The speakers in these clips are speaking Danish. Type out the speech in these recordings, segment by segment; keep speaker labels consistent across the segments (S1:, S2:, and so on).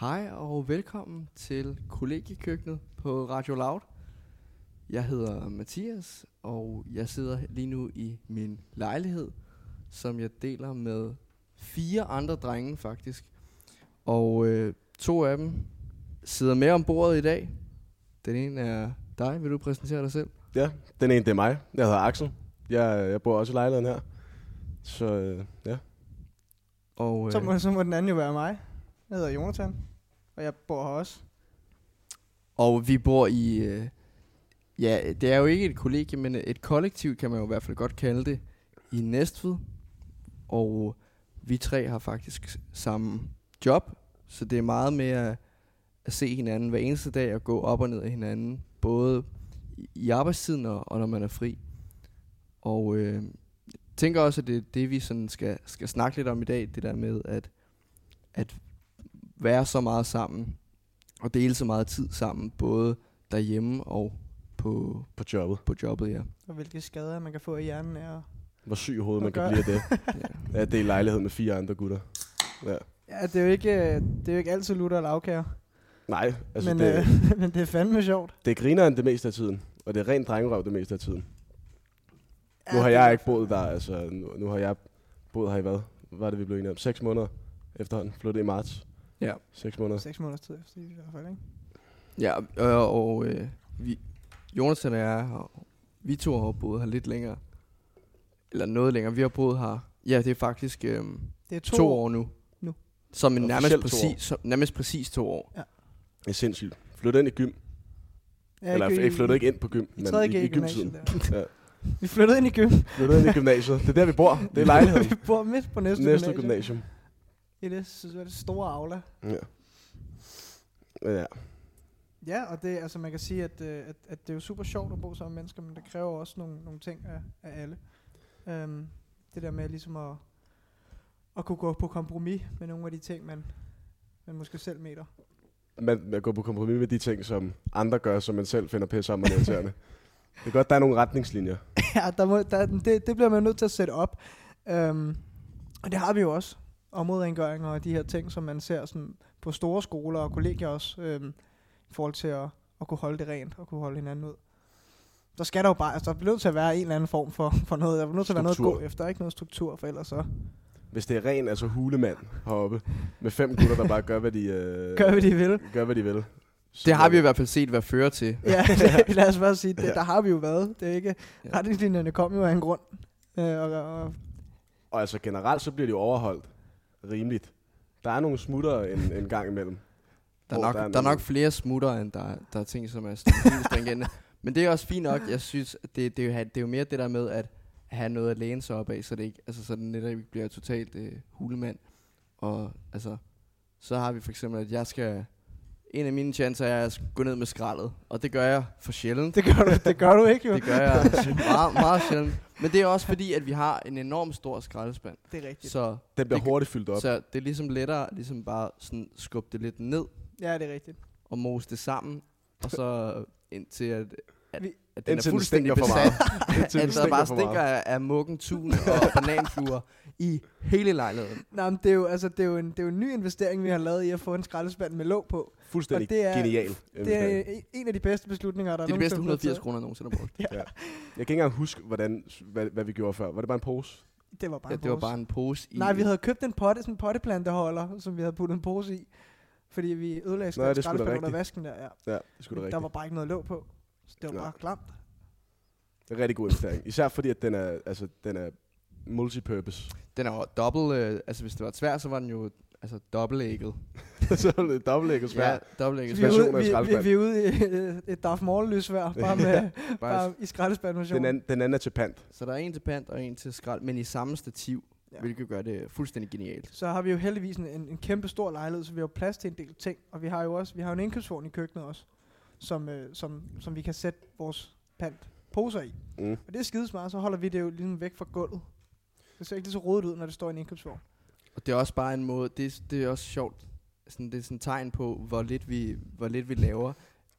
S1: Hej og velkommen til kollegiekøkkenet på Radio Loud. Jeg hedder Mathias, og jeg sidder lige nu i min lejlighed, som jeg deler med fire andre drenge faktisk. Og øh, to af dem sidder med om bordet i dag. Den ene er dig. Vil du præsentere dig selv?
S2: Ja, den ene, det er mig. Jeg hedder Axel. Jeg, jeg bor også i lejligheden her. Så øh, ja.
S1: Og, øh,
S3: Så må, så må den anden jo være mig. Jeg hedder Jonathan, og jeg bor her også.
S1: Og vi bor i... Øh, ja, det er jo ikke et kollegie, men et kollektiv, kan man jo i hvert fald godt kalde det, i Næstved. Og vi tre har faktisk s- samme job, så det er meget mere at se hinanden hver eneste dag og gå op og ned af hinanden, både i- i arbejdstiden og, og når man er fri. Og øh, jeg tænker også, at det er det, vi sådan skal, skal snakke lidt om i dag, det der med at, at være så meget sammen og dele så meget tid sammen, både derhjemme og på,
S2: På jobbet.
S1: på jobbet, ja.
S3: Og hvilke skader man kan få i hjernen af. at-
S2: Hvor syg i hovedet man
S3: Okay.
S2: kan blive af det.
S1: ja.
S2: Ja, det er i lejlighed med fire andre gutter. Ja.
S3: Ja, det er jo ikke, øh, det er jo ikke altid lutter og lavkager.
S2: Nej, altså
S3: men,
S2: det, øh...
S3: øh, men det er fandme sjovt.
S2: det griner det meste af tiden. Og det er rent drengerøv det meste af tiden. Nu
S3: Ja,
S2: har
S3: det-
S2: jeg ikke boet der, altså nu, nu har jeg boet her i hvad? Hvad er det, vi blev enige om? Seks måneder efterhånden. Flyttede i marts.
S1: Ja.
S2: Seks måneder.
S3: Seks måneders tid efter i hvert fald, ikke?
S1: ja og, og øh, vi, Jonas og jeg, og vi to har boet her lidt længere. Eller noget længere. Vi har boet her, ja, det er faktisk øh,
S3: Det er to,
S1: to, to år nu.
S3: nu.
S1: Som en nærmest,
S2: Officielt to år.
S1: præcis, som, nærmest præcis to år.
S2: Det er sindssygt. Flyttede ind i gym.
S3: Ja,
S2: Eller
S3: i-
S2: jeg flyttede ikke ind på gym,
S3: i
S2: men
S3: tredje
S2: i, i
S3: G gymnasiet
S2: gymtiden.
S3: der.
S2: Ja.
S3: Vi flyttede ind i gym.
S2: Flyttede ind i gymnasiet. Det er der, vi bor. Det er lejligheden.
S3: vi bor midt på næste,
S2: Næste gymnasium.
S3: I det, så er det store aula.
S2: Ja. Men ja.
S3: Ja, og det, altså man kan sige, at, øh, at, at det er jo super sjovt at bo sammen med mennesker, men det kræver også nogle, nogle ting af, af alle. Øhm, det der med ligesom at, at kunne gå på kompromis med nogle af de ting, man, man måske selv meter.
S2: Man, man går på kompromis med de ting, som andre gør, som man selv finder pisse om og irriterende. det er godt, der er nogle retningslinjer.
S3: ja, der må, der, det, det bliver man nødt til at sætte op. Øhm, og det har vi jo også. Områderengøring og de her ting, som man ser sådan på store skoler og kollegier også, øhm, i forhold til at, at kunne holde det rent og kunne holde hinanden ud. Der skal der jo bare, altså der bliver nødt til at være en eller anden form for, for noget. Der bliver nødt til at være noget at
S2: Struktur.
S3: gå efter, ikke noget struktur, for ellers så
S1: Øh.
S2: Hvis det er ren, altså hulemand heroppe, med fem gutter, der bare gør, hvad de, øh,
S3: gør vi det, vi vil.
S2: gør, hvad de vil. Så
S1: Det har vi i hvert fald set, hvad fører til.
S3: Ja, lad os bare sige, det, der har vi jo været. Det er ikke,
S1: Ja.
S3: retningslinjerne kom jo af en grund. Øh, og, og,
S2: Og altså generelt, så bliver de overholdt rimeligt. Der er nogle smutter en, en gang imellem.
S1: Der er,
S2: Hvor
S1: nok,
S2: der
S1: der,
S2: er
S1: er der er
S2: nogle-
S1: nok flere smutter, end der, der er ting, som er stabilt stringente. Men det er også fint nok. Jeg synes, at det, det, er jo, ha- det er jo mere det der med at have noget at læne sig op af, så det ikke, altså så det netop ikke bliver totalt øh, hulemand. Og altså, så har vi for eksempel, at jeg skal... En af mine chancer er at gå ned med skraldet, og det gør jeg for sjældent.
S3: det, gør du, det gør du ikke jo.
S1: Det gør jeg meget, meget sjældent. Men det er også fordi, at vi har en enorm stor skraldespand.
S3: Det er rigtigt.
S1: Så,
S2: Den bliver
S1: Det-
S2: hurtigt fyldt op.
S1: så det er ligesom lettere ligesom bare sådan skubbe det lidt ned,
S3: Ja, det er rigtigt.
S1: og mose det sammen, og så indtil at, at,
S3: Vi-
S1: at den
S2: indtil
S1: er
S2: den
S1: fuldstændig
S2: stinker for
S1: besat.
S2: Indtil den
S1: at altså, der bare
S2: for meget.
S1: stinker af, af muggen, tun og bananfluer i hele lejligheden.
S3: Nej, men det er jo, altså, det er jo, en, det er jo en ny investering, vi har lavet i at få en skraldespand med låg på.
S2: Fuldstændig
S3: og det er-
S2: genial.
S3: Det er en- en af de bedste beslutninger, der
S1: Det er de bedste
S3: nogensinde er blevet
S1: 180 kroner, jeg nogensinde har brugt.
S2: Jeg kan ikke engang huske, hvordan, hvad, hvad vi gjorde før. Var det bare en pose?
S3: taget. Det var bare
S1: Ja,
S3: en
S1: det var
S3: pose.
S1: bare en pose i...
S3: Nej, vi havde købt en potte, sådan en potteplanteholder, som vi havde puttet en pose i. Fordi vi ødelagde
S2: Nå, det er sgu da
S3: skraldespanden under
S2: rigtigt.
S3: vasken der,
S2: Ja,
S3: ja.
S2: det skulle da
S3: Men
S2: rigtigt.
S3: Der var bare ikke noget låg på. Så det var
S2: Nå.
S3: bare klamt.
S2: Det er en rigtig god investering. Især fordi, at den er, altså, den er multipurpose.
S1: Den er jo dobbelt... Øh, altså, hvis det var tvær, så var den jo altså, dobbeltægget.
S2: så er det dobbeltægget
S1: Ja,
S2: svært.
S1: dobbeltægget.
S3: vi, er
S2: version
S3: ude,
S2: af en
S3: vi, vi,
S2: skraldespand.
S3: vi, er ude i øh, et Darth Maul-lysvær, bare, med,
S1: Bare,
S3: bare i skraldespanden.
S2: Den, anden, den anden er til pant.
S1: så der er en til pant og en til skrald, men i samme stativ,
S3: Ja.
S1: ja. hvilket gør det fuldstændig genialt.
S3: så har vi jo heldigvis en, en, en kæmpe stor lejlighed, så vi har jo plads til en del ting, og vi har jo også vi har jo en indkøbsvogn i køkkenet også, som, øh, som, som vi kan sætte vores pant poser i.
S2: Mm.
S3: Og det er skidesmart, så holder vi det jo ligesom væk fra gulvet. Det ser ikke lige så rodet ud, når det står i en indkøbsvogn.
S1: Og det er også bare en måde, det, det er også sjovt, sådan, det er sådan et tegn på, hvor lidt vi, hvor lidt vi laver.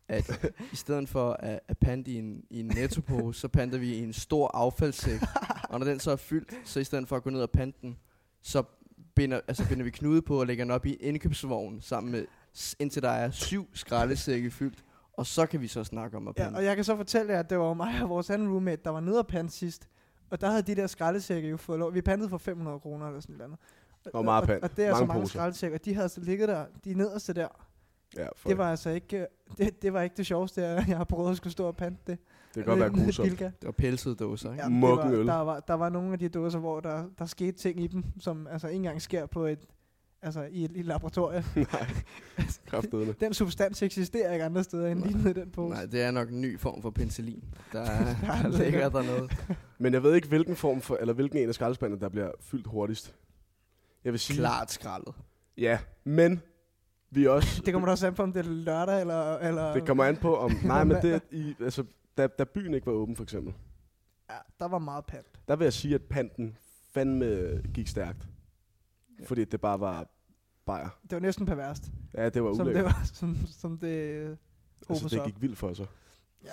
S1: At i stedet for at, at pante i en, i en nettopose, så panter vi i en stor affaldssæk. Og når den så er fyldt, så i stedet for at gå ned og pante den, så binder, altså binder vi knude på og lægger den op i indkøbsvognen sammen med s- indtil der er syv skraldesække fyldt, og så kan vi så snakke om at pande.
S3: Ja, og jeg kan så fortælle jer, at det var mig og vores anden roommate, der var nede og pande sidst. Og der havde de der skraldesække jo fået lov. Vi pandede for 500 kroner eller sådan noget.
S2: Der var meget
S3: og,
S2: pant.
S3: og, det er altså
S2: Mange
S3: mange
S2: poser.
S3: skraldesække, og de havde altså ligget der, de nederste der.
S2: Ja, fuck.
S3: Det var altså ikke, øh, det, det var ikke det sjoveste, jeg jeg har prøvet at skulle stå og pande det.
S2: det kan godt være
S3: Med- med
S2: grusomt.
S3: Bilka.
S1: Det var pelsede dåser, ikke?
S3: Ja, det
S2: Muggen
S3: var,
S2: øl.
S3: der, var, der var nogle af de dåser, hvor der, der skete ting i dem, som altså ikke engang sker på et, altså, i et, i et laboratorium.
S2: Nej, kraftedeme.
S3: Den substans eksisterer ikke andre steder end
S1: Nej.
S3: lige nede i den pose.
S1: Nej, det er nok en ny form for penicillin. Der, er,
S3: Der
S1: der ligger
S3: ligger-
S1: der noget.
S2: Men jeg ved ikke, hvilken form for, eller hvilken en af skraldespandene, der bliver fyldt hurtigst. Jeg vil sige...
S1: Klart skraldet.
S2: Ja, men vi er også...
S3: Det kommer da også an på, om det er lørdag eller... eller
S2: det kommer an på, om... Nej, men det, i, altså, da, da byen ikke var åben, for eksempel,
S3: Ja, der var meget pant.
S2: der vil jeg sige, at panten fandme gik stærkt.
S1: Ja.
S2: Fordi det bare var bajer.
S3: Det var næsten perverst,
S2: Ja, det var
S3: som det,
S2: ulækkert.
S3: var, som, som det øh,
S2: Altså,
S3: håber sig
S2: det
S3: op.
S2: gik vildt for sig.
S3: Det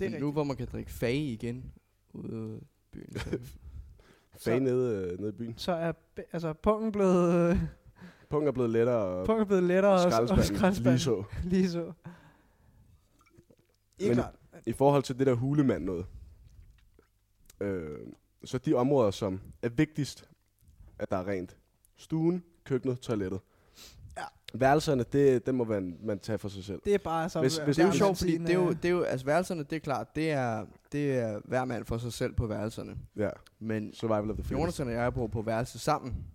S1: Men
S3: er
S1: nu
S3: nu,
S1: hvor man kan drikke fag igen ude i byen. Så
S2: Fag
S3: Så-
S2: nede, øh, nede i byen.
S3: Så er be- altså, pungen blevet, øh,
S2: Pungen er blevet lettere, og
S3: pungen er blevet lettere, og, og
S2: skraldespanden lige
S3: skraldespanden
S2: så.
S3: lige så. Ikke
S2: Men-
S3: klart.
S2: I forhold til det der hulemand noget, øh, så de områder, som er vigtigst, at der er rent. Stuen, køkkenet, toilettet.
S3: Ja.
S2: Værelserne, det, det må man, man tage for sig selv.
S3: Det er bare så...
S2: Hvis-
S3: øh,
S2: hvis
S1: Det er jo
S2: Ja,
S3: der
S1: sjovt, fordi
S3: sin,
S1: det er jo,
S3: øh,
S1: det er jo, altså værelserne, det er klart, det er, det er hver mand for sig selv på værelserne.
S2: Ja,
S1: Men
S2: survival of the fittest.
S1: Jonas og jeg bor på værelse sammen.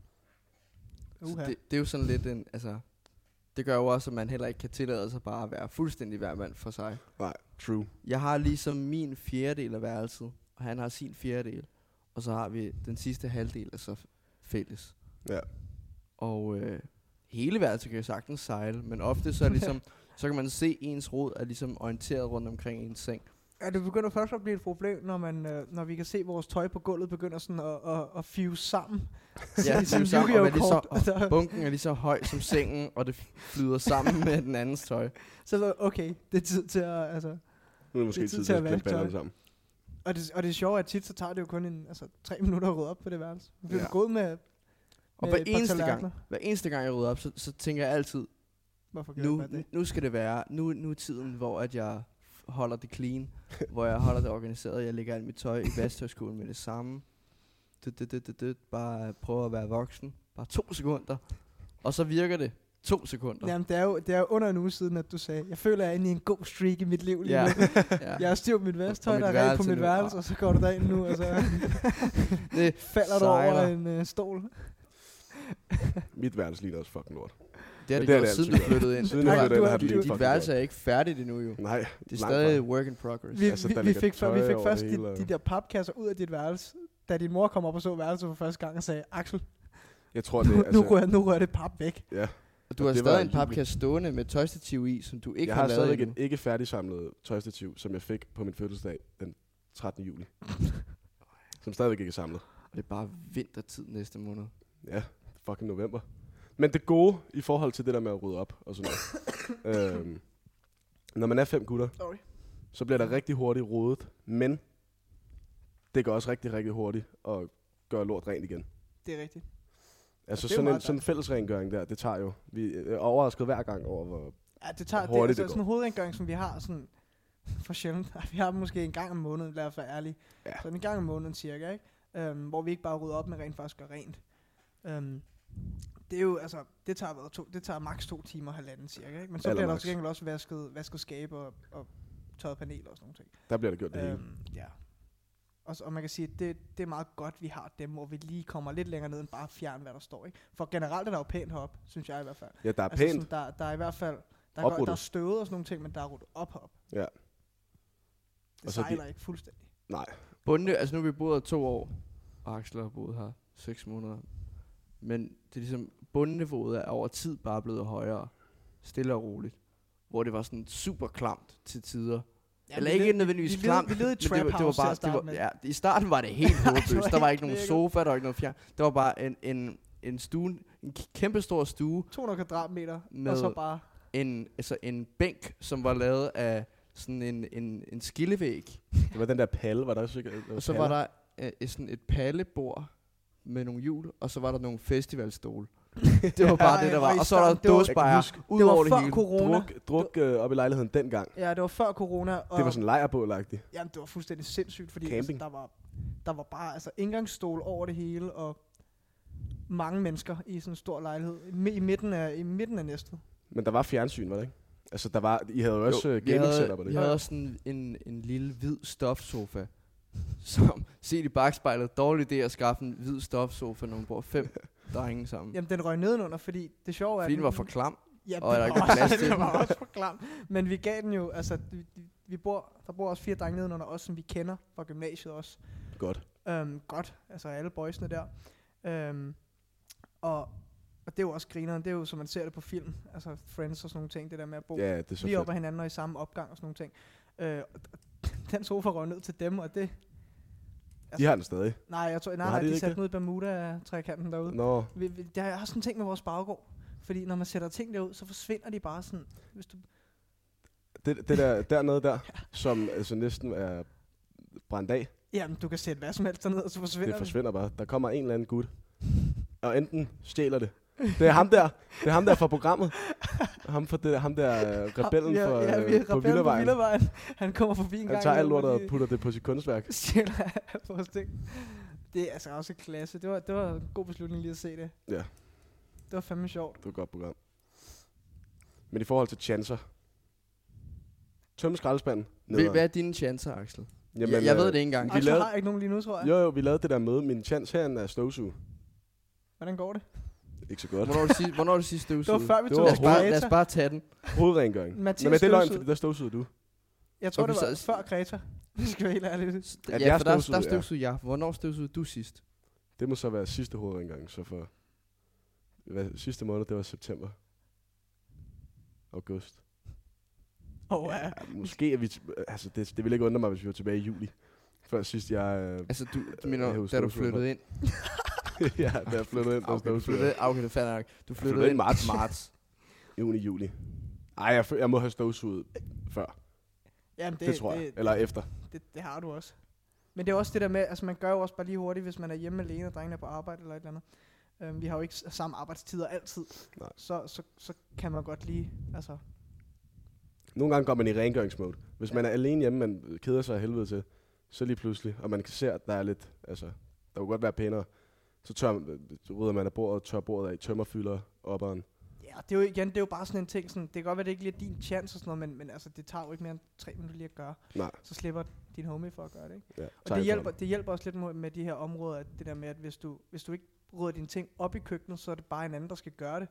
S1: Så
S3: uha.
S1: det, det er jo sådan lidt en, altså, det gør jo også, at man heller ikke kan tillade sig bare at være fuldstændig hver mand for sig.
S2: Nej, true.
S1: Jeg har ligesom min fjerdedel af værelset, og han har sin fjerdedel. Og så har vi den sidste halvdel, altså f- fælles.
S2: Ja.
S1: Og øh, hele værelset kan jo sagtens sejle, men ofte så er ligesom, så kan man se ens rod er ligesom orienteret rundt omkring ens seng.
S3: Ja, det begynder først at blive et problem, når, man, øh, når vi kan se, at vores tøj på gulvet begynder sådan at, at, at fuse sammen.
S1: Ja,
S3: Ligesom Altså,
S1: fuse sammen, og man lige så-
S3: Yu-Gi-Oh! kort. Der-
S1: Bunken er lige så høj som sengen, og det flyder sammen med den andens tøj.
S3: Så er det, okay, det er tid til at... Altså.
S2: Nu er det måske
S3: Det er
S2: tid til at klemme
S3: være
S2: banderne
S3: tøj.
S2: sammen.
S3: Og, det, og det sjove er, at tit så tager det jo kun en, altså, tre minutter at rydde op på det værelse. Vi er
S2: Ja.
S3: ja. gået med, med
S1: Og hver
S3: et par
S1: eneste,
S3: tallerkener.
S1: gang, hver eneste gang, jeg rydder op, så, så tænker jeg altid,
S3: Hvorfor gjorde
S1: nu,
S3: man det?
S1: nu skal det være, nu, nu er tiden, hvor at jeg holder det clean, hvor jeg holder det organiseret, jeg lægger alt mit tøj i vasketøjskolen med det samme. Det, det, det, det, det. Bare prøve at være voksen. Bare to sekunder. Og så virker det. To sekunder.
S3: Jamen, det er, jo, det er jo under en uge siden, at du sagde, jeg føler, jeg er inde i en god streak i mit liv lige
S1: ja.
S3: nu.
S1: ja.
S3: Jeg er stiv på mit
S1: Og
S3: vesttøj,
S1: mit
S3: der er rent på
S1: værelse
S3: mit
S1: nu.
S3: værelse, og så går du derind nu, og så
S1: Det
S3: falder du over
S1: sejler.
S3: en øh, stol.
S2: Mit værelse ligner også fucking lort.
S1: Det har det,
S2: det er
S1: gjort,
S2: det
S1: siden du
S2: altid.
S1: flyttede ind.
S2: Siden
S3: Nej,
S2: jeg flyttede
S3: du
S2: ind,
S3: har-
S2: har det
S3: du-
S2: lignet
S1: Dit
S2: fucking
S1: værelse
S2: lort.
S1: er ikke færdigt endnu jo.
S2: Nej,
S1: Det er
S2: langt
S1: stadig
S2: fra.
S1: work in progress.
S2: Altså,
S3: Vi, altså, vi,
S2: der
S3: vi,
S2: ligger
S3: fik, før,
S2: tøj
S3: vi fik
S2: over
S3: først
S2: det hele,
S3: de,
S2: og-
S3: de der papkasser ud af dit værelse, da din mor kom op og så værelset for første gang og sagde, Axel,
S2: Jeg tror, det
S3: nu,
S2: er... altså-
S3: nu, rører, nu rører det pap væk.
S1: Og du
S2: Og
S1: har
S2: det var
S1: stadig en
S2: i juli.
S1: papkasse stående med tøjstativ i, som du ikke
S2: jeg
S1: har,
S2: har
S1: lavet
S2: stadigvæk
S1: endnu.
S2: et ikke færdigsamlet tøjstativ, som jeg fik på min fødselsdag den 13. juli. som stadigvæk ikke er samlet.
S1: Og det er bare vintertid næste måned.
S2: Ja, fucking november. Men det gode i forhold til det der med at rydde op og sådan noget. øhm, når man er fem gutter,
S3: Sorry.
S2: så bliver der rigtig hurtigt rodet, men det går også rigtig, rigtig hurtigt at gøre lort rent igen.
S3: Det er rigtigt.
S2: Altså
S3: Og det er jo
S2: sådan en,
S3: meget
S2: sådan en fælles rengøring der, det tager jo. Vi øh, er overrasket hver gang over, hvor...
S3: Ja, det tager det,
S2: Hurtigt,
S3: altså,
S2: det går.
S3: sådan en hovedrengøring, som vi har sådan for sjældent. Vi har dem måske en gang om måneden, lad os være ærlige.
S2: Ja.
S3: Sådan en gang om måneden cirka, ikke? Øhm, hvor vi ikke bare rydder op, men rent faktisk gør rent. Øhm, det er jo, altså, det tager, hvad, to, det tager maks to timer, halvanden cirka, ikke? Men så
S2: Aller
S3: bliver der
S2: maks.
S3: til gengæld også vasket, vasket skabe og, og tørret paneler og sådan nogle ting.
S2: Der bliver det gjort det hele.
S3: Øhm, ja. Og, så- og man kan sige, at det, det er meget godt, vi har dem, hvor vi lige kommer lidt længere ned end bare fjern, hvad der står. Ikke? For generelt er der jo pænt heroppe, synes jeg i hvert fald. Altså,
S2: Ja, der er pænt.
S3: sådan, der, der er i hvert fald, der er,
S2: Opryddet.
S3: godt, der er støvet og sådan nogle ting, men der er ryddet op herop.
S2: Ja.
S3: Det
S2: Og så de-
S3: sejler ikke fuldstændig.
S2: Nej,
S1: Bunde, altså nu har vi boet her to år, og Axel har boet her seks måneder. Men det er ligesom, bundniveauet er over tid bare blevet højere, stille og roligt. Hvor det var sådan super klamt til tider. Ja, Eller
S3: vi
S1: ikke
S3: led-
S1: nødvendigvis
S3: vi led-
S1: klamt,
S3: vi led i
S1: men det var-
S3: trap
S1: det var
S3: house til
S1: bare,
S3: at starte
S1: det var,
S3: med.
S1: ja, I starten var det helt håbløst. der var ikke nogen
S3: knækket.
S1: sofa, der var ikke noget fjern. Der var bare en, en, en stue, en k- kæmpestor stue,
S3: 200 kvadratmeter,
S1: Med-
S3: og så bare...
S1: en, altså en bænk, som var lavet af sådan en, en, en skillevæg.
S2: det var den der palle, var der også ikke?
S1: Og så var der øh, et sådan et pallebord med nogle hjul, og så var der nogle festivalstole. Det var bare
S3: Ej,
S1: det, der
S3: hvor
S1: var.
S3: I
S1: Og så er der
S3: stam- det var-
S2: Jeg
S1: dåsbajer
S2: kan
S1: ud
S3: det var
S1: over det
S3: før
S1: hele.
S3: corona.
S2: Druk, druk øh, op i lejligheden dengang.
S3: Ja, det var før corona. Og
S2: Det var sådan lejrbålagtigt.
S3: Jamen, det var fuldstændig sindssygt, fordi
S2: Camping.
S3: altså, der, var, der var bare altså, indgangsstol over det hele, og mange mennesker i sådan en stor lejlighed i, mi- i midten af, i midten af næstet.
S1: Mm.
S2: Men der var fjernsyn, var der ikke? Altså, der var, I havde jo også jo,
S1: vi
S2: gaming setup
S1: havde,
S2: og
S1: vi
S2: det.
S1: havde også sådan en, en lille hvid stofsofa, som set i bagspejlet, dårlig idé at skaffe en hvid stofsofa, når man bor fem drenge sammen.
S3: Jamen, den røg nedenunder, fordi det sjove er...
S1: Fordi den
S3: at
S1: var for klam.
S3: Ja,
S1: og der
S3: den,
S1: ikke var
S3: var
S1: plads
S3: også,
S1: til
S3: den
S1: den.
S3: var også for klam. Men vi gav den jo, altså, vi, vi bor, der bor også fire drenge nedenunder os, som vi kender fra gymnasiet også.
S2: Godt.
S3: Øhm, godt, altså alle boysene der. Øhm, og, og det er jo også grineren, det er jo, som man ser det på film, altså Friends og sådan nogle ting, det der med at bo
S2: Ja, det er så
S3: lige
S2: fedt.
S3: op ad hinanden og i samme opgang og sådan nogle ting. Øh, og d- den sofa røg ned til dem, og det...
S2: De har den stadig.
S3: Nej, jeg tror, nej,
S2: Nå,
S3: nej,
S2: det er
S3: de
S2: ikke
S3: satte
S2: det.
S3: den ud i Bermuda-trækanten derude.
S2: Nå,
S3: Vi, vi, der er også en ting med vores baggård. Fordi når man sætter ting derud, så forsvinder de bare sådan. Hvis du,
S2: det, det der dernede der, som altså næsten er brændt af,
S3: jamen, du kan sætte hvad som helst derned, og så forsvinder
S2: det forsvinder bare. Der kommer en eller anden gut, og enten stjæler det. Det er ham der, det er ham der fra programmet. Ham, for det, ham der øh, rebellen
S3: ja,
S2: for,
S3: ja,
S2: øh,
S3: vi
S2: på
S3: er rebellen på
S2: Villavejen.
S3: Villavejen. Han kommer forbi en gang.
S2: Han tager alt
S3: imellem,
S2: lortet og
S3: og
S2: putter det på sit kunstværk.
S3: lige Stjæler af vores ting. Det er altså også klasse. Det var, det var en god beslutning lige at se det.
S2: Ja.
S3: Det var fandme sjovt.
S2: Det var et godt program. Men i forhold til chancer. Tømme skraldespanden.
S1: Ved-
S2: nederen.
S1: Hvad er dine chancer, Axel? Jamen, jeg, jeg ved det ikke engang.
S2: vi
S3: Axel
S2: lavede-
S3: har ikke nogen lige nu, tror jeg.
S2: Jo, jo, vi lavede det der møde. Min chance herinde er støvsuge.
S3: Hvordan går det?
S2: Ikke så godt.
S1: Hvornår er det sidste, hvornår er det sidste
S3: Det
S1: støvsugede?
S3: var før vi
S2: Det
S3: tog
S2: var
S1: lad, os bare, lad
S3: Greta.
S1: os bare tage den.
S2: Hovedrengøring. Men
S3: Mathias
S2: men det er løgn,
S3: støvsugede.
S2: fordi der støvsugede du.
S3: Jeg tror,
S1: Okay,
S3: det var
S1: så-
S3: før Greta. Det skal være helt ærligt.
S1: S-
S2: At
S1: Ja,
S2: jeg
S1: for der,
S2: støvsugede,
S1: der
S2: ja.
S1: støvsugede jeg. Hvornår støvsugede du sidst?
S2: Det må så være sidste hovedrengøring, så for... Hvad, sidste måned, det var september. August.
S3: Åh, oh, ja.
S2: Måske er vi... T- altså, det, det ville ikke undre mig, hvis vi var tilbage i juli. Før sidst, jeg... Øh,
S1: Altså, du, du
S2: jeg
S1: mener,
S2: husker
S1: da du
S2: det slet
S1: flyttede ind.
S2: ja, da jeg flyttede ind, der
S1: Okay, du
S2: støvsugede.
S1: flyttede,
S2: jeg.
S1: okay, det er fair nok. Du
S2: flyttede
S1: flyttede ind
S2: i marts.
S1: marts.
S2: Juni, juli. Ej, jeg, fø- jeg må have støvsuget før.
S3: Jamen, det,
S2: Det, det tror jeg.
S3: Det,
S2: Eller efter.
S3: det, det har du også. Men det er også det der med, altså man gør jo også bare lige hurtigt, hvis man er hjemme alene, og drengene er på arbejde eller et eller andet. Øhm, vi har jo ikke s- samme arbejdstider altid.
S2: Nej.
S3: Så, så, så kan man godt lige, altså...
S2: Nogle gange går man i rengøringsmode. Hvis man er alene hjemme, man keder sig af helvede til, så lige pludselig, og man kan se, at der er lidt, altså, der kunne godt være pænere, så tør, så rydder man af bordet, tør bordet af, tømmer, fylder opperen.
S3: Ja, det er jo igen, det er jo bare sådan en ting, sådan, det kan godt være, det ikke lige er din chance og sådan noget, men, men altså, det tager jo ikke mere end tre minutter lige at gøre.
S2: Nej.
S3: Så slipper din homie for at gøre det, ikke?
S2: Ja,
S3: Og det hjælper, det hjælper også lidt med- med de her områder, at det der med, at hvis du, hvis du ikke rydder dine ting op i køkkenet, så er det bare en anden, der skal gøre det.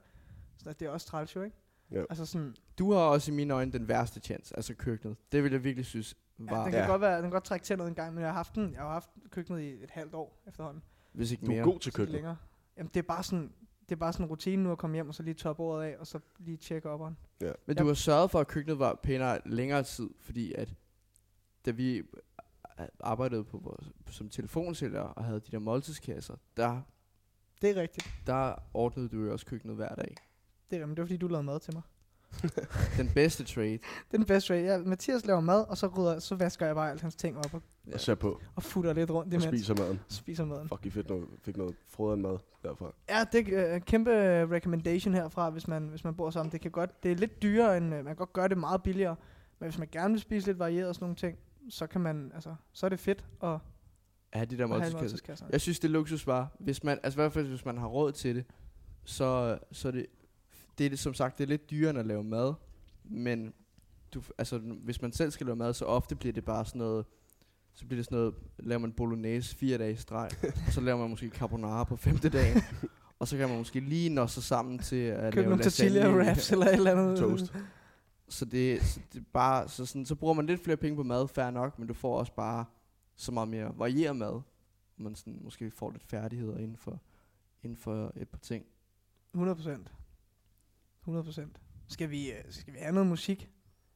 S3: Så det er også træls jo, ikke?
S2: Jo.
S3: Altså sådan,
S1: Du har også i mine øjne den værste chance, altså køkkenet. Det vil jeg virkelig synes
S3: Ja,
S1: var,
S3: den
S1: ja,
S3: kan
S2: Ja.
S3: ja. godt være, den kan godt trække tænder en gang, men jeg har haft den, jeg har haft køkkenet i et halvt år efterhånden. Så
S1: hvis ikke
S2: Du er
S1: mere.
S2: god til
S3: lidt
S2: køkkenet.
S3: Længere. Jamen det er bare sådan, det er bare sådan en rutine nu at komme hjem og så lige tørre bordet af, og så lige tjekke opperen.
S1: Men
S3: Ja.
S1: du har sørget for, at køkkenet var pænere længere tid, fordi at da vi øh, arbejdede på vores, som telefonsælger og havde de der måltidskasser, der,
S3: Det er rigtigt.
S1: der ordnede du jo også køkkenet hver dag.
S3: Det er, men det var fordi, du lavede mad til mig.
S1: Den bedste trade.
S3: Det er den bedste way. Ja, Mathias laver mad, og så, rydder, så vasker jeg bare alt hans ting op og,
S1: Ja.
S2: Og ser på,
S3: og futter lidt rundt
S2: og
S3: imens.
S2: spiser maden.
S3: spiser maden.
S2: Fuck, I fik noget, fik noget frøderen mad derfra.
S3: Ja, det er øh, kæmpe øh, recommendation herfra, hvis man, hvis man bor sammen. Det, kan godt, det er lidt dyrere, end, øh, man kan godt gøre det meget billigere. Men hvis man gerne vil spise lidt varieret og sådan nogle ting, så kan man, altså, så er det fedt at,
S1: At have de der
S3: at have en
S1: måltidskasser.
S3: måltidskasse.
S1: Jeg synes, det er luksus bare. Hvis man, altså i hvert fald, hvis man har råd til det, så, så er det, det er det, som sagt, det er lidt dyrere end at lave mad. Men du, f- altså, n- hvis man selv skal lave mad, så ofte bliver det bare sådan noget, så bliver det sådan noget, laver man bolognese fire dage i streg, og så laver man måske carbonara på femte dagen, og så kan man måske lige nå sig sammen til at
S3: Køb
S1: lave
S3: nogle tortilla
S1: lasagne.
S3: wraps eller et eller andet.
S2: Toast.
S1: Så det, så det er bare, så, sådan, så bruger man lidt flere penge på mad, fair nok, men du får også bare så meget mere varieret mad. Man sådan, måske får lidt færdigheder inden for, inden for et par ting.
S3: 100 procent. 100 procent. Skal vi, øh, skal vi have noget musik?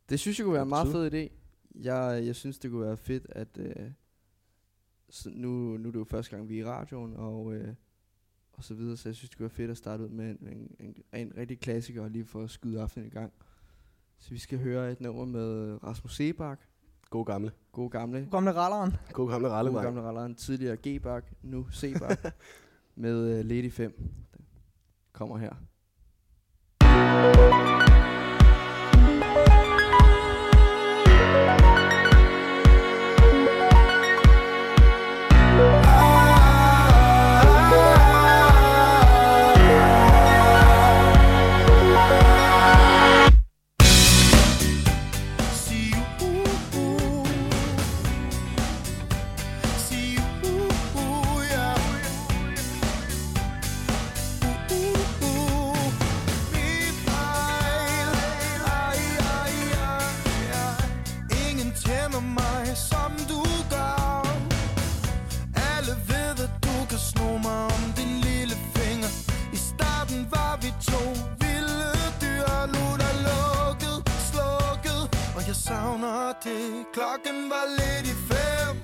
S1: Det synes jeg kunne være en meget
S2: Tid.
S1: fed idé. Jeg, jeg synes, det kunne være fedt, at øh, så nu, nu er det jo første gang, vi er i radioen, og, øh, og så videre, så jeg synes, det kunne være fedt at starte ud med en, en, en, en rigtig klassiker, lige for at skyde aftenen i gang. Så vi skal høre et nummer med øh, Rasmus Sebak,
S2: God gamle.
S1: god gamle
S3: Nu kommer der ralleren.
S2: God gamle
S1: Alle
S2: ralledreng.
S1: gamle ralleren, tidligere G-Bak, nu C-Bak, med øh, Lady 5. kommer her.
S4: Klokken var lidt i fem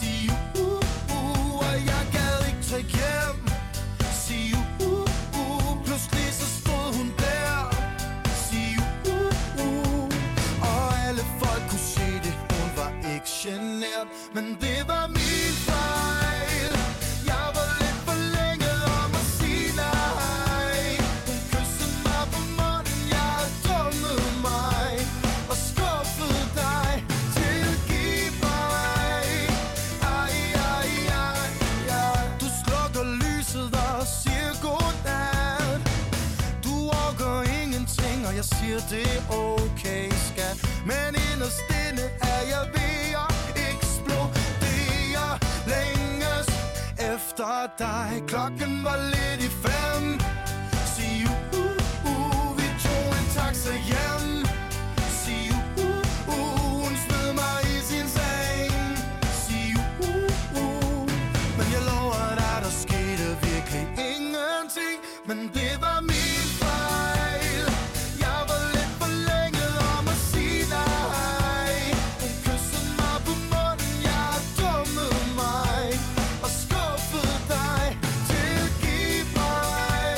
S4: Sig uh, uh, og jeg gad ikke tage hjem Sig uh, uh, pludselig så stod hun der Sig uh, uh, og alle folk kunne se det Hun var ikke genert, men det var min fejl Jeg var lidt for længe om at sige nej Hun kyssede mig på munden, jeg dummede mig Og skuffede dig, tilgiv mig Ej, ej, ej, ej Du slukker lyset og siger godnat du orker ingenting, og jeg siger, det er okay, skat Men inderst inde er jeg ved at eksplodere længes efter dig Klokken var lidt i fem Sig uh, uh, uh, vi tog en taxa hjem Sig uh, uh, uh, hun smed mig i sin seng Sig uh, uh, uh, men jeg lover dig, der skete virkelig ingenting Men det var min fejl Jeg var lidt for længe om at sige nej Hun kyssede mig på munden, jeg dummede mig Og skuffede dig, tilgiv mig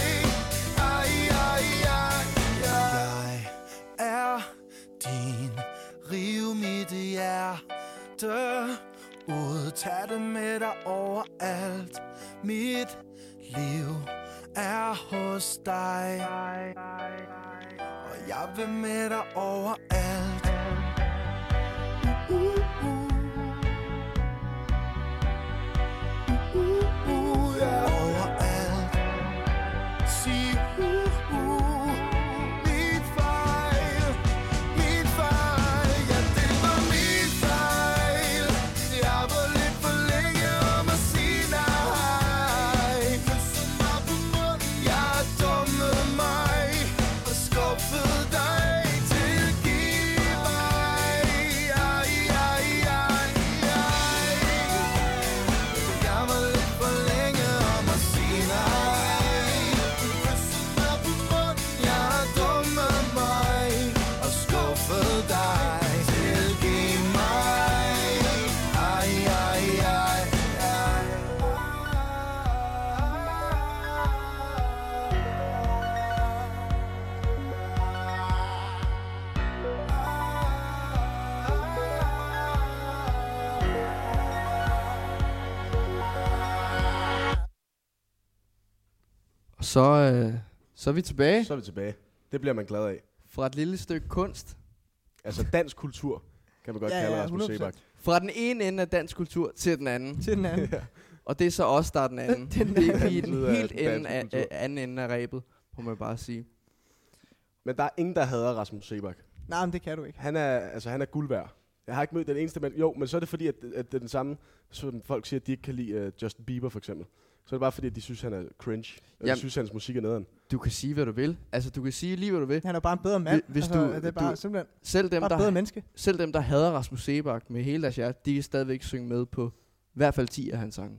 S4: Ej, ej, ej, ej Jeg er din Riv mit hjerte ud Tag det med dig overalt Mit liv er hos dig Og jeg vil med dig overalt uh, uh, uh. Uh, uh, uh, ja. Overalt Sig uh, uh. Min fejl min fejl, ja det var min fejl Jeg var lidt for længe om at sige nej Kyssede mig på munden, jeg dummede mig Og skuffede dig, tilgiv mig Ej, ej, ej, ej jeg var lidt for længe om at sige nej Kyssede mig på munden, jeg dummede mig Og skuffede dig Tilgiv mig Ej, ej, ej, ej
S1: Og så, øh, så er vi tilbage
S2: Så er vi tilbage. Det bliver man glad af.
S1: fra et lille stykke kunst.
S2: Altså dansk kultur, kan man godt
S3: Ja,
S2: ja, kalde
S3: ja,
S2: ja, Rasmus
S3: 100%.
S2: Sebak.
S1: Fra den ene ende af dansk kultur til den anden.
S3: til den anden.
S1: Og det er så os, der er den anden.
S3: Den
S1: det er
S2: anden
S1: vi er den
S2: side af
S1: helt
S2: den
S1: ende
S2: danske
S1: af,
S2: kultur.
S1: øh, anden ende af rebet, må man bare sige.
S2: Men der er ingen, der hader Rasmus Sebak.
S3: Nej, men det kan du ikke.
S2: Han er, altså, han er guld værd. Jeg har ikke mødt den eneste mand. Jo, men så er det fordi, at, at det er den samme, som folk siger, at de ikke kan lide uh, Justin Bieber for eksempel. Så er det bare fordi, at de synes, han er cringe. Og
S1: Jamen.
S2: de synes, hans musik er nederen.
S1: Du kan sige, hvad du vil. Altså, du kan sige lige, hvad du vil.
S3: Han er bare en bedre mand.
S1: Hvis
S3: altså,
S1: du-
S3: det er bare
S1: du-
S3: simpelthen
S1: Selv dem,
S3: bare et bedre
S1: der,
S3: menneske.
S1: selv dem, der hader Rasmus Sebak med hele deres hjerte, de kan stadigvæk synge med på i hvert fald 10 af hans sange.
S3: Og,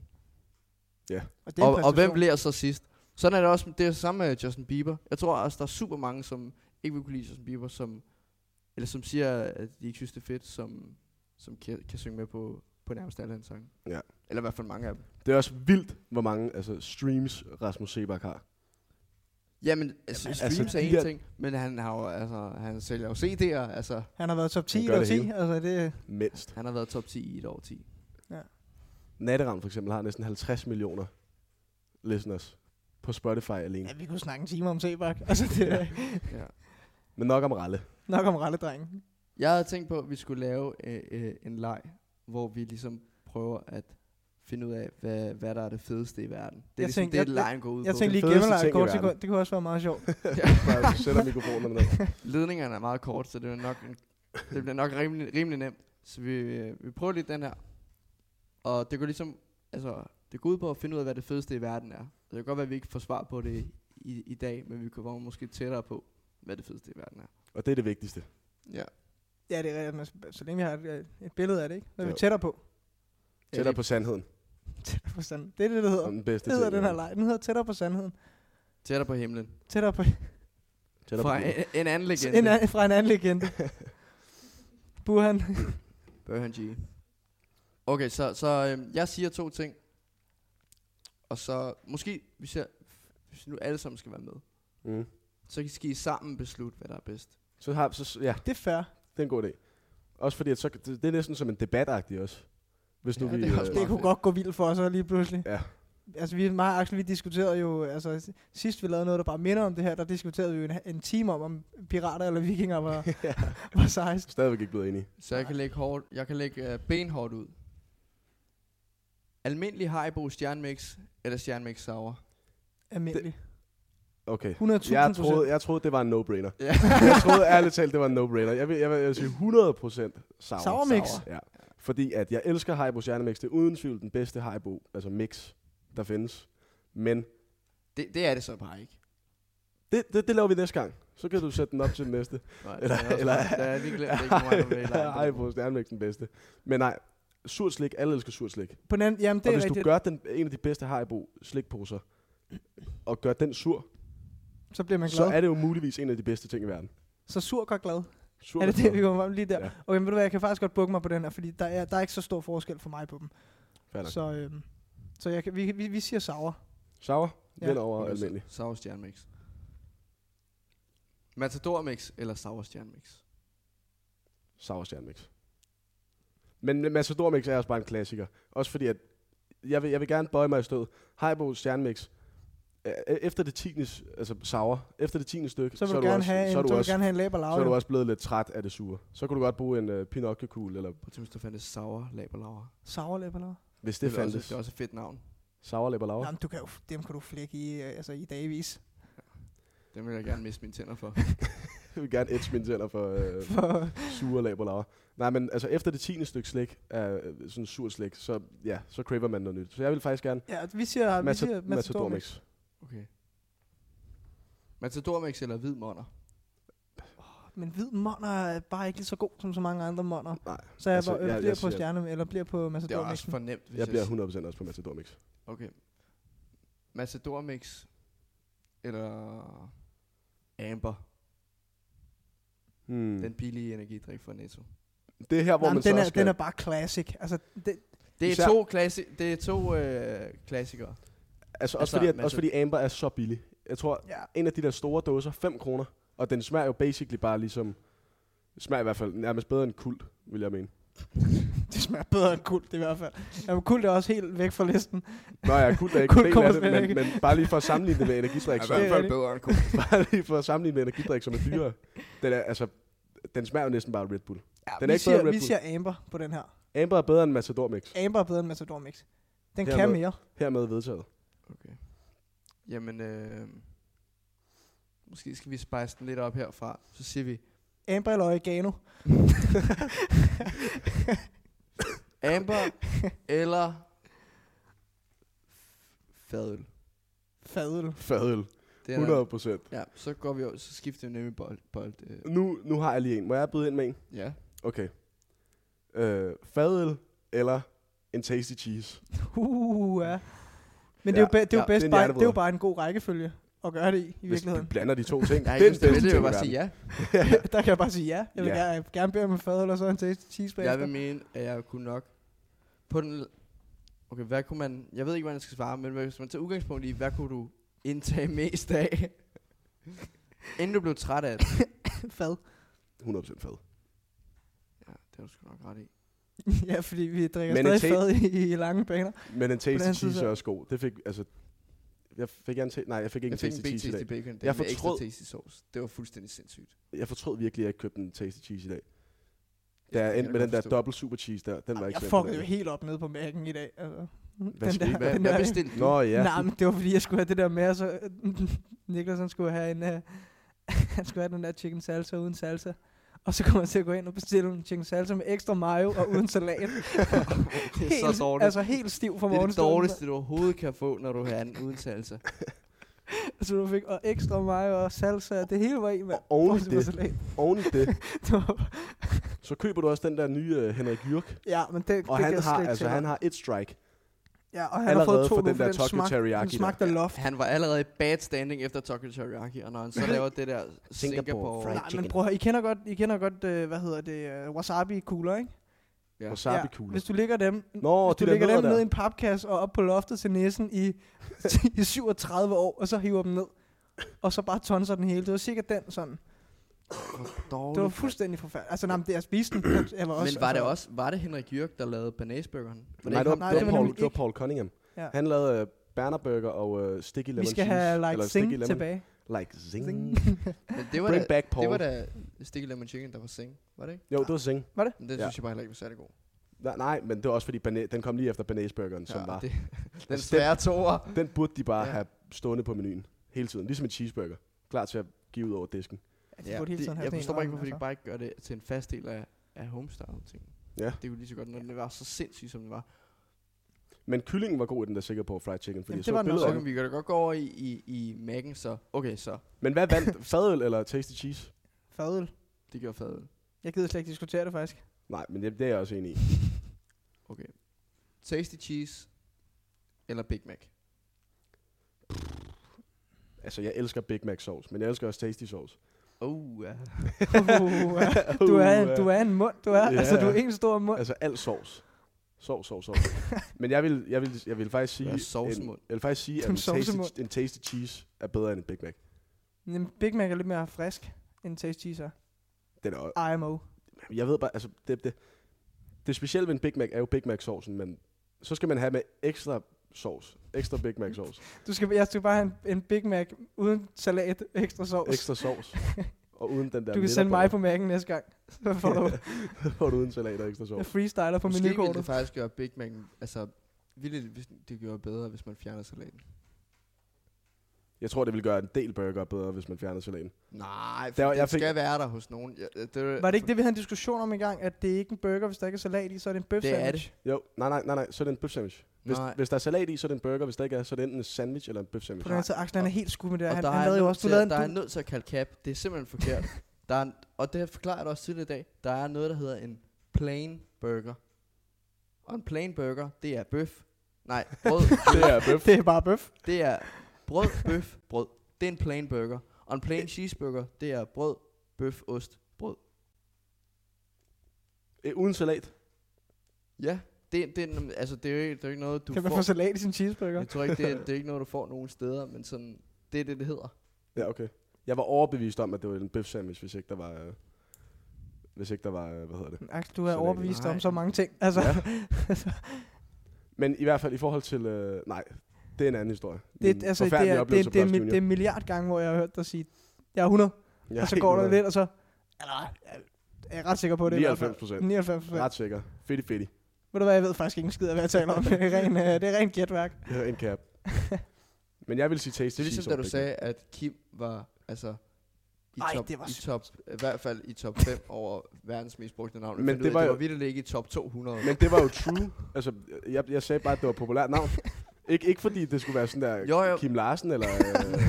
S3: det er en
S1: Og, og hvem
S3: præstation.
S1: bliver så sidst? Sådan er det også, det er det samme med Justin Bieber. Jeg tror også, der er super mange, som ikke vil kunne lide Justin Bieber, som, eller som siger, at de ikke synes, det er fedt, som, som kan, kan synge med på, på nærmest alle hans sange.
S2: Ja.
S1: Eller i hvert fald mange af dem.
S2: Det er også vildt, hvor mange altså, streams Rasmus Sebak har.
S1: Jamen, altså,
S2: Jamen, altså,
S1: Jamen, streams altså, er
S2: de
S1: en
S2: der-
S1: ting, men han, har jo, altså, han sælger jo CD'er, altså,
S3: Han har været top 10
S2: Han
S3: i
S2: gør
S3: år
S2: det
S3: 10.
S2: hele.
S3: Altså, det,
S2: Mindst.
S1: han har været top 10 i et år 10.
S2: Natteravn for eksempel har næsten 50 millioner listeners på Spotify alene.
S3: Ja, vi kunne snakke en time om Sebak. Altså, det er
S1: Ja.
S2: Men nok om Ralle.
S3: nok om ralledrengen.
S1: Jeg havde tænkt på, at vi skulle lave øh, øh, en leg, hvor vi ligesom prøver at finde ud af, hvad, hvad der er det fedeste i verden. Det er
S3: Jeg
S1: ligesom
S3: tænkte-
S1: det,
S3: jeg-
S1: lejen går ud
S3: Jeg
S1: på.
S3: tænkte
S2: den
S3: lige
S2: fedeste
S3: gemmeleg
S2: ting i
S3: kort
S2: verden.
S3: sekund. Det kunne også være meget sjovt.
S2: Bare du sætter mikrofonerne ned.
S1: Ledningerne er meget kort, så det er nok, en- det bliver nok rimelig, rimelig nemt. Så vi, øh, vi prøver lige den her. Og det går ligesom, altså, det går ud på at finde ud af, hvad det fedeste i verden er. Det kan godt være, at vi ikke får svar på det i, i dag, men vi kommer måske tættere på, hvad det fedeste i verden er.
S2: Og det er det vigtigste.
S1: Ja.
S3: Ja, det er rigtigt. men så- Så længe vi har et, øh, et billede af det, ikke? Så er vi
S2: Jo.
S3: tættere på.
S2: Tættere
S1: Øh,
S2: på sandheden.
S3: Tættere på sandheden. Det er det, der hedder.
S2: Om den bedste
S3: Det hedder
S2: ting i
S3: den her
S2: verden.
S3: leg. Den hedder tættere på sandheden.
S1: Tættere på himlen.
S3: Tættere på
S2: Tættere på
S1: Fra
S2: livet.
S1: en, en anden legende.
S3: en, an- fra en anden legende. Burhan.
S1: Burhan G. Okay, så, så øh, jeg siger to ting. Og så måske, hvis, jeg, hvis nu alle sammen skal være med,
S2: Mm.
S1: så skal I sammen beslutte, hvad der er bedst.
S2: Så har, så, ja,
S3: Det er fair.
S2: det er en god idé. Også fordi, at så, det, det er næsten som en debatagtig også. Hvis nu
S1: Ja,
S2: vi,
S1: det er også
S2: øh,
S1: meget
S3: Det kunne godt gå vildt for os så lige pludselig.
S2: Ja.
S3: Altså, vi, mig og Axel, vi diskuterede jo, altså sidst vi lavede noget, der bare minder om det her, der diskuterede vi jo en, en time om, om pirater eller vikinger var,
S2: ja,
S3: var sejst.
S2: stadigvæk ikke blevet enige.
S1: Så jeg kan lægge, hårdt, jeg kan lægge øh, benhårdt ud. Almindelig Haribo stjernmix eller stjernmix sour?
S3: Almindelig.
S2: Okay. Jeg
S3: 100.000 procent.
S2: troede, jeg troede, det var en no-brainer.
S1: Ja.
S2: jeg troede ærligt talt, det var en no-brainer. Jeg vil, jeg vil, jeg vil sige 100% sour.
S3: Sour mix.
S2: Sour, Ja. Fordi at jeg elsker Haribo Stjernemix. Det er uden tvivl den bedste Haribo, altså mix, der findes. Men
S1: Det, det er det så bare ikke.
S2: det, det, det laver vi næste gang. Så kan du sætte den op til den næste.
S1: Nej,
S2: Eller-
S1: det er også-
S2: eller-
S1: der er lige glemt, det er ikke mig, der vil
S2: Haribo Stjernemix den bedste. Men nej, surt slik. Alle elsker surt slik.
S3: På den anden, jamen, det
S2: og
S3: er
S2: hvis
S3: rigtigt.
S2: du gør den, en af de bedste Haribo slikposer, og gør den sur,
S3: så bliver man
S2: så
S3: glad. Så,
S2: er det jo muligvis en af de bedste ting i verden.
S3: så sur går glad.
S2: Sur
S3: er det
S2: og
S3: det,
S2: glad.
S3: vi kommer frem lige der?
S2: Ja.
S3: Ja. Okay, men ved du hvad, jeg kan faktisk godt bukke mig på den her, fordi der er, der er ikke så stor forskel for mig på dem.
S2: Fair nok.
S3: Så, øhm, så jeg kan, vi, vi, vi siger sauer.
S2: Sour,
S3: Ja.
S2: ja. den over almindelig.
S1: Sour stjernmix. Matador mix eller sour stjernmix?
S2: Sour Stjernmix. Men men Matador Mix er også bare en klassiker. Også fordi, at jeg vil, jeg vil gerne bøje mig i stød. Haribo Stjernmix, øh, efter det 10. altså sour, efter det 10. stykke,
S3: Så vil
S2: er
S3: du, gerne,
S2: også,
S3: have en,
S2: så er du,
S3: du vil
S2: også,
S3: gerne have en læber
S2: så er du
S3: lav.
S2: også blevet lidt træt af det sure. Så kunne du godt bruge en øh, Pinocchio-kugle, eller
S1: På hvis der fandtes sour laber laver.
S3: Sauer læber lav.
S2: hvis det, det
S1: også,
S2: fandtes.
S1: det er også et fedt navn.
S2: Sour Læber Laura.
S3: Jamen, du kan jo, dem kan du flække i, øh, altså, i dagvis.
S1: Den vil jeg gerne miste mine tænder for.
S2: Jeg vil gerne edge mine tænder for øh,
S3: For,
S2: sure Læber Laura. Nej, men altså efter det 10. stykke slik, øh, sådan sur slik, så, ja, så craver man noget nyt. Så jeg vil faktisk gerne
S3: ja, vi siger, vi siger
S2: Matador, Matador
S3: Matador
S2: Mix.
S1: Okay. Matador mix eller hvid monner?
S3: Men hvid monner er bare ikke lige så god som så mange andre monner.
S2: Nej,
S3: Så jeg,
S2: Altså,
S3: altså,
S2: jeg-
S3: jeg,
S2: jeg
S3: bliver på
S2: siger-
S3: stjerne, eller bliver på
S1: Det er
S3: Matador
S1: også for nemt, hvis
S2: jeg bliver
S1: s-
S2: 100% også på Matador Mix.
S1: Okay. Matador mix eller Amber,
S2: Hmm.
S1: den billige energidrik fra Netto.
S2: Det er her, hvor
S3: Jamen,
S2: man så
S3: den, er,
S2: skal...
S3: den er bare classic. Altså, det,
S1: Det er
S2: Især-
S1: to, klassi- det er to øh, klassikere.
S2: altså, også,
S1: altså,
S2: fordi, at,
S1: man
S2: også
S1: så-
S2: fordi Amber er så billig. Jeg tror,
S3: ja.
S2: en af de der store dåser, 5 kroner, og den smager jo basically bare ligesom... Smager i hvert fald nærmest bedre end kult, vil jeg mene.
S3: Det smager bedre end kult i hvert fald. Jamen, kult er også helt væk fra listen.
S2: Nå ja, kult er ikke
S3: Kult
S2: en del
S3: kommer
S2: af det,
S3: slet
S2: men,
S3: ikke.
S2: men, bare lige for at sammenligne det med energidrik,
S3: Ja,
S2: så,
S3: hvert fald
S1: bedre end
S2: bare lige for at sammenligne med energidrik, som er dyrere. Den, er, altså, den smager jo næsten bare Red Bull.
S3: Ja,
S2: Den er ikke
S3: vi,
S2: bedre
S3: siger,
S2: end Red
S3: vi
S2: Bull.
S3: siger Amber på den her.
S2: Amber er bedre end Matador Mix.
S3: Amber er bedre end Matador Mix. Den
S2: Hermed.
S3: kan mere.
S2: Hermed vedtaget.
S1: Jamen, øh, måske skal vi spice den lidt op herfra. Så siger vi,
S3: Amber eller oregano.
S1: Amber eller fadøl.
S3: Fadel.
S2: Fadøl.
S1: Det er
S2: 100 procent.
S1: Der, ja, så går vi over, så skifter vi nemlig bold. bold øh.
S2: Nu, nu har jeg lige en. Må jeg byde ind med en?
S1: Ja.
S2: Okay. Øh, fadøl eller en tasty cheese?
S3: Uh, ja. Men det er jo,
S2: Ja,
S3: be, det er jo
S2: ja, det
S3: bedst
S2: er en
S3: bare, det
S2: hjernevrider.
S3: er jo bare en god rækkefølge at gøre det i, i
S2: Hvis du
S3: virkeligheden.
S2: blander de to
S1: Jeg
S2: ting. er
S1: har ikke lyst
S2: den
S1: til det, det vil
S2: bedste ting
S1: jeg
S2: i
S1: bare sige ja.
S3: der kan jeg bare sige ja. Jeg vil
S2: Ja.
S3: gerne, gerne bede om en fadøl og så en tasty cheese
S1: Jeg
S3: bagefter.
S1: vil mene, at jeg kunne nok... På den... Okay, hvad kunne man... Jeg ved ikke, hvordan jeg skal svare, men hvis man tager udgangspunkt i, hvad kunne du indtage mest af? inden du blev træt af det.
S3: Fad.
S2: verden. 100% fad.
S1: Ja, det har du sgu nok ret i.
S3: ja, fordi vi drikker
S2: Men
S3: Men stadig
S2: en ta-
S3: fad i, i lange baner.
S2: Men en
S3: anden
S2: tasty
S3: side
S2: cheese
S3: så-
S2: er også god. Det fik, altså, Jeg fik, en t- nej, jeg fik ikke
S1: Jeg fik en
S2: tasty
S1: big
S2: cheese i
S1: tasty
S2: dag.
S1: bacon. Den
S2: Jeg
S1: jeg med ekstra
S2: fortrød-
S1: tasty sauce. Det var fuldstændig sindssygt.
S2: Jeg fortrød virkelig, at jeg ikke købte en tasty cheese i dag. Da
S1: kan
S2: jeg
S1: jeg
S2: endte med
S1: godt
S2: den der
S1: forstå.
S2: dobbelt super cheese der, den var
S3: Jeg
S2: ikke så
S3: fuckede jo
S2: imponerende.
S3: helt op nede på mærken i dag. Altså. Den
S2: skete der?
S1: Hvad,
S3: den
S1: hvad
S3: der-
S1: bestilte du?
S2: Nå ja,
S3: Ja. Nej, men det var fordi, jeg skulle have det der med, og så øh, Niklas han skulle have en, uh, han skulle have den der chicken salsa uden salsa. Og så kommer jeg til at gå ind og bestille en chicken salsa med ekstra mayo og uden salat.
S1: det er
S3: helt,
S1: så dårligt.
S3: altså helt stiv fra
S1: det er det
S3: morgenstunden.
S1: dårligste, du overhovedet kan få, når du har en udentalelse.
S3: Så Altså, du fik og ekstra mayo og salsa, det hele var i, mand.
S2: Og oven i
S3: Bortset fra
S2: det-
S3: salat.
S2: oven i det,
S3: Det var-
S2: så køber du også den der nye øh, Henrik Jyrk.
S3: ja, men det,
S2: Og han
S3: det kan jeg
S2: har,
S3: slet ikke
S2: altså,
S3: tage.
S2: han har et strike.
S3: ja, og han har
S2: allerede
S3: fået to
S2: for
S3: nu,
S2: den der Tokyo
S3: smag,
S2: teriyaki
S3: den
S2: der.
S3: smagte af loft.
S1: Han var allerede i bad standing efter Tokyo Teriyaki, og når han så laver det der Singapore...
S2: fried
S3: Nej, men
S2: chicken.
S3: prøv at høre, I kender godt, I kender godt øh, hvad hedder det, uh, wasabi-kugler, ikke?
S1: Ja.
S2: Wasabi-kugler.
S3: Hvis du ligger dem,
S2: Nå,
S3: hvis
S2: de der
S3: du lægger dem
S2: nødder
S3: ned i
S2: der.
S3: en papkasse og op på loftet til næsen i, i 37 år, og så hiver dem ned. Og så bare tonser den hele. Det var sikkert den sådan.
S1: Hvor dårligt.
S3: Det var fuldstændig forfærdeligt. Altså, nej, men det jeg spiste den. Jeg- Jeg var også,
S1: Men var det
S3: altså,
S1: også var det Henrik Jørg, der lavede banæsbøgerne?
S2: Nej, det var,
S3: nej,
S2: det
S3: det
S2: var,
S3: var
S2: Paul,
S3: nemlig
S2: det var
S3: ikke.
S2: Paul Cunningham.
S3: Ja.
S2: Han lavede øh, Berner Burger og øh, Sticky Lemon
S3: Vi skal
S2: cheese,
S3: have like
S2: eller
S3: sing
S2: sticky lemon.
S3: tilbage.
S2: Like Zing.
S3: Zing.
S1: Men det var
S2: Bring
S1: da,
S2: back Paul.
S1: det var da Ah. Sticky Lemon Chicken, der var sing, var det ikke?
S2: Jo, det var Zing.
S1: Men det
S2: Ja.
S1: ja. synes jeg bare heller ikke var særlig god.
S2: Nej, nej, men det var også fordi, bana- den kom lige efter banæsburgeren, ja, som var.
S1: det, den
S2: Altså, den-
S1: svære toer.
S2: Den burde de bare ja.
S1: Ja.
S2: have stående på menuen hele tiden. Ligesom en cheeseburger. Klar til at give ud over disken.
S3: Ja, hele tiden have
S1: jeg
S3: sådan en
S1: forstår bare ikke,
S3: om,
S1: hvorfor de
S3: altså.
S1: bare ikke gør det til en fast del af, af homestyle-ting.
S2: Ja.
S1: Det er jo lige så godt, når den var så sindssyg, som den var.
S2: Men kyllingen var god i den der Singapore fried chicken, fordi
S3: Jamen,
S2: Jamen, jeg
S3: det
S2: så
S3: var den
S2: billeder
S1: Så kan vi
S2: af den.
S1: da godt gå over i, i, i Mac'en, så okay, så
S2: Men hvad vandt? Fadøl eller tasty cheese?
S3: Fadøl.
S1: det gør fadøl.
S3: altså. Jeg gider slet ikke diskutere det, faktisk.
S2: Nej, men det, det er jeg også enig i.
S1: Okay. Tasty cheese eller Big Mac?
S2: Altså, jeg elsker Big Mac sauce, men jeg elsker også tasty sauce.
S1: Oh, ja.
S3: Uh, du, er, du er en mund, du er.
S2: Ja,
S3: Altså, du er
S2: ja.
S3: en stor mund.
S2: Altså, alt sauce. Sovs, sovs, sovs. men jeg vil, jeg, vil, jeg vil faktisk sige,
S1: Jeg er
S2: en,
S1: sovsemund.
S2: jeg vil faktisk sige at
S3: Du er
S2: en tasty,
S3: sovsemund.
S2: en tasty cheese er bedre end en Big Mac.
S3: Men Big Mac er lidt mere frisk end Taste Cheese er.
S2: Den er,
S3: IMO.
S2: jeg ved bare, altså, det, det, det specielle ved en Big Mac er jo Big Mac-sovsen, men så skal man have med ekstra sovs. Ekstra Big Mac-sovs.
S3: Du skal, jeg skal bare have en, en Big Mac uden salat, ekstra sovs.
S2: Ekstra sovs. Og uden den der
S3: du kan sende mig på mærken næste gang. Så får du
S2: og uden salat og ekstra
S3: Jeg
S2: sovs.
S3: freestyler på
S1: Måske ville det
S3: menukortet.
S1: faktisk gøre Big Mac'en, altså, ville det, hvis- det gjorde bedre, hvis man fjerner salaten?
S2: Jeg tror, det vil gøre en del burger bedre, hvis man fjerner salaten.
S1: Nej, for
S2: Der var-
S1: det
S2: jeg fik-
S1: skal være der hos nogen. Ja, det, det,
S3: Var det ikke det, vi havde en diskussion om engang, at det er ikke en burger, hvis der ikke er salat i, så er det en bøf
S1: Det er
S3: sandwich?
S2: Jo, nej, nej, nej, nej, så er det en bøf sandwich. Hvis,
S1: Nej.
S2: hvis der er salat i, så er det en burger. Hvis der ikke er, så er det enten en sandwich eller en bøf
S3: På
S2: sandwich.
S3: den anden side, Axel han er helt skudt med det. her.
S1: Og
S3: Han,
S1: der,
S3: han
S1: er
S3: lavede jo
S1: nødt
S3: også, du
S1: til,
S3: lavede en,
S1: der er
S3: du,
S1: nødt til at kalde cap. Det er simpelthen forkert. der er en, og det forklarer jeg dig også tidligere i dag. Der er noget, der hedder en plain burger. Og en plain burger, det er bøf. Nej, brød.
S2: Det er bøf.
S3: det er bare bøf.
S1: det er brød, bøf, brød. Det er en plain burger. Og en plain cheeseburger, det er brød, bøf, ost, brød.
S2: Øh, uden salat.
S1: Ja, det, det, er nem- altså, det, er jo ikke, det er jo ikke noget, du
S3: Kan man
S1: får.
S3: få salat i sin cheeseburger?
S1: Jeg tror ikke, det er, det er ikke noget, du får nogen steder, men sådan, det er det, det hedder.
S2: Ja, okay. Jeg var overbevist om, at det var en bøf sandwich, hvis ikke der var... Øh, hvis ikke der var, øh, hvad hedder det?
S3: Axel, du er
S2: Salat.
S3: overbevist om
S1: Nej.
S3: så mange ting. Altså,
S2: Ja. Men i hvert fald i forhold til... Øh, nej, det er en anden historie.
S3: det,
S2: Min
S3: altså, det,
S2: forfærdelige
S3: er, det,
S2: oplevelse
S3: er- det, er,
S2: på
S3: mi-
S2: Lars
S3: det er en milliard gange, hvor jeg har hørt dig sige, jeg er 100,
S2: Junior. Jeg
S3: og
S2: er
S3: så
S2: helt
S3: går der
S2: hundrede-
S3: lidt, og så... Eller, jeg er ret sikker på det. i hvert fald.
S2: 99%.
S3: 99
S2: Ret sikker. Fedtig, fedtig.
S3: Ved du hvad, jeg ved faktisk ikke en skid af, hvad jeg taler om. Det er ren, øh, det er ren gætværk.
S2: Det er en cap. Men jeg vil sige
S1: Det
S2: tasty
S1: er ligesom,
S2: cheese
S1: da
S2: over
S1: du
S2: Big Mac.
S1: sagde, at Kim var, altså, i
S3: Ej,
S1: top,
S3: det var
S1: i,
S3: sygt.
S1: top, i hvert fald i top 5 over verdens mest brugte navn.
S2: Men
S1: Men
S2: det
S1: det ud, var,
S2: var
S1: det
S2: jo-
S1: var vildt ikke i top 200.
S2: Men det var jo true. Altså, jeg, jeg sagde bare, at det var et populært navn. Ikke, ikke fordi det skulle være sådan der
S1: Jo, jo.
S2: Kim Larsen eller øh,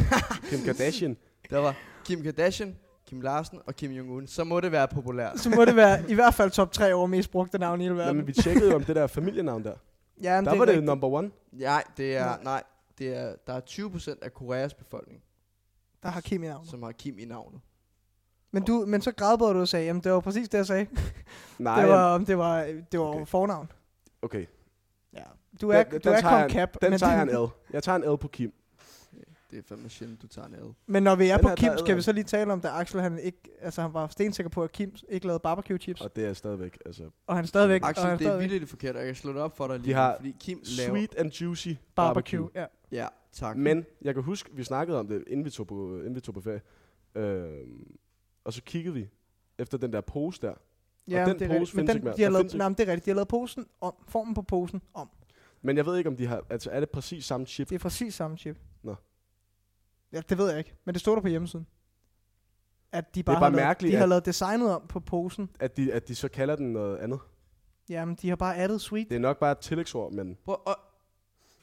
S2: Kim Kardashian.
S1: Der var Kim Kardashian, Kim Larsen og Kim Jong-un. Så må det være populært.
S3: Så må det være i hvert fald top 3 over mest brugte navn i hele
S2: Nå,
S3: verden.
S2: men vi tjekkede jo om det der familienavn der.
S3: ja, men
S2: Der
S3: det
S2: var
S3: er
S2: det
S3: rigtigt.
S2: number one.
S1: Nej, det
S3: Nej.
S1: er, nej, det er, der er 20% af Koreas befolkning,
S3: Der har Kim i navnet.
S1: som har Kim i navnet.
S3: Men, du, men så grædbød du og sagde, jamen det var præcis det, jeg sagde.
S2: Nej,
S3: det
S2: var,
S3: var, om det var, det var
S2: Okay.
S3: okay. fornavn.
S2: okay.
S3: Ja. Du er,
S2: Den-
S3: den,
S2: den
S3: du er
S2: tager jeg-
S3: Kong Cap.
S2: Den
S3: men,
S2: tager jeg en L. Jeg tager en L på Kim.
S1: Det er fandme sjældent, du tager en ad.
S3: men når vi er
S2: Den
S3: på
S2: her
S3: Kim,
S2: tager
S3: skal
S2: jeg
S3: vi så lige tale om, da Axel han ikke, altså han var stensikker på, at Kim ikke lavede barbecue chips,
S2: Og det er stadigvæk, altså...
S3: og han stadigvæk, og
S1: Axel,
S3: han
S1: det er
S3: stadigvæk
S1: vildt forkert, og jeg kan slå det op for dig lige,
S2: har
S1: nu, fordi Kim laver...
S2: Sweet and juicy
S3: barbecue.
S2: barbecue.
S3: Ja.
S1: Ja, tak.
S2: Men jeg kan huske, vi snakkede om det, inden vi tog på, inden vi tog på ferie. Øh, og så kiggede vi efter den der pose der.
S3: Ja,
S2: den
S3: det er
S2: pose
S3: rigtigt. Men
S2: findes ikke mere.
S3: den, de har
S2: Der
S3: lavet,
S2: findes ikke-
S3: nej, men det er rigtigt. De har lavet posen om, formen på posen om.
S2: Men jeg ved ikke, om de har... Altså, er det præcis samme chip?
S3: Det er præcis samme chip.
S2: Nå.
S3: Ja, det ved jeg ikke, men det stod der på hjemmesiden. At de bare,
S2: bare
S3: har, lavet,
S2: mærkeligt,
S3: de har
S2: at-
S3: lavet designet om på posen.
S2: At de, at de så kalder den noget andet?
S3: Jamen, de har bare addet sweet.
S2: Det er nok bare et tillægsord, men
S1: Prøv at...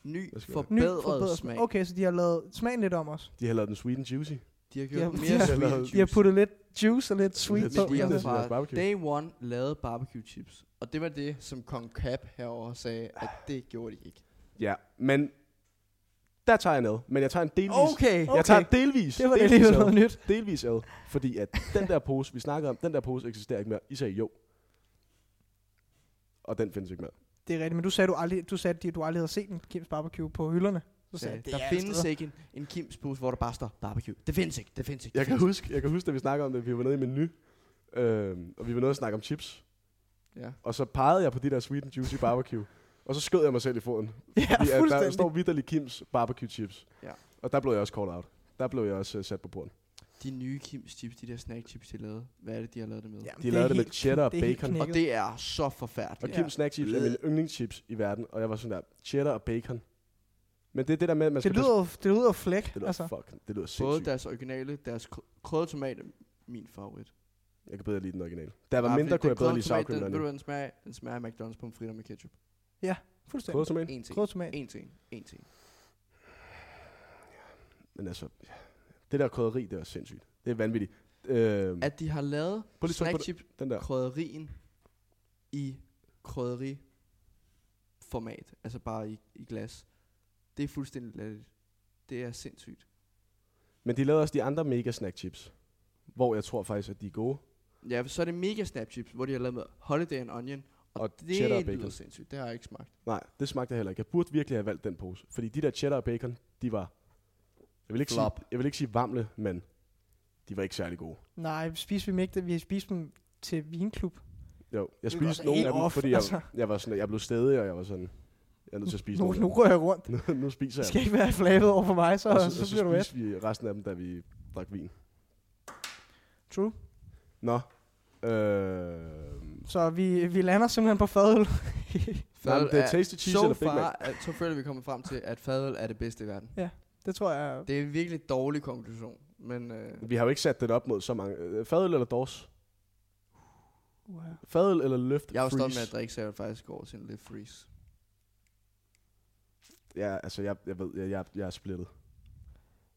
S1: Ny
S2: Hvad skal vi-
S3: Ny
S1: forbedret,
S3: forbedret
S1: smag.
S3: smag. Okay, så de har lavet smagen lidt om os.
S2: de har lavet den sweet and juicy.
S1: De har
S3: Ja,
S1: gjort
S3: de
S1: mere
S3: har-
S1: sweet
S2: de
S1: juice.
S3: De har puttet lidt juice og lidt sweet
S2: Lidt
S3: på.
S1: Vi
S2: sweet.
S1: har
S2: Det er
S3: altså.
S2: deres
S1: fra
S2: barbecue.
S1: day one lavet barbecue chips. Og det var det, som Kong Cap herover sagde, at det gjorde de ikke.
S2: Ja, men der tager jeg ned. Men jeg tager en delvis.
S1: Okay.
S2: Jeg tager delvis.
S3: Det var
S2: delvis
S3: alligevel
S2: ad.
S3: noget nyt.
S2: Delvis ad. Fordi at den der pose, vi snakkede om, den der pose eksisterer ikke mere. I sagde jo. Og den findes ikke mere.
S3: Det er rigtigt, men du sagde, du aldrig, du sagde, at du aldrig havde set en Kims Barbecue på hylderne. Så
S1: Sagde,
S3: sagde, jeg, det er
S1: der
S3: alle
S1: findes
S3: steder.
S1: ikke en, en Kims pose, hvor der bare står barbecue. Det findes ikke, det findes ikke.
S2: Jeg
S1: det
S2: kan
S1: findes
S2: huske, jeg kan huske, da vi snakkede om det, vi var nede i menu. Øh, og vi var nede og snakke om chips.
S1: ikke. Ja.
S2: Og så pegede jeg på de der sweet and juicy barbecue. og så skød jeg mig selv i foden. Fordi
S3: Ja,
S2: at der
S3: fuldstændig.
S2: står vidderlig Kims barbecue chips.
S1: Ja.
S2: Og der blev jeg også called out. Der blev jeg også uh, sat på bordet.
S1: De nye Kims chips, de der snack chips, de lavede. Hvad er det, de har lavet det med?
S3: Jamen,
S2: De
S3: er
S2: lavede det med
S3: helt-
S2: cheddar og
S3: det er helt
S2: bacon.
S1: Og
S3: knækket.
S1: det er så forfærdeligt.
S2: Og
S3: Ja.
S2: Kims snack chips er mine yndlingschips i verden. Og jeg var sådan der, cheddar og bacon. Men det er det der med, at man skal...
S3: det, lyder,
S2: passe-
S3: jo- det lyder jo flæk.
S2: det lyder
S3: altså.
S2: altså. fuck. Det lyder
S1: Både
S2: sindssygt.
S1: deres originale, deres kr- krødede tomat, er min favorit.
S2: Jeg kan bedre lide den originale. Der var
S1: Nej,
S2: mindre,
S1: Ah, fordi
S2: kunne
S1: den
S2: jeg bedre
S1: krødede tomat, den- Ved
S2: lide
S1: du,
S2: sauerkøllerne.
S1: hvad den smager? af? Den smager af McDonald's pommes fritter med ketchup.
S3: Fuldstændig.
S2: Krydder tomat?
S1: En ting,
S3: Krydret tomat.
S1: en ting, en ting.
S2: Men altså, ja. det der krydderi, det er sindssygt. Det er vanvittigt. Øh,
S1: At de har lavet
S2: Prøv lige at
S1: snack
S2: tænke på det.
S1: chip
S2: den der.
S1: krydderien i krydderiformat, altså bare i, i glas. Det er fuldstændig latterligt. Det er sindssygt.
S2: Men de lavede også de andre mega snack chips. Hvor jeg tror faktisk, at de er gode.
S1: Ja, så er det mega snap chips, hvor de har lavet med holiday and onion, og,
S2: Og
S1: det
S2: cheddar og
S1: lyder
S2: bacon.
S1: sindssygt. Det har jeg ikke smagt.
S2: Nej, det smagte jeg heller ikke. Jeg burde virkelig have valgt den pose. Fordi de der cheddar og bacon, de var... Jeg vil ikke, sige,
S1: Flop.
S2: jeg vil ikke sige varmle, men de var ikke særlig gode.
S3: Nej, vi spiste vi dem ikke. da Vi spiste dem til vinklub.
S2: Jo, jeg
S3: Det var
S2: spiste
S3: da
S2: nogle
S3: helt
S2: af dem,
S3: off,
S2: fordi jeg,
S3: altså.
S2: jeg, var sådan, jeg blev stedig, og jeg var sådan... Jeg er nødt til at spise
S3: Nu,
S2: nogle
S3: nu
S2: af
S3: rører jeg rundt.
S2: dem. nu, nu spiser
S3: Det
S2: jeg
S3: skal ikke være flabet over for mig, så,
S2: dem.
S3: så,
S2: Og
S3: så,
S2: så, og
S3: bliver du
S2: så
S3: væk.
S2: spiste vi resten af dem, da vi drak vin.
S3: True.
S2: Nå. Øh,
S3: Så vi, vi lander simpelthen på fadøl.
S2: Nej, men det er tasty cheese
S1: so
S2: eller Big Mac?
S1: far, at, så føler vi kommet frem til, at fadøl er det bedste i verden.
S3: det tror jeg.
S1: Det er en virkelig dårlig konklusion, men øh,
S2: vi har jo ikke sat den op mod så mange. Øh, Fadøl eller dors?
S3: Wow.
S2: Fadøl eller løft?
S1: jeg er jo stolt
S2: freeze?
S1: med at drikke, så jeg vil faktisk går over til en lidt freeze.
S2: Ja, altså, jeg, jeg ved, jeg, jeg, jeg er splittet.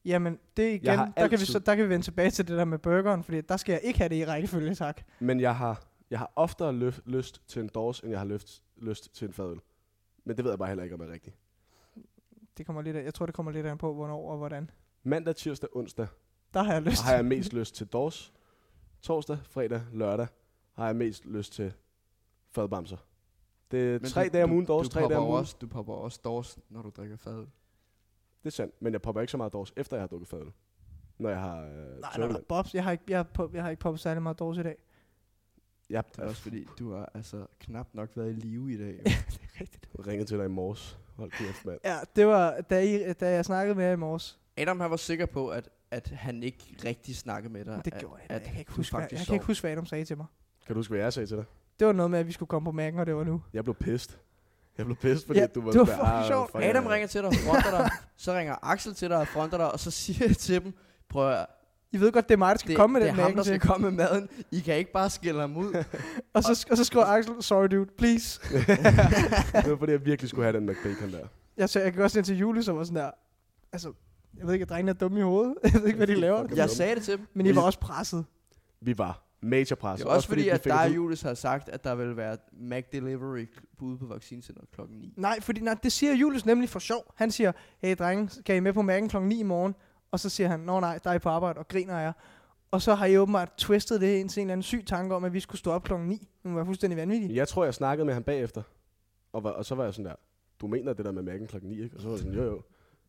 S3: Jamen, det igen,
S2: Jeg har
S3: der kan, vi,
S2: altid-
S3: så, der kan vi vende tilbage til det der med burgeren, fordi der skal jeg ikke have det i rækkefølge, tak.
S2: Men jeg har, jeg har oftere løf, lyst til en dors, end jeg har lyst, lyst til en fadøl. Men det ved jeg bare heller ikke, om er rigtigt.
S3: Det kommer lidt af, jeg tror, det kommer lidt an på, hvornår og hvordan.
S2: Mandag, tirsdag, onsdag
S3: Der har jeg lyst.
S2: har jeg mest lyst til dors. Torsdag, fredag, lørdag har jeg mest lyst til fadbamser. Det er
S1: Men
S2: tre
S1: du-
S2: dage om
S1: du-
S2: ugen dors,
S1: du
S2: tre dage
S1: popper
S2: om
S1: jo
S2: ugen.
S1: Også, du popper også dårs, når du drikker fadøl.
S2: Det er sandt, men jeg popper ikke så meget dors, efter jeg har drukket fadøl. Når jeg har... Øh,
S3: Nej, nej,
S2: tørmand.
S3: nej, Bobs, jeg har ikke, jeg har, pop- jeg har ikke poppet særlig meget dårligt i dag.
S2: Jeg
S1: Det er også fordi, du har altså knap nok været i live i dag. jo.
S3: det er rigtigt.
S2: ringede til dig i morges. Hold kæft, mand.
S3: Ja, det var, da, I, da jeg snakkede med jer i morges.
S1: Adam han var sikker på, at, at han ikke rigtig snakkede med dig.
S3: Men det
S1: at,
S3: gjorde jeg. At, jeg kan ikke
S1: du
S3: huske, hvad,
S1: faktisk
S3: jeg kan ikke
S1: sov.
S3: huske, hvad Adam sagde til mig.
S2: Kan du huske, hvad jeg sagde til dig?
S3: Det var noget med, at vi skulle komme på mærken, og det var nu.
S2: Jeg blev pissed. Jeg blev pissed, fordi
S3: Ja,
S2: at du var...
S3: det var
S2: sådan der,
S3: fucking
S2: "Ah,
S3: sjovt."
S2: fuck,
S1: Adam
S2: jeg-
S1: ringer til dig og fronter dig. så ringer Axel til dig og fronter dig, og så siger jeg til dem, prøv at høre,
S3: I ved godt, det er mig, der skal
S1: det,
S3: komme med
S1: det er
S3: den
S1: ham,
S3: mærken
S1: der skal
S3: til.
S1: komme med maden. I kan ikke bare skille ham ud.
S3: Og så, og så skriver Axel, sorry dude, please.
S2: det var fordi, jeg virkelig skulle have den McBacon der.
S3: Jeg, så, jeg gik også ind til Julie, som var sådan der, altså, jeg ved ikke, at drengene er dumme i hovedet. Jeg ved ikke, hvad de laver.
S1: jeg sagde det til dem.
S3: Men I var også presset.
S2: Vi var major
S1: Det
S2: presset.
S1: er også fordi,
S2: vi
S1: at
S2: fik
S1: dig
S2: Altså, at
S1: og
S2: vide-
S1: Julius har sagt, at der vil være Mac Delivery ude på vaccinecenteret klokken 9.
S3: Nej, fordi nej, det siger Julius nemlig for sjov. Han siger, hey drenge, skal I med på mærken klokken 9 i morgen? Og så siger han, nå nej, der er I på arbejde, og griner jeg. Og så har I åbenbart twistet det ind til en eller anden syg tanke om, at vi skulle stå op klokken 9. Det var fuldstændig vanvittigt.
S2: Jeg tror, jeg snakkede med ham bagefter. Og, var, og så var jeg sådan der, du mener det der med mærken klokken 9, ikke? Og så var jeg sådan, jo jo.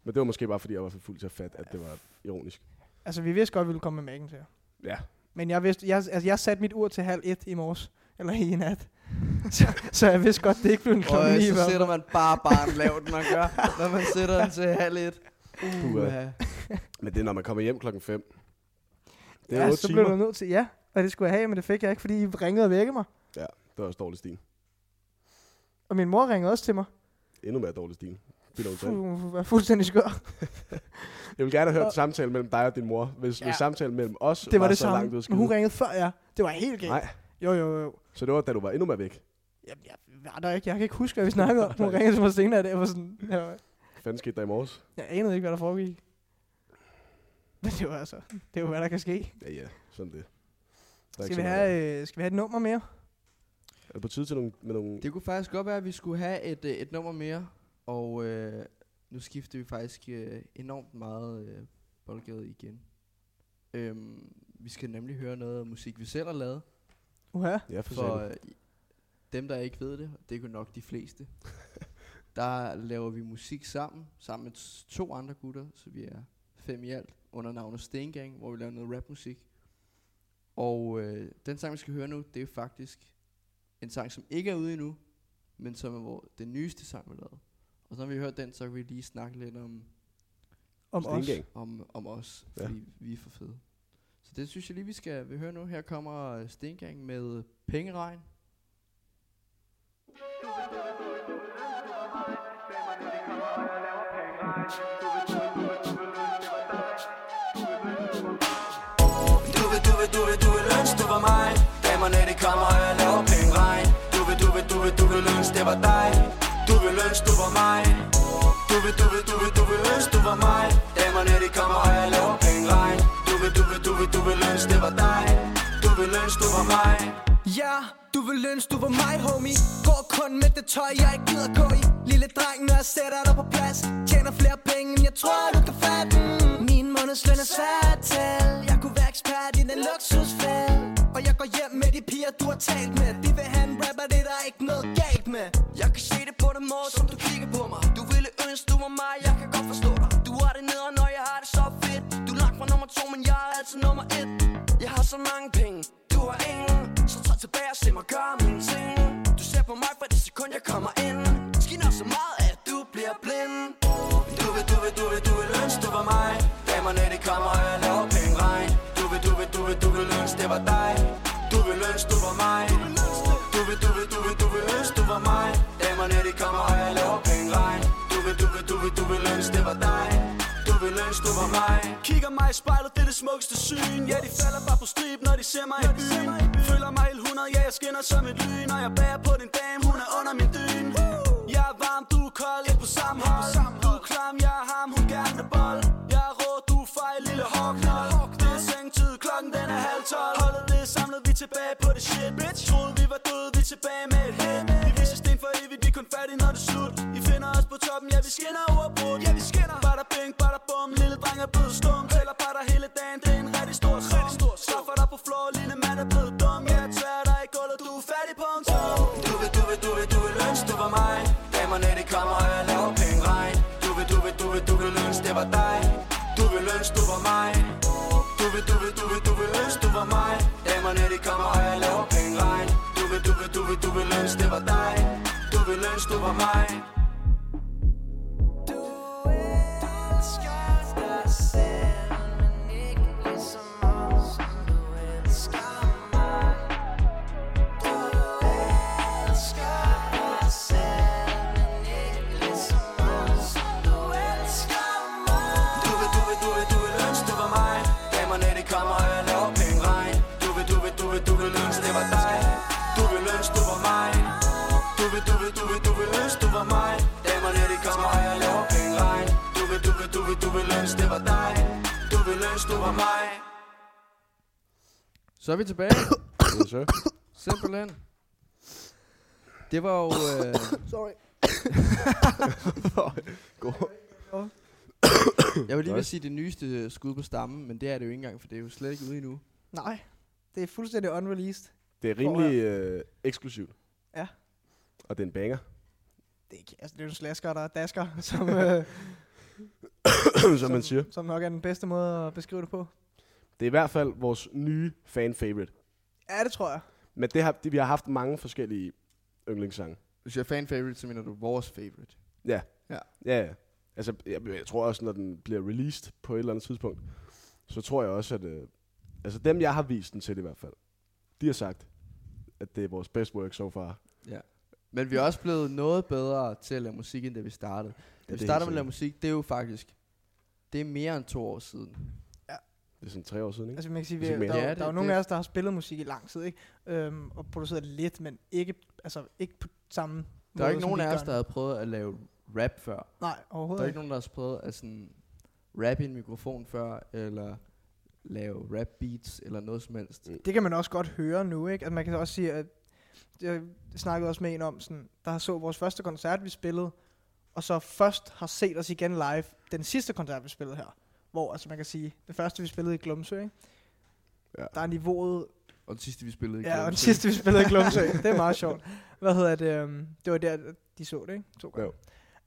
S2: Men det var måske bare, fordi jeg var for fuld til at fatte, at det var ironisk.
S3: Altså, vi vidste godt, at vi ville komme med mærken til jer.
S2: Ja.
S3: Men jeg, vidste, jeg, altså, jeg satte mit ur til halv et i morges. Eller i nat. så, så jeg vidste godt, det ikke blev en
S1: Og
S3: klokken
S1: øh,
S3: ni. i
S1: så
S3: hvert
S1: sætter
S3: fald.
S1: man bare barn lavt, man gør, når man sætter den til halv et. Uha.
S2: Men det er, når man kommer hjem klokken 5. Det er
S3: Ja,
S2: ja, 8
S3: så blev
S2: timer.
S3: du nødt til, ja, og det skulle jeg have, men det fik jeg ikke, fordi I ringede og vækkede mig.
S2: Det er også dårlig stil.
S3: Og min mor ringede også til mig.
S2: Endnu mere dårlig stil. Bilder hun
S3: Fu-
S2: selv.
S3: Hun var fuldstændig skør.
S2: Jeg vil gerne have hørt samtalen mellem dig og din mor, hvis, ja. hvis samtalen mellem os
S3: Det var det
S2: så
S3: samme.
S2: langt ud
S3: Men hun ringede før, ja. Det var helt galt.
S2: Nej,
S3: Jo, jo, jo.
S2: så det var, da du var endnu mere væk.
S3: Jamen, jeg var der ikke. Jeg kan ikke huske, hvad vi snakkede om. Hun ringede til mig senere, og jeg var sådan... Jeg, var,
S2: Hvad fanden skete der i morges?
S3: jeg anede ikke, hvad der foregik. Men det var altså... Det var, hvad der kan ske.
S2: Ja, ja, sådan det. Der er ikke
S3: Skal
S2: så
S3: vi,
S2: meget andet.
S3: have, øh, skal vi have et nummer mere?
S2: Er det på tide til nogle, med nogle...
S1: Det kunne faktisk godt være, at vi skulle have et, øh, et nummer mere, og øh, nu skifter vi faktisk øh, enormt meget øh, boldgade igen. Øhm, vi skal nemlig høre noget musik, vi selv har lavet,
S3: Uha.
S2: Ja, for,
S1: for
S2: for
S1: øh, dem, der ikke ved det, og det er jo nok de fleste. der laver vi musik sammen, sammen med t- to andre gutter, så vi er fem i alt, under navnet Stengang, hvor vi laver noget rapmusik. Og øh, den sang, vi skal høre nu, det er faktisk en sang, som ikke er ude endnu, men som er vores, den nyeste sang, vi lavede. Og så når vi har hørt den, så kan vi lige snakke lidt om,
S2: øh,
S3: Om os.
S2: Stengang.
S1: om, om os,
S2: Ja.
S1: fordi vi er for fede. Så det synes jeg lige, vi skal vi høre nu. Her kommer øh, Stengang med Pengeregn.
S5: Du vil, du vil, du vil, du vil ønske, du var mig Damerne, de kommer, og jeg laver penge regn Du vil, du vil, du vil, du vil ønske, det var dig Du vil ønske, du var mig Du vil, du vil, du vil, du vil ønske, du var mig Damerne, de kommer, og jeg laver penge regn Du vil, du vil, du vil, du vil ønske, det var dig Du vil ønske, du var mig
S6: Ja, du vil ønske, du var mig, homie Går kun med det tøj, jeg ikke gider gå i Lille dreng, når jeg sætter dig på plads Tjener flere penge, end jeg tror, du kan fatte mm. Min månedsløn er svært til Jeg kunne være ekspert i den luksusfælde Og jeg går hjem med de piger, du har talt med De vil have en rapper, det er der ikke noget galt med
S5: Jeg kan se det på den måde, som du kigger på mig Du ville ønske, du var mig, jeg kan godt forstå dig Du har det nederen, når jeg har det så fedt Du er langt fra nummer to, men jeg er altid nummer et Jeg har så mange penge, du har ingen Så træd tilbage og se mig gøre mine ting Du ser på mig fra det sekund, jeg kommer ind Skinner så meget, at du bliver blind Du vil, du vil, du vil, du vil ønske, du var mig Damerne, de kommer, og jeg laver penge regn Du vil, du vil, du vil, du vil ønske, det var dig Du vil ønske, du var mig Du vil, du vil, du vil, du vil ønske, du var mig Damerne, de kommer, og jeg laver penge regn Du vil, du vil, du vil, du vil ønske, det var dig Du vil ønske, du var mig
S6: Kigger mig i spejlet, det er det smukkeste syn Ja, de falder bare på strip, når de ser mig i byen Føler mig helt 100, ja, jeg skinner som et lyn Og jeg bærer på din dame, hun er under min dyn Jeg er varm, du er kold, et på samme hold Du er klam, jeg er ham, hun gerne vil bold Jeg er rå, du er fej, lille hårdknold Det er sengtid, klokken den er halv tolv Holdet det er samlet, vi er tilbage på det shit Bitch, troede vi var døde, vi er tilbage med et hit Vi viser sten for evigt, vi er kun færdige, når det er slut I finder os på toppen, ja, vi skinner uafbrudt Ja, vi skinner Bada bing, bada bum, lille dreng er blevet stum Tæller bare dig hele dagen, det er en rigtig stor sum Straffer dig på floor, lille mand er blevet dum Ja, jeg tværer dig i gulvet, du er færdig på en tom
S5: Du vil, du vil, du vil, du vil ønske, du var mig Damerne, de kommer, og jeg laver penge regn Du vil, du vil, du vil, du vil ønske, det var dig Du vil ønske, du var mig Du vil, du vil, du vil, du vil ønske, du var mig Damerne, de kommer, og jeg laver penge regn Du vil, du vil, du vil, du vil ønske, det var dig Du vil ønske, du var mig
S6: Du elsker dig selv, men ikke lige så meget, som du elsker mig. Du elsker dig selv, men ikke lige så meget, som du elsker mig.
S5: Du vil, du vil, du vil, du vil ønske, det var mig Damerne, de kommer, og jeg laver penge regn Du vil, du vil, du vil, du vil ønske, det var dig Du vil ønske, du var mig Du vil, du vil, du vil, du vil ønske, du var mig Damerne, de kommer, og jeg laver penge regn Du vil, du vil, du vil, du vil ønske, det var dig Du vil ønske, du var mig
S1: Så er vi tilbage.
S2: Ja, så.
S1: Simpelthen. Det var jo... Øh,
S3: Sorry.
S1: jeg vil lige ved at sige det nyeste øh, skud på stammen, men det er det jo ikke engang, for det er jo slet ikke ude endnu.
S3: Nej, det er fuldstændig unreleased.
S2: Det er rimelig øh, eksklusivt.
S3: Ja.
S2: Og det er en banger.
S3: Det er, ikke- altså, det er jo en slasker, der er dasker, som, øh,
S2: som man siger.
S3: som nok er den bedste måde at beskrive det på.
S2: Det er i hvert fald vores nye fan favorite.
S3: Ja, det tror jeg.
S2: Men det har, det, vi har haft mange forskellige yndlingssange.
S1: Hvis jeg er fan favorite, så mener du vores favorite.
S2: Ja.
S1: Ja.
S2: Ja, ja. Altså, jeg, jeg tror også, når den bliver released på et eller andet tidspunkt, så tror jeg også, at... Øh, altså, dem, jeg har vist den til i hvert fald, de har sagt, at det er vores best work so far.
S1: Men vi er også blevet noget bedre til at lave musik, end da vi startede. Da
S2: det er
S1: vi
S2: helt
S1: startede med at lave
S2: sikkert.
S1: musik, det er jo faktisk... Det er mere end to år siden.
S2: Det er sådan tre år siden, ikke?
S3: Altså man kan sige, vi,
S2: Hvis
S3: der,
S2: ikke mere.
S1: Ja,
S3: ja,
S1: det-
S3: der er jo
S1: det-
S3: nogle af os, der har spillet musik i lang tid, ikke? Øhm, og produceret lidt, men ikke, altså, ikke på samme
S1: Der er
S3: måde,
S1: ikke
S3: som
S1: nogen
S3: vi
S1: af
S3: gør
S1: os, der
S3: nu.
S1: havde prøvet at lave rap før.
S3: Nej,
S1: Der er
S3: overhovedet
S1: ikke
S3: ikke.
S1: nogen, der har prøvet at sådan rappe i en mikrofon før, eller lave rap beats, eller noget som helst.
S3: Det kan man også godt høre nu, ikke? At man kan også sige, at jeg snakkede også med en om, sådan, der så vores første koncert, vi spillede, og så først har set os igen live den sidste koncert, vi spillede her. Hvor, altså man kan sige, det første, vi spillede i Glumsø, ikke?
S2: Ja.
S3: Der er niveauet
S1: Og det sidste, vi spillede i
S3: Ja, og den
S1: Glumsø.
S3: sidste, vi spillede i Glumsø. det er meget sjovt. Hvad hedder det? øhm, Det var der, de så det, ikke? To gange.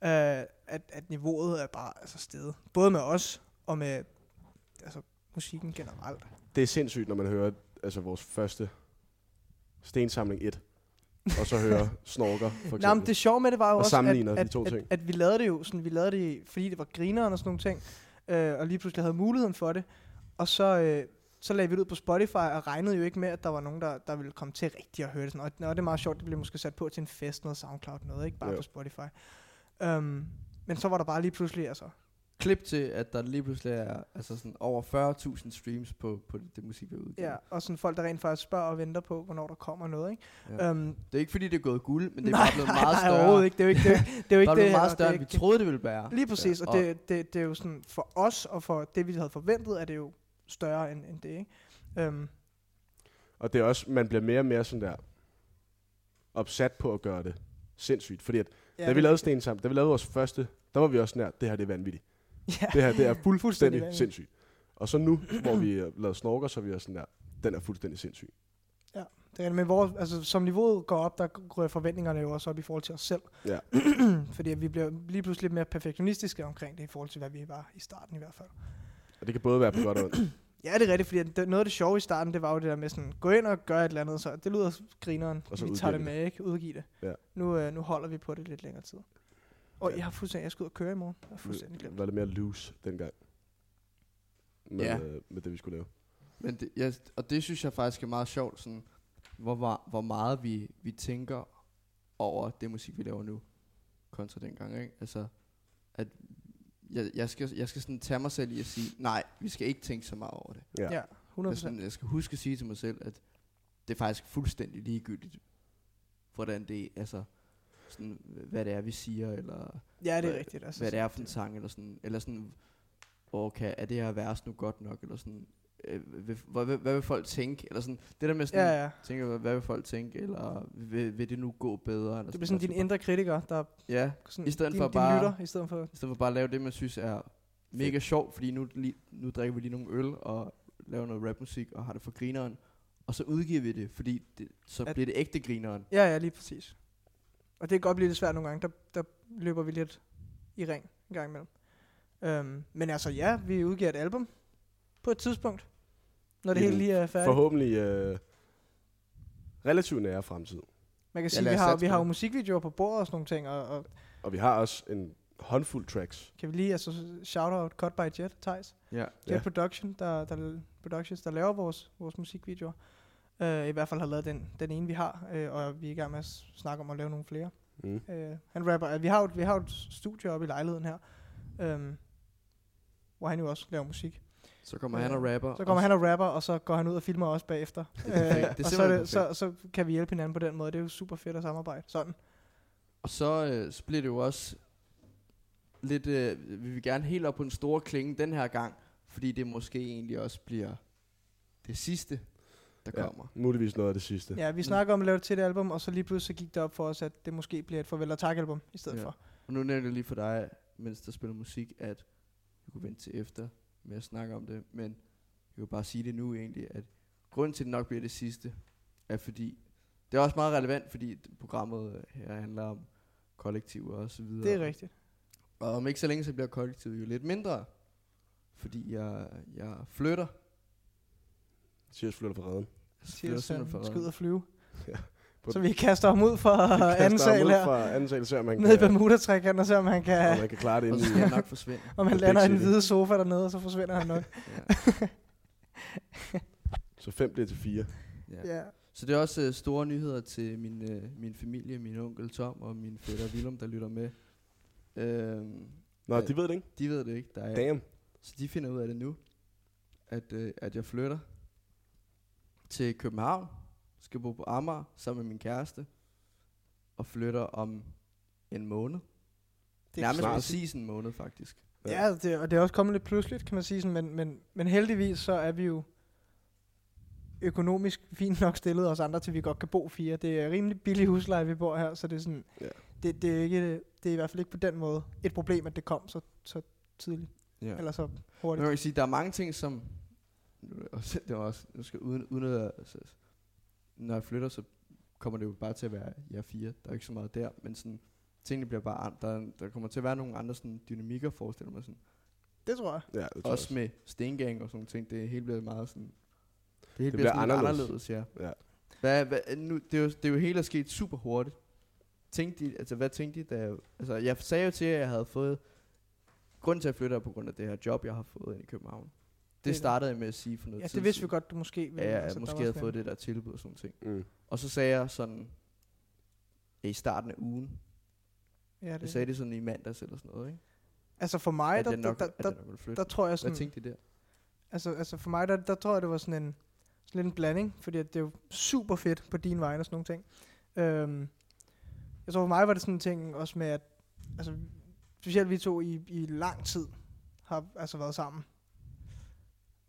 S2: Jo.
S3: Øh, at, at niveauet er bare altså, stedet. Både med os og med altså, musikken generelt.
S2: Det er sindssygt, når man hører altså, vores første stensamling 1, og så hører snorker, for
S3: Nej, men
S2: eksempel.
S3: det sjove med det var jo
S2: Og
S3: også,
S2: sammenligner
S3: at,
S2: de
S3: at,
S2: to
S3: at,
S2: ting.
S3: at, vi lavede det jo sådan, vi lavede det, fordi det var grineren og sådan nogle ting, øh, og lige pludselig havde muligheden for det, og så, øh, så lagde vi det ud på Spotify, og regnede jo ikke med, at der var nogen, der, der ville komme til rigtigt at høre det. Sådan. Og, nå, det er meget sjovt, det blev måske sat på til en fest, noget SoundCloud, noget, ikke bare
S2: Ja.
S3: på Spotify. Um, men så var der bare lige pludselig, altså,
S1: Klip til, at der lige pludselig er altså sådan over 40.000 streams på, på det, det musik, vi har udgivet.
S3: ja, og sådan folk, der rent faktisk spørger og venter på, hvornår der kommer noget, ikke?
S1: Ja.
S3: Um,
S1: Det er ikke, fordi det er gået guld, men det er bare blevet meget
S3: Nej,
S1: større.
S3: overhovedet ikke. Det er jo ikke det. Det er jo
S1: Det er
S3: ikke det
S1: blevet
S3: her,
S1: meget
S3: og det er
S1: større, end vi
S3: ikke-
S1: troede, det ville være.
S3: Lige præcis,
S1: Ja,
S3: og det, det, det er jo sådan, for os og for det, vi havde forventet, er det jo større end, end det, ikke? Øhm,
S2: Og det er også, man bliver mere og mere sådan der opsat på at gøre det sindssygt. Fordi at, ja, da vi lavede Sten sammen, da vi lavede vores første, der var vi også nær, det her det er vanvittigt.
S3: Ja,
S2: Det her det er
S3: Fuldstændig
S2: fuldstændig
S3: vanvittigt.
S2: sindssygt. Og så nu, hvor vi øh, lavede snorker, så er vi også sådan der, den er fuldstændig sindssyg.
S3: det er, men hvor, altså, som niveauet går op, der går forventningerne jo også op i forhold til os selv.
S2: Ja.
S3: Fordi at vi bliver lige pludselig lidt mere perfektionistiske omkring det, i forhold til, hvad vi var i starten i hvert fald.
S2: Og det kan både være på godt og ondt.
S3: Ja, det er rigtigt, fordi at det, noget af det sjove i starten, det var jo det der med sådan, gå ind og gør et eller andet, så det lyder grineren,
S2: Og så
S3: vi
S2: udgiver
S3: tager det
S2: vi det.
S3: med, ikke? Udgive det.
S2: Ja.
S3: Nu, øh, nu holder vi på det lidt længere tid. Og
S2: Ja. Øh,
S3: jeg har fuldstændig, jeg skal ud og køre i morgen. Jeg har fuldstændig
S2: Det
S3: glemt.
S2: var lidt mere loose dengang. Med,
S1: Ja.
S2: ja. øh, med det, vi skulle lave.
S1: Men det, ja, og det synes jeg faktisk er meget sjovt, sådan, hvor, ma- hvor meget vi, vi tænker over det musik, vi laver nu, kontra dengang, ikke? Altså, at jeg, jeg, skal, jeg skal sådan tage mig selv i at sige, nej, vi skal ikke tænke så meget over det.
S2: Ja.
S3: Ja, 100%.
S1: Jeg, sådan, jeg skal huske at sige til mig selv, at det er faktisk fuldstændig ligegyldigt, hvordan det er, altså, sådan, hvad det er, vi siger, eller
S3: Ja, det
S1: Hvad-
S3: er rigtigt. Altså,
S1: hvad det
S3: så-
S1: er for en sang, eller sådan, eller sådan, okay, er det her vers nu godt nok, eller sådan, øh, vil, hvad, hvad, hvad vil folk tænke, eller sådan, det der med sådan,
S3: Ja, ja.
S1: tænker, hvad, hvad vil folk tænke, eller vil, vil det nu gå bedre, eller
S3: Det bliver sådan
S1: der
S3: din
S1: skal
S3: indre kritiker, der
S1: bare- Ja,
S3: sådan,
S1: I stedet
S3: din,
S1: for
S3: din
S1: bare-
S3: lytter, i stedet for...
S1: i stedet for bare at lave det, man synes er mega sjovt, fordi nu, lige, nu drikker vi lige nogle øl, og laver noget rapmusik, og har det for grineren, og så udgiver vi det, fordi det, så
S3: At-
S1: bliver det ægte grineren.
S3: Ja, ja, lige præcis. Og det kan godt blive lidt svært nogle gange, der, der løber vi lidt i ring en gang imellem. Øhm, men altså ja, vi udgiver et album på et tidspunkt, når det
S2: I
S3: hele
S2: den
S3: lige er færdigt.
S2: Forhåbentlig øh, relativt nære fremtid.
S3: Man kan
S1: Ja,
S3: sige,
S1: lad
S3: vi
S1: os
S3: har,
S1: satse
S3: vi
S1: på
S3: har jo
S1: det.
S3: musikvideoer på bordet og sådan nogle ting, og, og
S2: Og vi har også en håndfuld tracks.
S3: kan vi lige, altså shout-out Cut by Jet, Thijs.
S1: Ja.
S3: Jet
S2: Ja.
S3: Production, der, der, Productions, der laver vores, vores musikvideoer. Øh, I hvert fald har lavet den, den ene, vi har, øh, og vi er i gang med at s- snakke om at lave nogle flere.
S2: Mm.
S3: Øh, han rapper. øh, Vi har, jo, vi har jo et studie oppe i lejligheden her, øhm, hvor han jo også laver musik.
S1: Så kommer
S3: Ja.
S1: han og rapper.
S3: Så kommer han og rapper, og så går han ud og filmer os bagefter. Øh,
S1: perfekt. Det er
S3: og så, er
S1: simpelthen
S3: det, så, så kan vi hjælpe hinanden på den måde. Det er jo super fedt at samarbejde. Sådan.
S1: Og så, øh, så bliver det jo også lidt, øh, vi vil gerne helt op på den store klinge den her gang, fordi det måske egentlig også bliver det sidste, der
S2: Ja.
S1: kommer.
S2: Muligvis noget af det sidste.
S3: Ja, vi snakker om at lave det til et album, og så lige pludselig så gik det op for os, at det måske bliver et farvel og tak album i stedet
S1: Ja.
S3: for.
S1: Og nu nævnte jeg lige for dig, mens der spiller musik, at vi kunne vente til efter med at snakke om det, men jeg vil bare sige det nu egentlig, at grunden til, at det nok bliver det sidste, er fordi, det er også meget relevant, fordi programmet øh, her handler om kollektiver og så videre.
S3: Det er rigtigt.
S1: Og om ikke så længe, så bliver kollektivet jo lidt mindre, fordi jeg, jeg flytter.
S2: Cheers flytter fra redden.
S1: Jeg
S3: Siger
S1: flytter simpelthen
S3: Søren.
S1: fra
S3: Skal ud
S1: Reden.
S3: og flyve. Så vi kaster ham ud for anden sal her.
S2: Fra anden sal, ser man
S3: Ned i
S2: kan, om
S3: bermuda og se om han kan...
S2: man kan klare det
S1: Og
S2: inden
S1: så skal
S2: i-
S1: han nok forsvinde.
S3: Om han
S2: Big
S3: lander i den
S2: City.
S3: hvide sofa dernede, og så forsvinder han nok.
S2: Så fem bliver til fire.
S1: Ja.
S3: ja.
S1: Så det er også øh, store nyheder til min, øh, min familie, min onkel Tom og min fætter Willem, der lytter med. Øhm,
S2: Nå,
S1: Ja.
S2: de ved det ikke.
S1: de ved det ikke, der er,
S2: Damn.
S1: så de finder ud af det nu, at, øh, at jeg flytter til København, skal bo på Amager sammen med min kæreste, og flytter om en måned.
S3: Det er
S1: Nærmest
S2: snart.
S1: præcis en måned, faktisk.
S3: Ja, altså, det, og det er også kommet lidt pludseligt, kan man sige. Sådan, men, men, men heldigvis så er vi jo økonomisk fint nok stillet os andre, til vi godt kan bo fire. Det er rimelig billig husleje, vi bor her, så det er sådan...
S2: Ja.
S3: Det, det, er ikke, det er i hvert fald ikke på den måde et problem, at det kom så, så tidligt,
S1: Ja.
S3: ja. eller så
S1: Men
S3: hurtigt.
S1: man kan sige, der er mange ting, som... Nu er det også- Det var også... Nu skal jeg uden, uden at, altså, når jeg flytter, så kommer det jo bare til at være jer fire. Der er ikke så meget der, men sådan... Tingene bliver bare... an- Der, der kommer til at være nogle andre sådan, dynamikker, forestiller jeg mig sådan.
S3: Det tror jeg.
S2: Ja, det tror jeg
S1: Også med stengang og sådan nogle ting. Det hele bliver meget sådan... Det hele
S2: Det
S1: bliver
S2: bliver
S1: sådan anderledes.
S2: anderledes.
S1: anderledes, ja.
S2: Ja.
S1: Hvad, hvad, nu, det, er jo, det er jo hele er sket super hurtigt. Tænkte de, altså, hvad tænkte de, da jeg, altså, jeg sagde jo til jer, at jeg havde fået... Grunden til, at jeg flytter er på grund af det her job, jeg har fået ind i København. Det,
S3: Det er
S1: det
S3: det.
S1: startede jeg med at sige for noget
S3: Ja,
S1: tid
S3: det vidste vi
S1: siden.
S3: godt, du måske ville.
S1: Ja, jeg
S3: altså,
S1: altså,
S3: der
S1: måske
S3: var
S1: havde
S3: sådan-
S1: fået det der tilbud og sådan ting.
S2: Mm.
S1: Og så sagde jeg sådan, ja, i starten af ugen.
S3: Ja,
S1: Jeg
S3: det.
S1: sagde det sådan i mandags eller sådan noget, ikke?
S3: Altså for mig,
S1: at
S3: der,
S1: jeg
S3: der,
S1: nok,
S3: der,
S1: at
S3: der,
S1: jeg nok ville flytte.
S3: der tror jeg sådan...
S1: Hvad tænkte de der?
S3: Altså, altså for mig, der, der tror jeg, det var sådan en, sådan lidt en blanding, fordi at det er jo super fedt på din vej og sådan nogle ting. Øhm, jeg tror for mig var det sådan en ting også med, at altså, specielt vi to i, i lang tid har altså været sammen.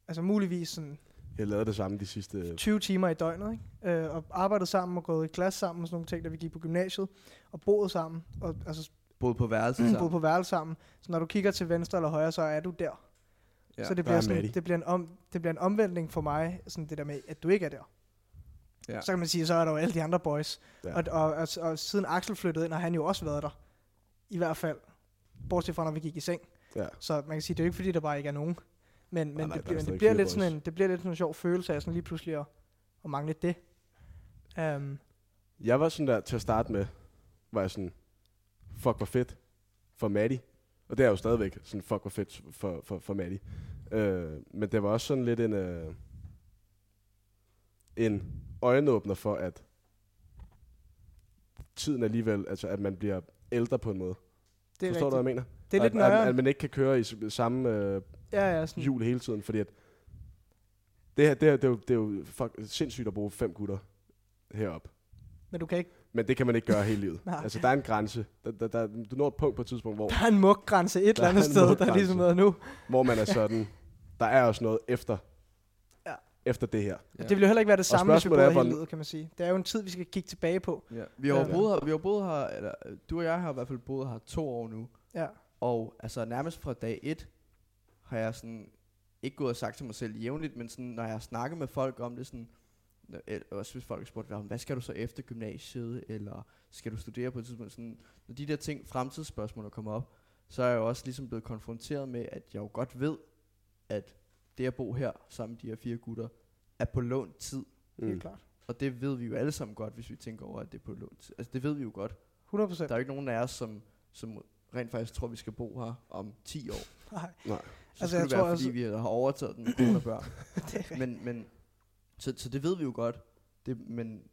S3: Altså muligvis sådan
S2: Jeg lavede det samme de sidste...
S3: 20 timer i døgnet, ikke? Øh, og arbejdet sammen og gået i klasse sammen og sådan nogle ting, da vi gik på gymnasiet, og boet sammen, og altså
S1: Både på værelset
S3: boet på værelse sammen. Så når du kigger til venstre eller højre, så er du der.
S1: Ja,
S3: Ja, så det
S2: der
S3: bliver,
S2: er
S3: sådan,
S2: Maddie.
S3: det, bliver en om, det bliver en omvæltning for mig, sådan det der med, at du ikke er der.
S1: Ja.
S3: Ja. Så kan man sige, så er der jo alle de andre boys.
S2: Ja.
S3: Ja. Og, og, og, og, siden Axel flyttede ind, har han jo også været der. I hvert fald. Bortset fra, når vi gik i seng.
S2: Ja.
S3: Så man kan sige, det er jo ikke fordi, der bare ikke er nogen. Men, men
S2: nej, der er
S3: det, bliver, det,
S2: stadig
S3: bliver
S2: fire
S3: lidt sådan
S2: boys.
S3: en, det bliver lidt sådan en sjov følelse af sådan lige pludselig at, at mangle det. Øhm, Um,
S2: Jeg var sådan der, til at starte med, var jeg sådan, fuck hvor fedt for Maddie. Og det er jeg jo stadigvæk sådan, fuck hvor fedt for, for, for Maddie. Øh, men det var også sådan lidt en, øh, en øjenåbner for, at tiden alligevel, altså at man bliver ældre på en måde.
S3: det er
S2: Forstår du, hvad jeg
S3: rigtigt.
S2: mener?
S3: det er lidt Hmm.
S2: at, at, at
S3: nøjere.
S2: man ikke kan køre i s- samme øh,
S3: Ja, ja, sådan,
S2: jul hele tiden, fordi at det her, det, her, det, er, jo, det er jo fuck, sindssygt at bruge fem gutter herop.
S3: men du kan ikke.
S2: Men det kan man ikke gøre hele livet.
S3: Nej.
S2: altså, der er en grænse. Der, der, der, du når et punkt på et tidspunkt, hvor,
S3: Der er en muggrænse et eller
S2: er
S3: andet
S2: en
S3: sted, der
S2: muggrænse.
S3: ligesom er nu.
S2: hvor man er sådan, der er også noget efter,
S3: Ja.
S2: efter det her.
S1: Ja.
S3: Ja. Det vil jo heller ikke være det
S2: Og
S3: samme, hvis vi
S2: spørgsmålet
S3: boede
S2: er,
S3: hele
S2: hvordan-
S3: livet, kan man sige. Det er jo en tid, vi skal kigge tilbage på.
S1: Ja. Vi har jo boet her, vi har boet her eller, øh, du og jeg har i hvert fald boet her to år nu,
S3: Ja.
S1: og altså nærmest fra dag et har jeg sådan ikke gået og sagt til mig selv jævnligt, men sådan, når jeg har snakket med folk om det, sådan, når- el- også hvis folk har spurgt, "Nå, men hvad skal du så efter gymnasiet, eller skal du studere på et tidspunkt, sådan, når de der ting, fremtidsspørgsmål er kommet op, så er jeg jo også ligesom blevet konfronteret med, at jeg jo godt ved, at det at bo her sammen med de her fire gutter, er på lånt tid,
S2: Mm.
S3: Helt klart.
S1: og det ved vi jo alle sammen godt, hvis vi tænker over, at det er på lånt tid. Altså det ved vi jo godt.
S3: 100 procent.
S1: Der er jo ikke nogen af os, som, som rent faktisk tror, vi skal bo her om 10 år. Så
S2: Nej.
S3: Altså,
S1: skulle
S3: jeg
S1: det være,
S3: tror
S1: fordi
S3: også-
S1: vi har overtaget den coronabørn.
S3: Det er rigtigt.
S1: men, men, så, så det ved vi jo godt. Det, men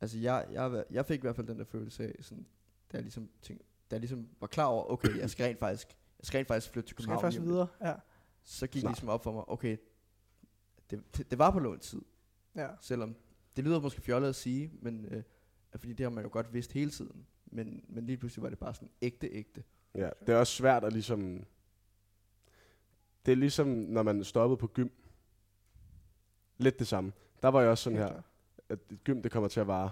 S1: altså, jeg, jeg, var- jeg fik i hvert fald den der følelse af, sådan, da, jeg ligesom tænkte, da jeg ligesom var klar over, okay, jeg skal rent faktisk, jeg skal rent faktisk flytte til
S3: Du skal
S1: København.
S3: først
S1: lige om lidt.
S3: videre. Ja.
S1: Så gik det
S2: Snart.
S1: ligesom op for mig, okay, det, det, det var på lånt tid.
S3: ja.
S1: Selvom det lyder måske fjollet at sige, men øh, fordi det har man jo godt vidst hele tiden. Men, men lige pludselig var det bare sådan ægte, ægte.
S2: Ja, det er også svært at ligesom... Det er ligesom, når man stoppede på gym. Lidt det samme. Der var jeg også sådan
S3: Helt
S2: her, at gym, det kommer til at vare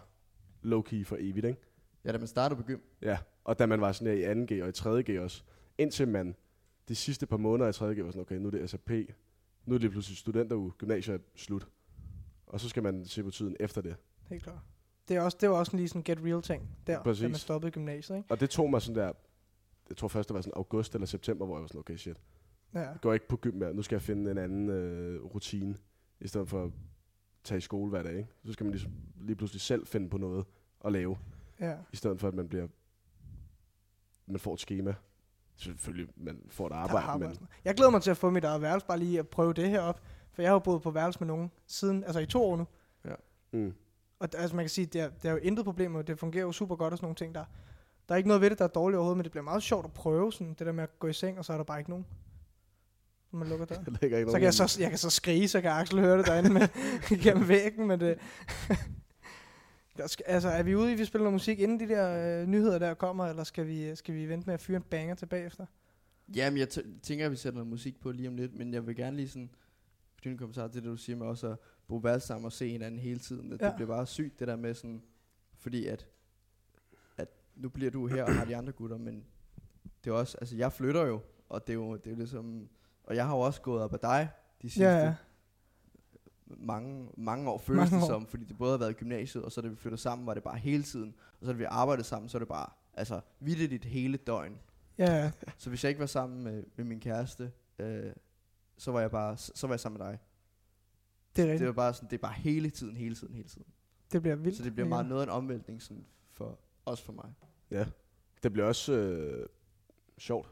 S2: low-key for evigt, ikke?
S1: Ja, da man startede på gym,
S2: Ja, og da man var sådan her i 2G og i 3G også, indtil man de sidste par måneder i 3G var sådan, okay, nu er det SAP, nu er det pludselig studenteruge, gymnasiet er slut. Og så skal man se på tiden efter det.
S3: Helt klart. Det, er også, det var også lige sådan en get real ting, der, Præcis. da man
S2: Præcis.
S3: stoppede i gymnasiet. Ikke?
S2: Og det tog mig sådan der, jeg tror først det var sådan august eller september, hvor jeg var sådan, okay shit,
S3: Ja.
S2: jeg går ikke på gym mere, nu skal jeg finde en anden øh, rutine, i stedet for tage i skole hver dag. Ikke? Så skal man ligesom, lige pludselig selv finde på noget at lave,
S3: Ja.
S2: i stedet for at man bliver man får et schema. Selvfølgelig, man får et
S3: Der er
S2: arbejde,
S3: arbejde.
S2: men
S3: Jeg glæder mig til at få mit eget værelse, bare lige at prøve det her op. For jeg har jo boet på værelse med nogen siden, altså i to år nu.
S2: mm,
S3: Og d- altså man kan sige, det er, det er jo intet problem, og det fungerer jo super godt og sådan nogle ting der. Der er ikke noget ved det, der er dårligt overhovedet, men det bliver meget sjovt at prøve sådan det der med at gå i seng, og så er der bare ikke nogen. Når man lukker døren.
S2: der ligger ikke
S3: Så
S2: nogen-
S3: kan jeg, så, jeg kan så skrige, så kan Axel høre det derinde med, gennem væggen, men det... Der skal, altså, er vi ude i, at vi spiller noget musik, inden de der øh, nyheder der kommer, eller skal vi, skal vi vente med at fyre en banger tilbage efter?
S1: Jamen, jeg tæ- tænker, at vi sætter noget musik på lige om lidt, men jeg vil gerne lige sådan knytte en kommentar til det, du siger med også at bo værelse sammen og se hinanden hele tiden. At ja.
S3: Ja.
S1: Det bliver bare sygt, det der med sådan, fordi at, at nu bliver du her og har de andre gutter, men det er også, altså jeg flytter jo, og det er jo, det er jo ligesom, og jeg har jo også gået op ad dig de sidste
S3: Ja, ja.
S1: mange, mange år føles
S3: Mange
S1: det
S3: år.
S1: som, fordi det både har været i gymnasiet, og så da vi flyttede sammen, var det bare hele tiden, og så da vi arbejdede sammen, så er det bare, altså vidtigt hele døgn.
S3: Ja, ja.
S1: Så hvis jeg ikke var sammen med, med min kæreste, øh, så var jeg bare så, så var jeg sammen med dig.
S3: det er rigtigt.
S1: Det var bare sådan, det er bare hele tiden, hele tiden, hele tiden.
S3: Det bliver vildt.
S1: Så det bliver
S3: Mikkel.
S1: meget noget af en omvæltning sådan for også for mig.
S2: Ja, det bliver også øh, sjovt.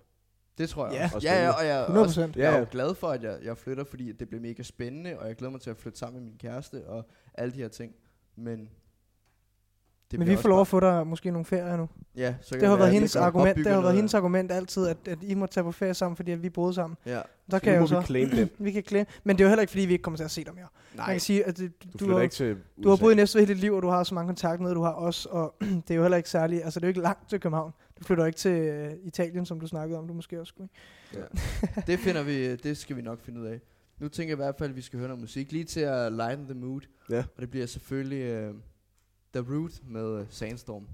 S1: Det tror jeg
S3: Ja.
S1: også.
S2: Og
S1: Ja, ja,
S2: spændende.
S1: og jeg, er
S3: 100
S1: også,
S3: procent.
S2: Ja,
S1: jeg er
S2: ja.
S1: jo glad for, at jeg, jeg flytter, fordi det bliver mega spændende, og jeg glæder mig til at flytte sammen med min kæreste og alle de her ting. Men, det
S3: Men
S1: bliver
S3: vi
S1: også
S3: får lov at
S1: bare-
S3: få dig måske nogle ferier nu.
S1: Ja, så kan
S3: Det har
S1: være,
S3: været
S1: at vi
S3: hendes
S1: kan
S3: argument,
S1: opbygge
S3: det har været
S1: noget.
S3: hendes argument altid, at, at I må tage på ferie sammen, fordi at vi boede sammen.
S1: Ja,
S3: Der
S2: nu
S3: kan jeg
S2: må
S3: jo så.
S2: vi claim den.
S3: Vi kan klemme. Men det er jo heller ikke, fordi vi ikke kommer til at se dig mere. Man
S1: nej.
S3: kan sige, at det-
S2: Du,
S3: du,
S2: flytter
S3: har,
S2: ikke til USA.
S3: du har boet i Næstved hele dit liv, og du har så mange kontakter med, du har os, og det er jo heller ikke særlig, altså det er jo ikke langt til København. Du flytter ikke til øh, Italien, som du snakkede om, du måske også skulle. ikke?
S1: Ja. Det finder vi, det skal vi nok finde ud af. Nu tænker jeg i hvert fald, at vi skal høre noget musik, lige til at lighten the mood.
S2: Ja.
S1: Og det bliver selvfølgelig uh, The Root med uh, Sandstorm.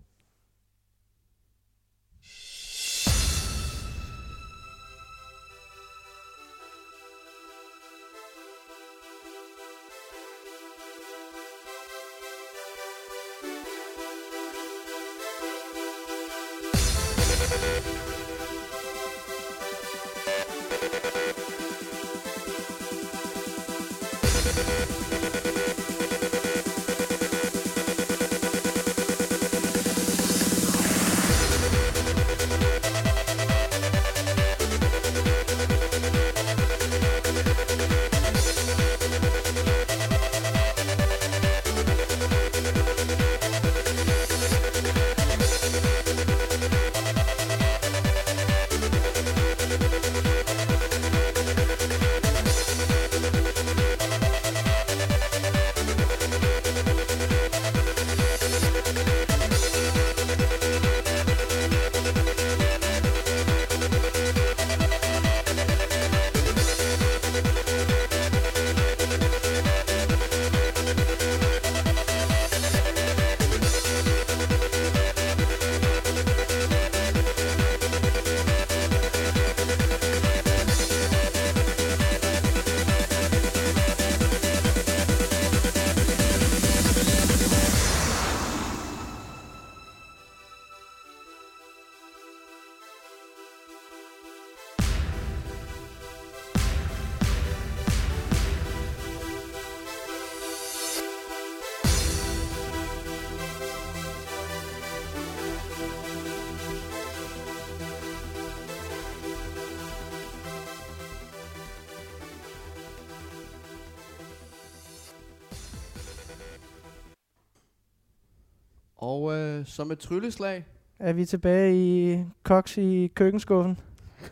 S1: Og uh, som et trylleslag,
S3: Er vi tilbage i Cox i køkkenskuffen?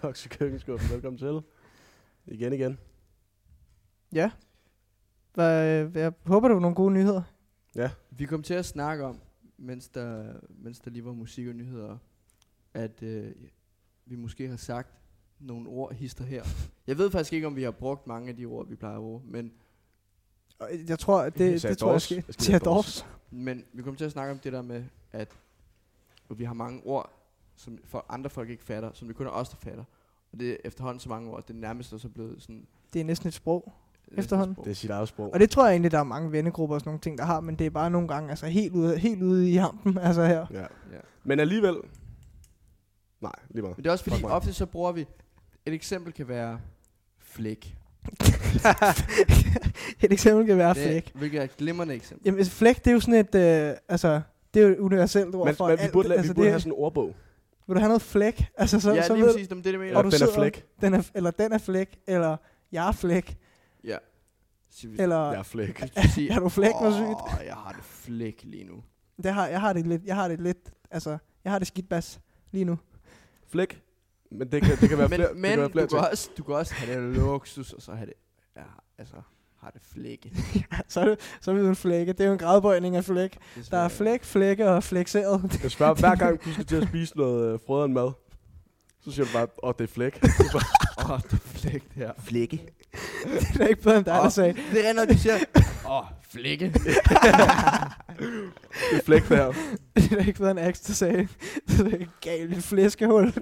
S2: Koks i køkkenskuffen. Velkommen til. Igen, igen.
S3: Ja. Hvad, jeg håber, det var nogle gode nyheder.
S1: vi kom til at snakke om, mens der, mens der lige var musik og nyheder, at uh, vi måske har sagt nogle ord hister her. Jeg ved faktisk ikke, om vi har brugt mange af de ord, vi plejer at bruge, men
S3: Og Jeg tror, at det,
S2: Jeg sagde
S3: det tror jeg
S2: Dors.
S3: sker.
S2: Jeg skal
S3: Tia
S2: have Dors.
S3: Dors.
S1: Men vi kommer til at snakke om det der med, at vi har mange ord, som for andre folk ikke fatter, som det kun er os, der fatter. Og det er efterhånden så mange ord, at det nærmest er så blevet sådan...
S3: Det er næsten et sprog.
S1: næsten
S3: Efterhånden.
S1: sprog.
S2: Det er sit eget sprog.
S3: Og det tror jeg egentlig, der er mange vennegrupper og sådan nogle ting, der har, men det er bare nogle gange altså helt ude, helt ude i hampen, altså her.
S2: Ja.
S1: Ja.
S2: Men alligevel... Nej, lige meget.
S1: Men det er også fordi,
S2: Fuck mig.
S1: ofte så bruger vi... Et eksempel kan være flæk.
S3: et eksempel kan være
S1: det,
S3: flæk.
S1: er- hvilket er et glimrende eksempel.
S3: Jamen, et flæk, det er jo sådan et, øh, altså, det er jo et universelt ord
S2: Men,
S3: for
S2: men vi
S3: alt.
S2: burde, la-
S3: altså,
S2: vi burde
S3: det,
S2: have sådan en ordbog.
S3: Vil du have noget flæk? Altså, så,
S1: ja,
S3: så
S1: lige
S3: ved,
S1: præcis, jamen, det er det, jeg mener.
S2: Eller
S3: du
S2: Ben
S3: sidder-
S2: Affleck.
S3: den er, eller den er flæk, eller jeg er flæk,
S1: Ja. Så hvis-
S3: eller
S2: Jeg er flæk.
S1: hvis du siger,
S3: er du flæk, hvor sygt?
S1: Åh, jeg har det flæk lige nu.
S3: det har, jeg har det lidt, jeg har det lidt, altså, jeg har det skidt bas lige nu.
S2: Flæk. Men det kan, det kan være
S1: men
S2: flere, det
S1: men
S2: kan være flere
S1: du, kan
S2: ting.
S1: også, du kan også have det luksus, og så have det, ja, altså, har det flække.
S3: så, er det, så er vi jo en flække. Det er jo en gradbøjning af flæk. Der er flæk, flække og flækseret.
S2: Jeg spørger, hver gang du skal til at spise noget øh, frøderen mad, så siger du bare, åh, oh, det er flæk. Så bare,
S1: Åh, oh, det er flæk, det her.
S2: Flække.
S3: det er ikke bedre end dig, der
S1: Åh.
S3: sagde.
S1: Det er rent, du siger, åh, oh, flække.
S2: Det er flæk der.
S3: Det er ikke bedre end Axe, der sagde. det er et galt flæskehul.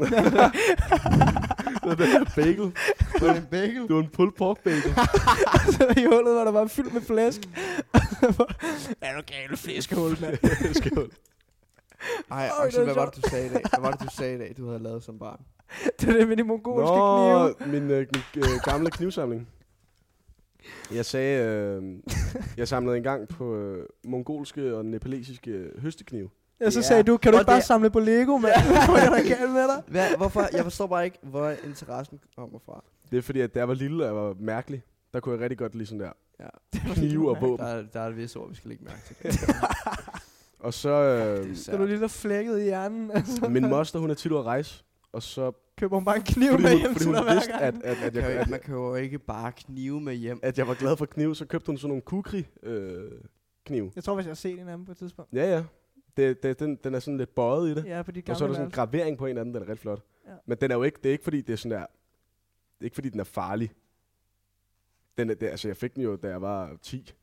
S2: Det er en bagel.
S1: Det er en bagel.
S2: Det var en pulled pork bagel.
S3: Så I hullet var der bare fyldt med flæsk. er du galt flæskehul, mand?
S2: Skål.
S1: Ej,
S3: Øj,
S1: Axel,
S3: det er
S1: hvad var det, du sagde i dag? Hvad var det, du sagde i dag, du havde lavet som barn?
S3: Det er det med de mongolske
S2: Nå,
S3: knive.
S2: min, øh, min øh, gamle knivsamling. Jeg sagde, øh, jeg samlede engang på øh, mongolske og nepalesiske øh, høsteknive.
S3: Og så
S1: Ja.
S3: sagde du, kan du
S1: Og
S3: ikke bare
S1: det-
S3: samle på Lego, mand? Hvor er der galt med dig?
S1: Hvad, hvorfor? Jeg forstår bare ikke, hvor interessen kommer fra.
S2: Det er fordi, at da jeg var lille og jeg var mærkelig, der kunne jeg rigtig godt lide sådan der
S1: Ja.
S2: knive og
S1: Der
S2: våben.
S1: er, der er et vist ord, vi skal lægge mærke til.
S2: Og så, øh,
S3: Så er du lige der flækket i hjernen, og så
S2: min moster, hun er tit ude at rejse, og så,
S3: køber hun bare en kniv
S2: fordi
S3: med
S2: hun,
S3: hjem
S2: fordi
S3: til
S2: hun
S3: dig hver
S2: vidste,
S3: gang.
S2: at, at, at,
S1: Man kan, jo,
S2: jeg,
S1: ikke- man
S2: at,
S1: kan jo ikke bare knive med hjem.
S2: at jeg var glad for knive, så købte hun sådan nogle kukri øh, knive.
S3: Jeg tror, hvis jeg har set en anden på et tidspunkt.
S2: Ja, ja. Det, det, den, den er sådan lidt bøjet i det.
S3: Ja, på dit
S2: Og så er der
S3: gamle
S2: sådan en
S3: værelse.
S2: gravering på en af den, den er ret flot.
S3: Ja.
S2: Ja. Men den er jo ikke, det er ikke fordi, det er sådan der, det er ikke fordi, den er farlig. Den er, det, altså, jeg fik den jo, da jeg var 10.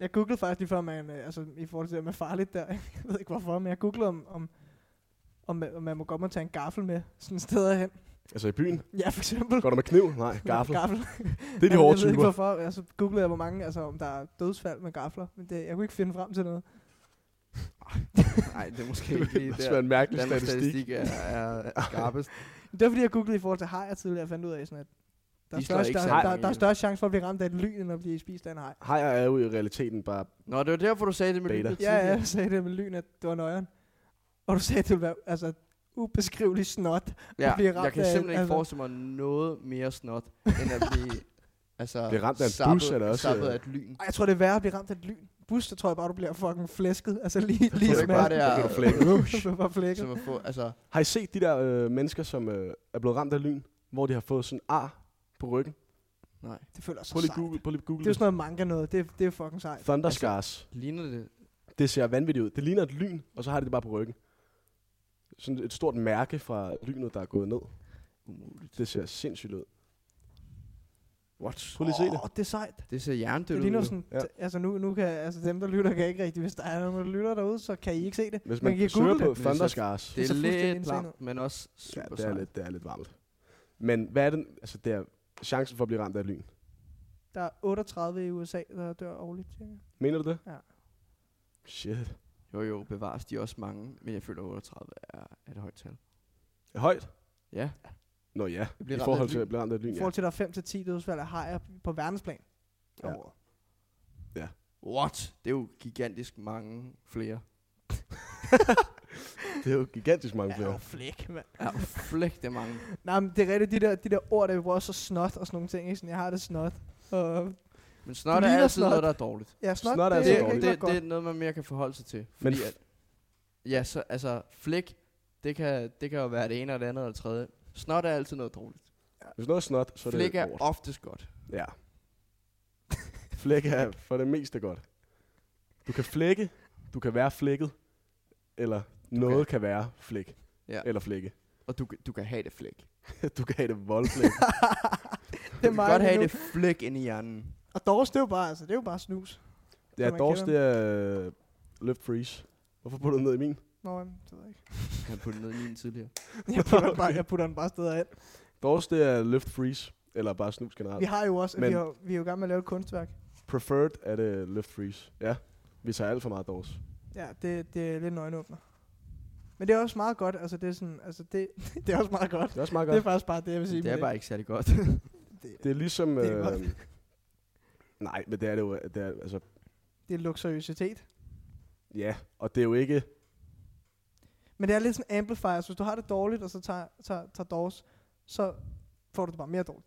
S3: Jeg googlede faktisk lige før, man, øh, altså i forhold til det med farligt der, jeg ved ikke hvorfor, men jeg googlede om, om, om, man- om man må godt må tage en gaffel med sådan steder hen.
S2: Altså i byen.
S3: Ja, for eksempel.
S2: Går der med kniv? Nej, gaffel.
S3: gaffel.
S2: Det er de
S3: Men
S2: hårde
S3: Jeg ved ikke
S2: typer.
S3: hvorfor, altså googlede jeg, hvor mange, altså om der er dødsfald med gafler, men det, jeg kunne ikke finde frem til noget.
S1: Nej, det er måske ikke lige
S2: Det er
S1: der.
S2: en mærkelig
S1: Danmarks
S2: statistik.
S1: statistik er, er, er skarpest.
S3: Men det var fordi, jeg googlede i forhold til hajer tidligere, og fandt ud af sådan, at der er,
S1: De slår
S3: større,
S1: ikke
S3: der,
S1: særlig
S3: der,
S1: mange
S3: der er
S1: ihjel.
S3: større chance for at blive ramt af et lyn, end at blive spist af en haj.
S2: Hajer er jo i realiteten bare,
S1: Nå, det var derfor, du sagde det med
S2: Beta.
S1: lynet
S3: Ja, ja, jeg sagde det med lyn, at det var nøjeren. Og du sagde, at det ville være altså, ubeskrivelig snot.
S1: ja.
S3: at blive
S1: Jeg
S3: ramt
S1: kan
S3: af-
S1: simpelthen ikke
S3: altså-
S1: forestille mig noget mere snot, end at blive... Altså,
S2: Blive ramt af en bus,
S1: zappet-
S2: er det også,
S1: zappet
S2: øh,
S1: af et lyn.
S3: Ej, jeg tror, det er værre at blive ramt af et lyn. Bus, der tror jeg bare, du bliver fucking flæsket. Altså lige,
S1: Det
S3: lige
S1: er jo ikke bare det
S2: Det
S1: her...
S2: kan du flække.
S3: Du bliver bare flækket.
S1: Som at få, altså,
S2: har I set de der øh, mennesker, som øh, er blevet ramt af lyn, hvor de har fået sådan ar på ryggen?
S1: nej.
S3: Det føler så
S2: Prøv lige
S3: sejt.
S2: Google, prøv lige Google
S3: Det er jo
S2: det.
S3: sådan Altså- noget manga noget. Det, det er fucking sejt.
S2: Thunder scars.
S1: Ligner det?
S2: Det ser vanvittigt ud. Det ligner et lyn, og så har de det bare på ryggen. Sådan et stort mærke fra lynet, der er gået ned.
S1: Umuligt.
S2: Det ser sindssygt ud.
S1: What?
S2: Prøv lige at se det.
S3: Åh, det er sejt.
S1: Det ser
S3: Det,
S1: jerndødt
S3: ligner
S1: ud.
S3: sådan,
S2: Ja.
S3: t- altså nu, nu kan, altså dem der lytter kan ikke rigtig, hvis der er nogen der lytter derude, så kan I ikke se det.
S2: Hvis
S3: Men
S2: man,
S3: kan I
S2: man søger
S3: google
S2: på
S1: det?
S2: Thunder Scars,
S1: Det
S3: så
S1: er
S3: fuldstændig
S1: lidt
S3: insane
S1: klamt, men også
S2: ja,
S1: super
S2: det, er
S1: sejt.
S2: lidt, det er lidt varmt. Men hvad er den? Altså, det er chancen for at blive ramt af et lyn.
S3: Der er 38 i USA, der dør årligt. cirka.
S2: Mener du det?
S3: Ja.
S2: Shit.
S1: Jo, jo, bevares de er også mange, men jeg føler 38 er er et højt tal.
S2: Højt?
S1: Ja,
S2: Nå ja,
S1: det
S2: i
S1: bliver
S2: forhold til
S1: ramt af
S2: at
S1: et lyn.
S2: blive ramt af et
S3: I
S2: lyn, ja.
S3: forhold til, at der er 5-10 dødsfald af hajer på verdensplan.
S2: Ja.
S3: Ja.
S1: What? Det er jo gigantisk mange flere.
S2: Det er jo gigantisk mange
S3: Ja,
S2: flere.
S3: flæk, mand.
S1: Ja, flæk, det er mange.
S3: Nej, men det er rigtigt, de der, de der ord, der vi bruger, så snot og sådan nogle ting, ikke? Sådan, jeg har det snot. Og,
S1: Men snot er
S3: ligner
S1: altid
S3: snot.
S1: noget, der er dårligt.
S3: ja, snot,
S2: Snot
S1: Det,
S2: er altså
S3: det,
S1: det,
S3: er
S2: dårligt.
S1: det,
S3: godt.
S1: det er noget, man mere kan forholde sig til.
S2: Men
S1: Fordi
S2: f-
S1: at, ja, så, altså, flæk, det kan, det kan jo være det ene og det andet og det tredje. Snot er altid noget dårligt.
S2: Hvis noget er snot, så er
S1: Flæk
S2: det
S1: er
S2: lort.
S1: oftest godt.
S2: Ja. Flæk er for det meste godt. Du kan flække, du kan være flækket, eller noget
S1: kan-
S2: kan. være flæk,
S1: Ja.
S2: eller flække.
S1: Og du, kan- du kan have det flæk.
S2: du kan have det voldflæk.
S1: Du
S3: det
S1: kan
S3: er mig
S1: godt
S3: lige
S1: have
S3: nu.
S1: det flæk inde i hjernen.
S3: Og Dors, det er jo bare, altså, det er jo bare snus.
S2: ja,
S3: man
S2: Dors,
S3: kender
S2: det er øh, løft freeze. Hvorfor putter du den ned i min?
S3: Nå, jamen, det ved jeg ikke.
S1: Han puttede ned i min tidligere.
S3: Jeg putter, den bare, jeg putter den bare steder hen.
S2: Dors, det er løft freeze, eller bare snus
S3: Vi
S2: generelt.
S3: har jo også,
S2: Men-
S3: vi, har, vi er jo i gang med at lave et kunstværk.
S2: Preferred er det løft freeze. Ja, vi tager alt for meget Dors.
S3: Ja, det, det er lidt en øjenåbner. Men det er også meget godt, altså det er sådan, altså det, det er også meget godt.
S2: Det er også meget
S3: Det er
S2: godt.
S3: faktisk bare det, jeg vil sige.
S1: Det
S3: med
S1: er bare ikke særlig godt.
S3: det,
S2: Det er ligesom...
S3: Det er
S2: Øh,
S3: godt.
S2: nej, men det er det jo... Det er, altså,
S3: det er luksuriøsitet.
S2: ja, og det er jo ikke...
S3: Men det er lidt sådan amplifiers. Hvis du har det dårligt, og så tager, tager, tager dårs, så får du det bare mere dårligt.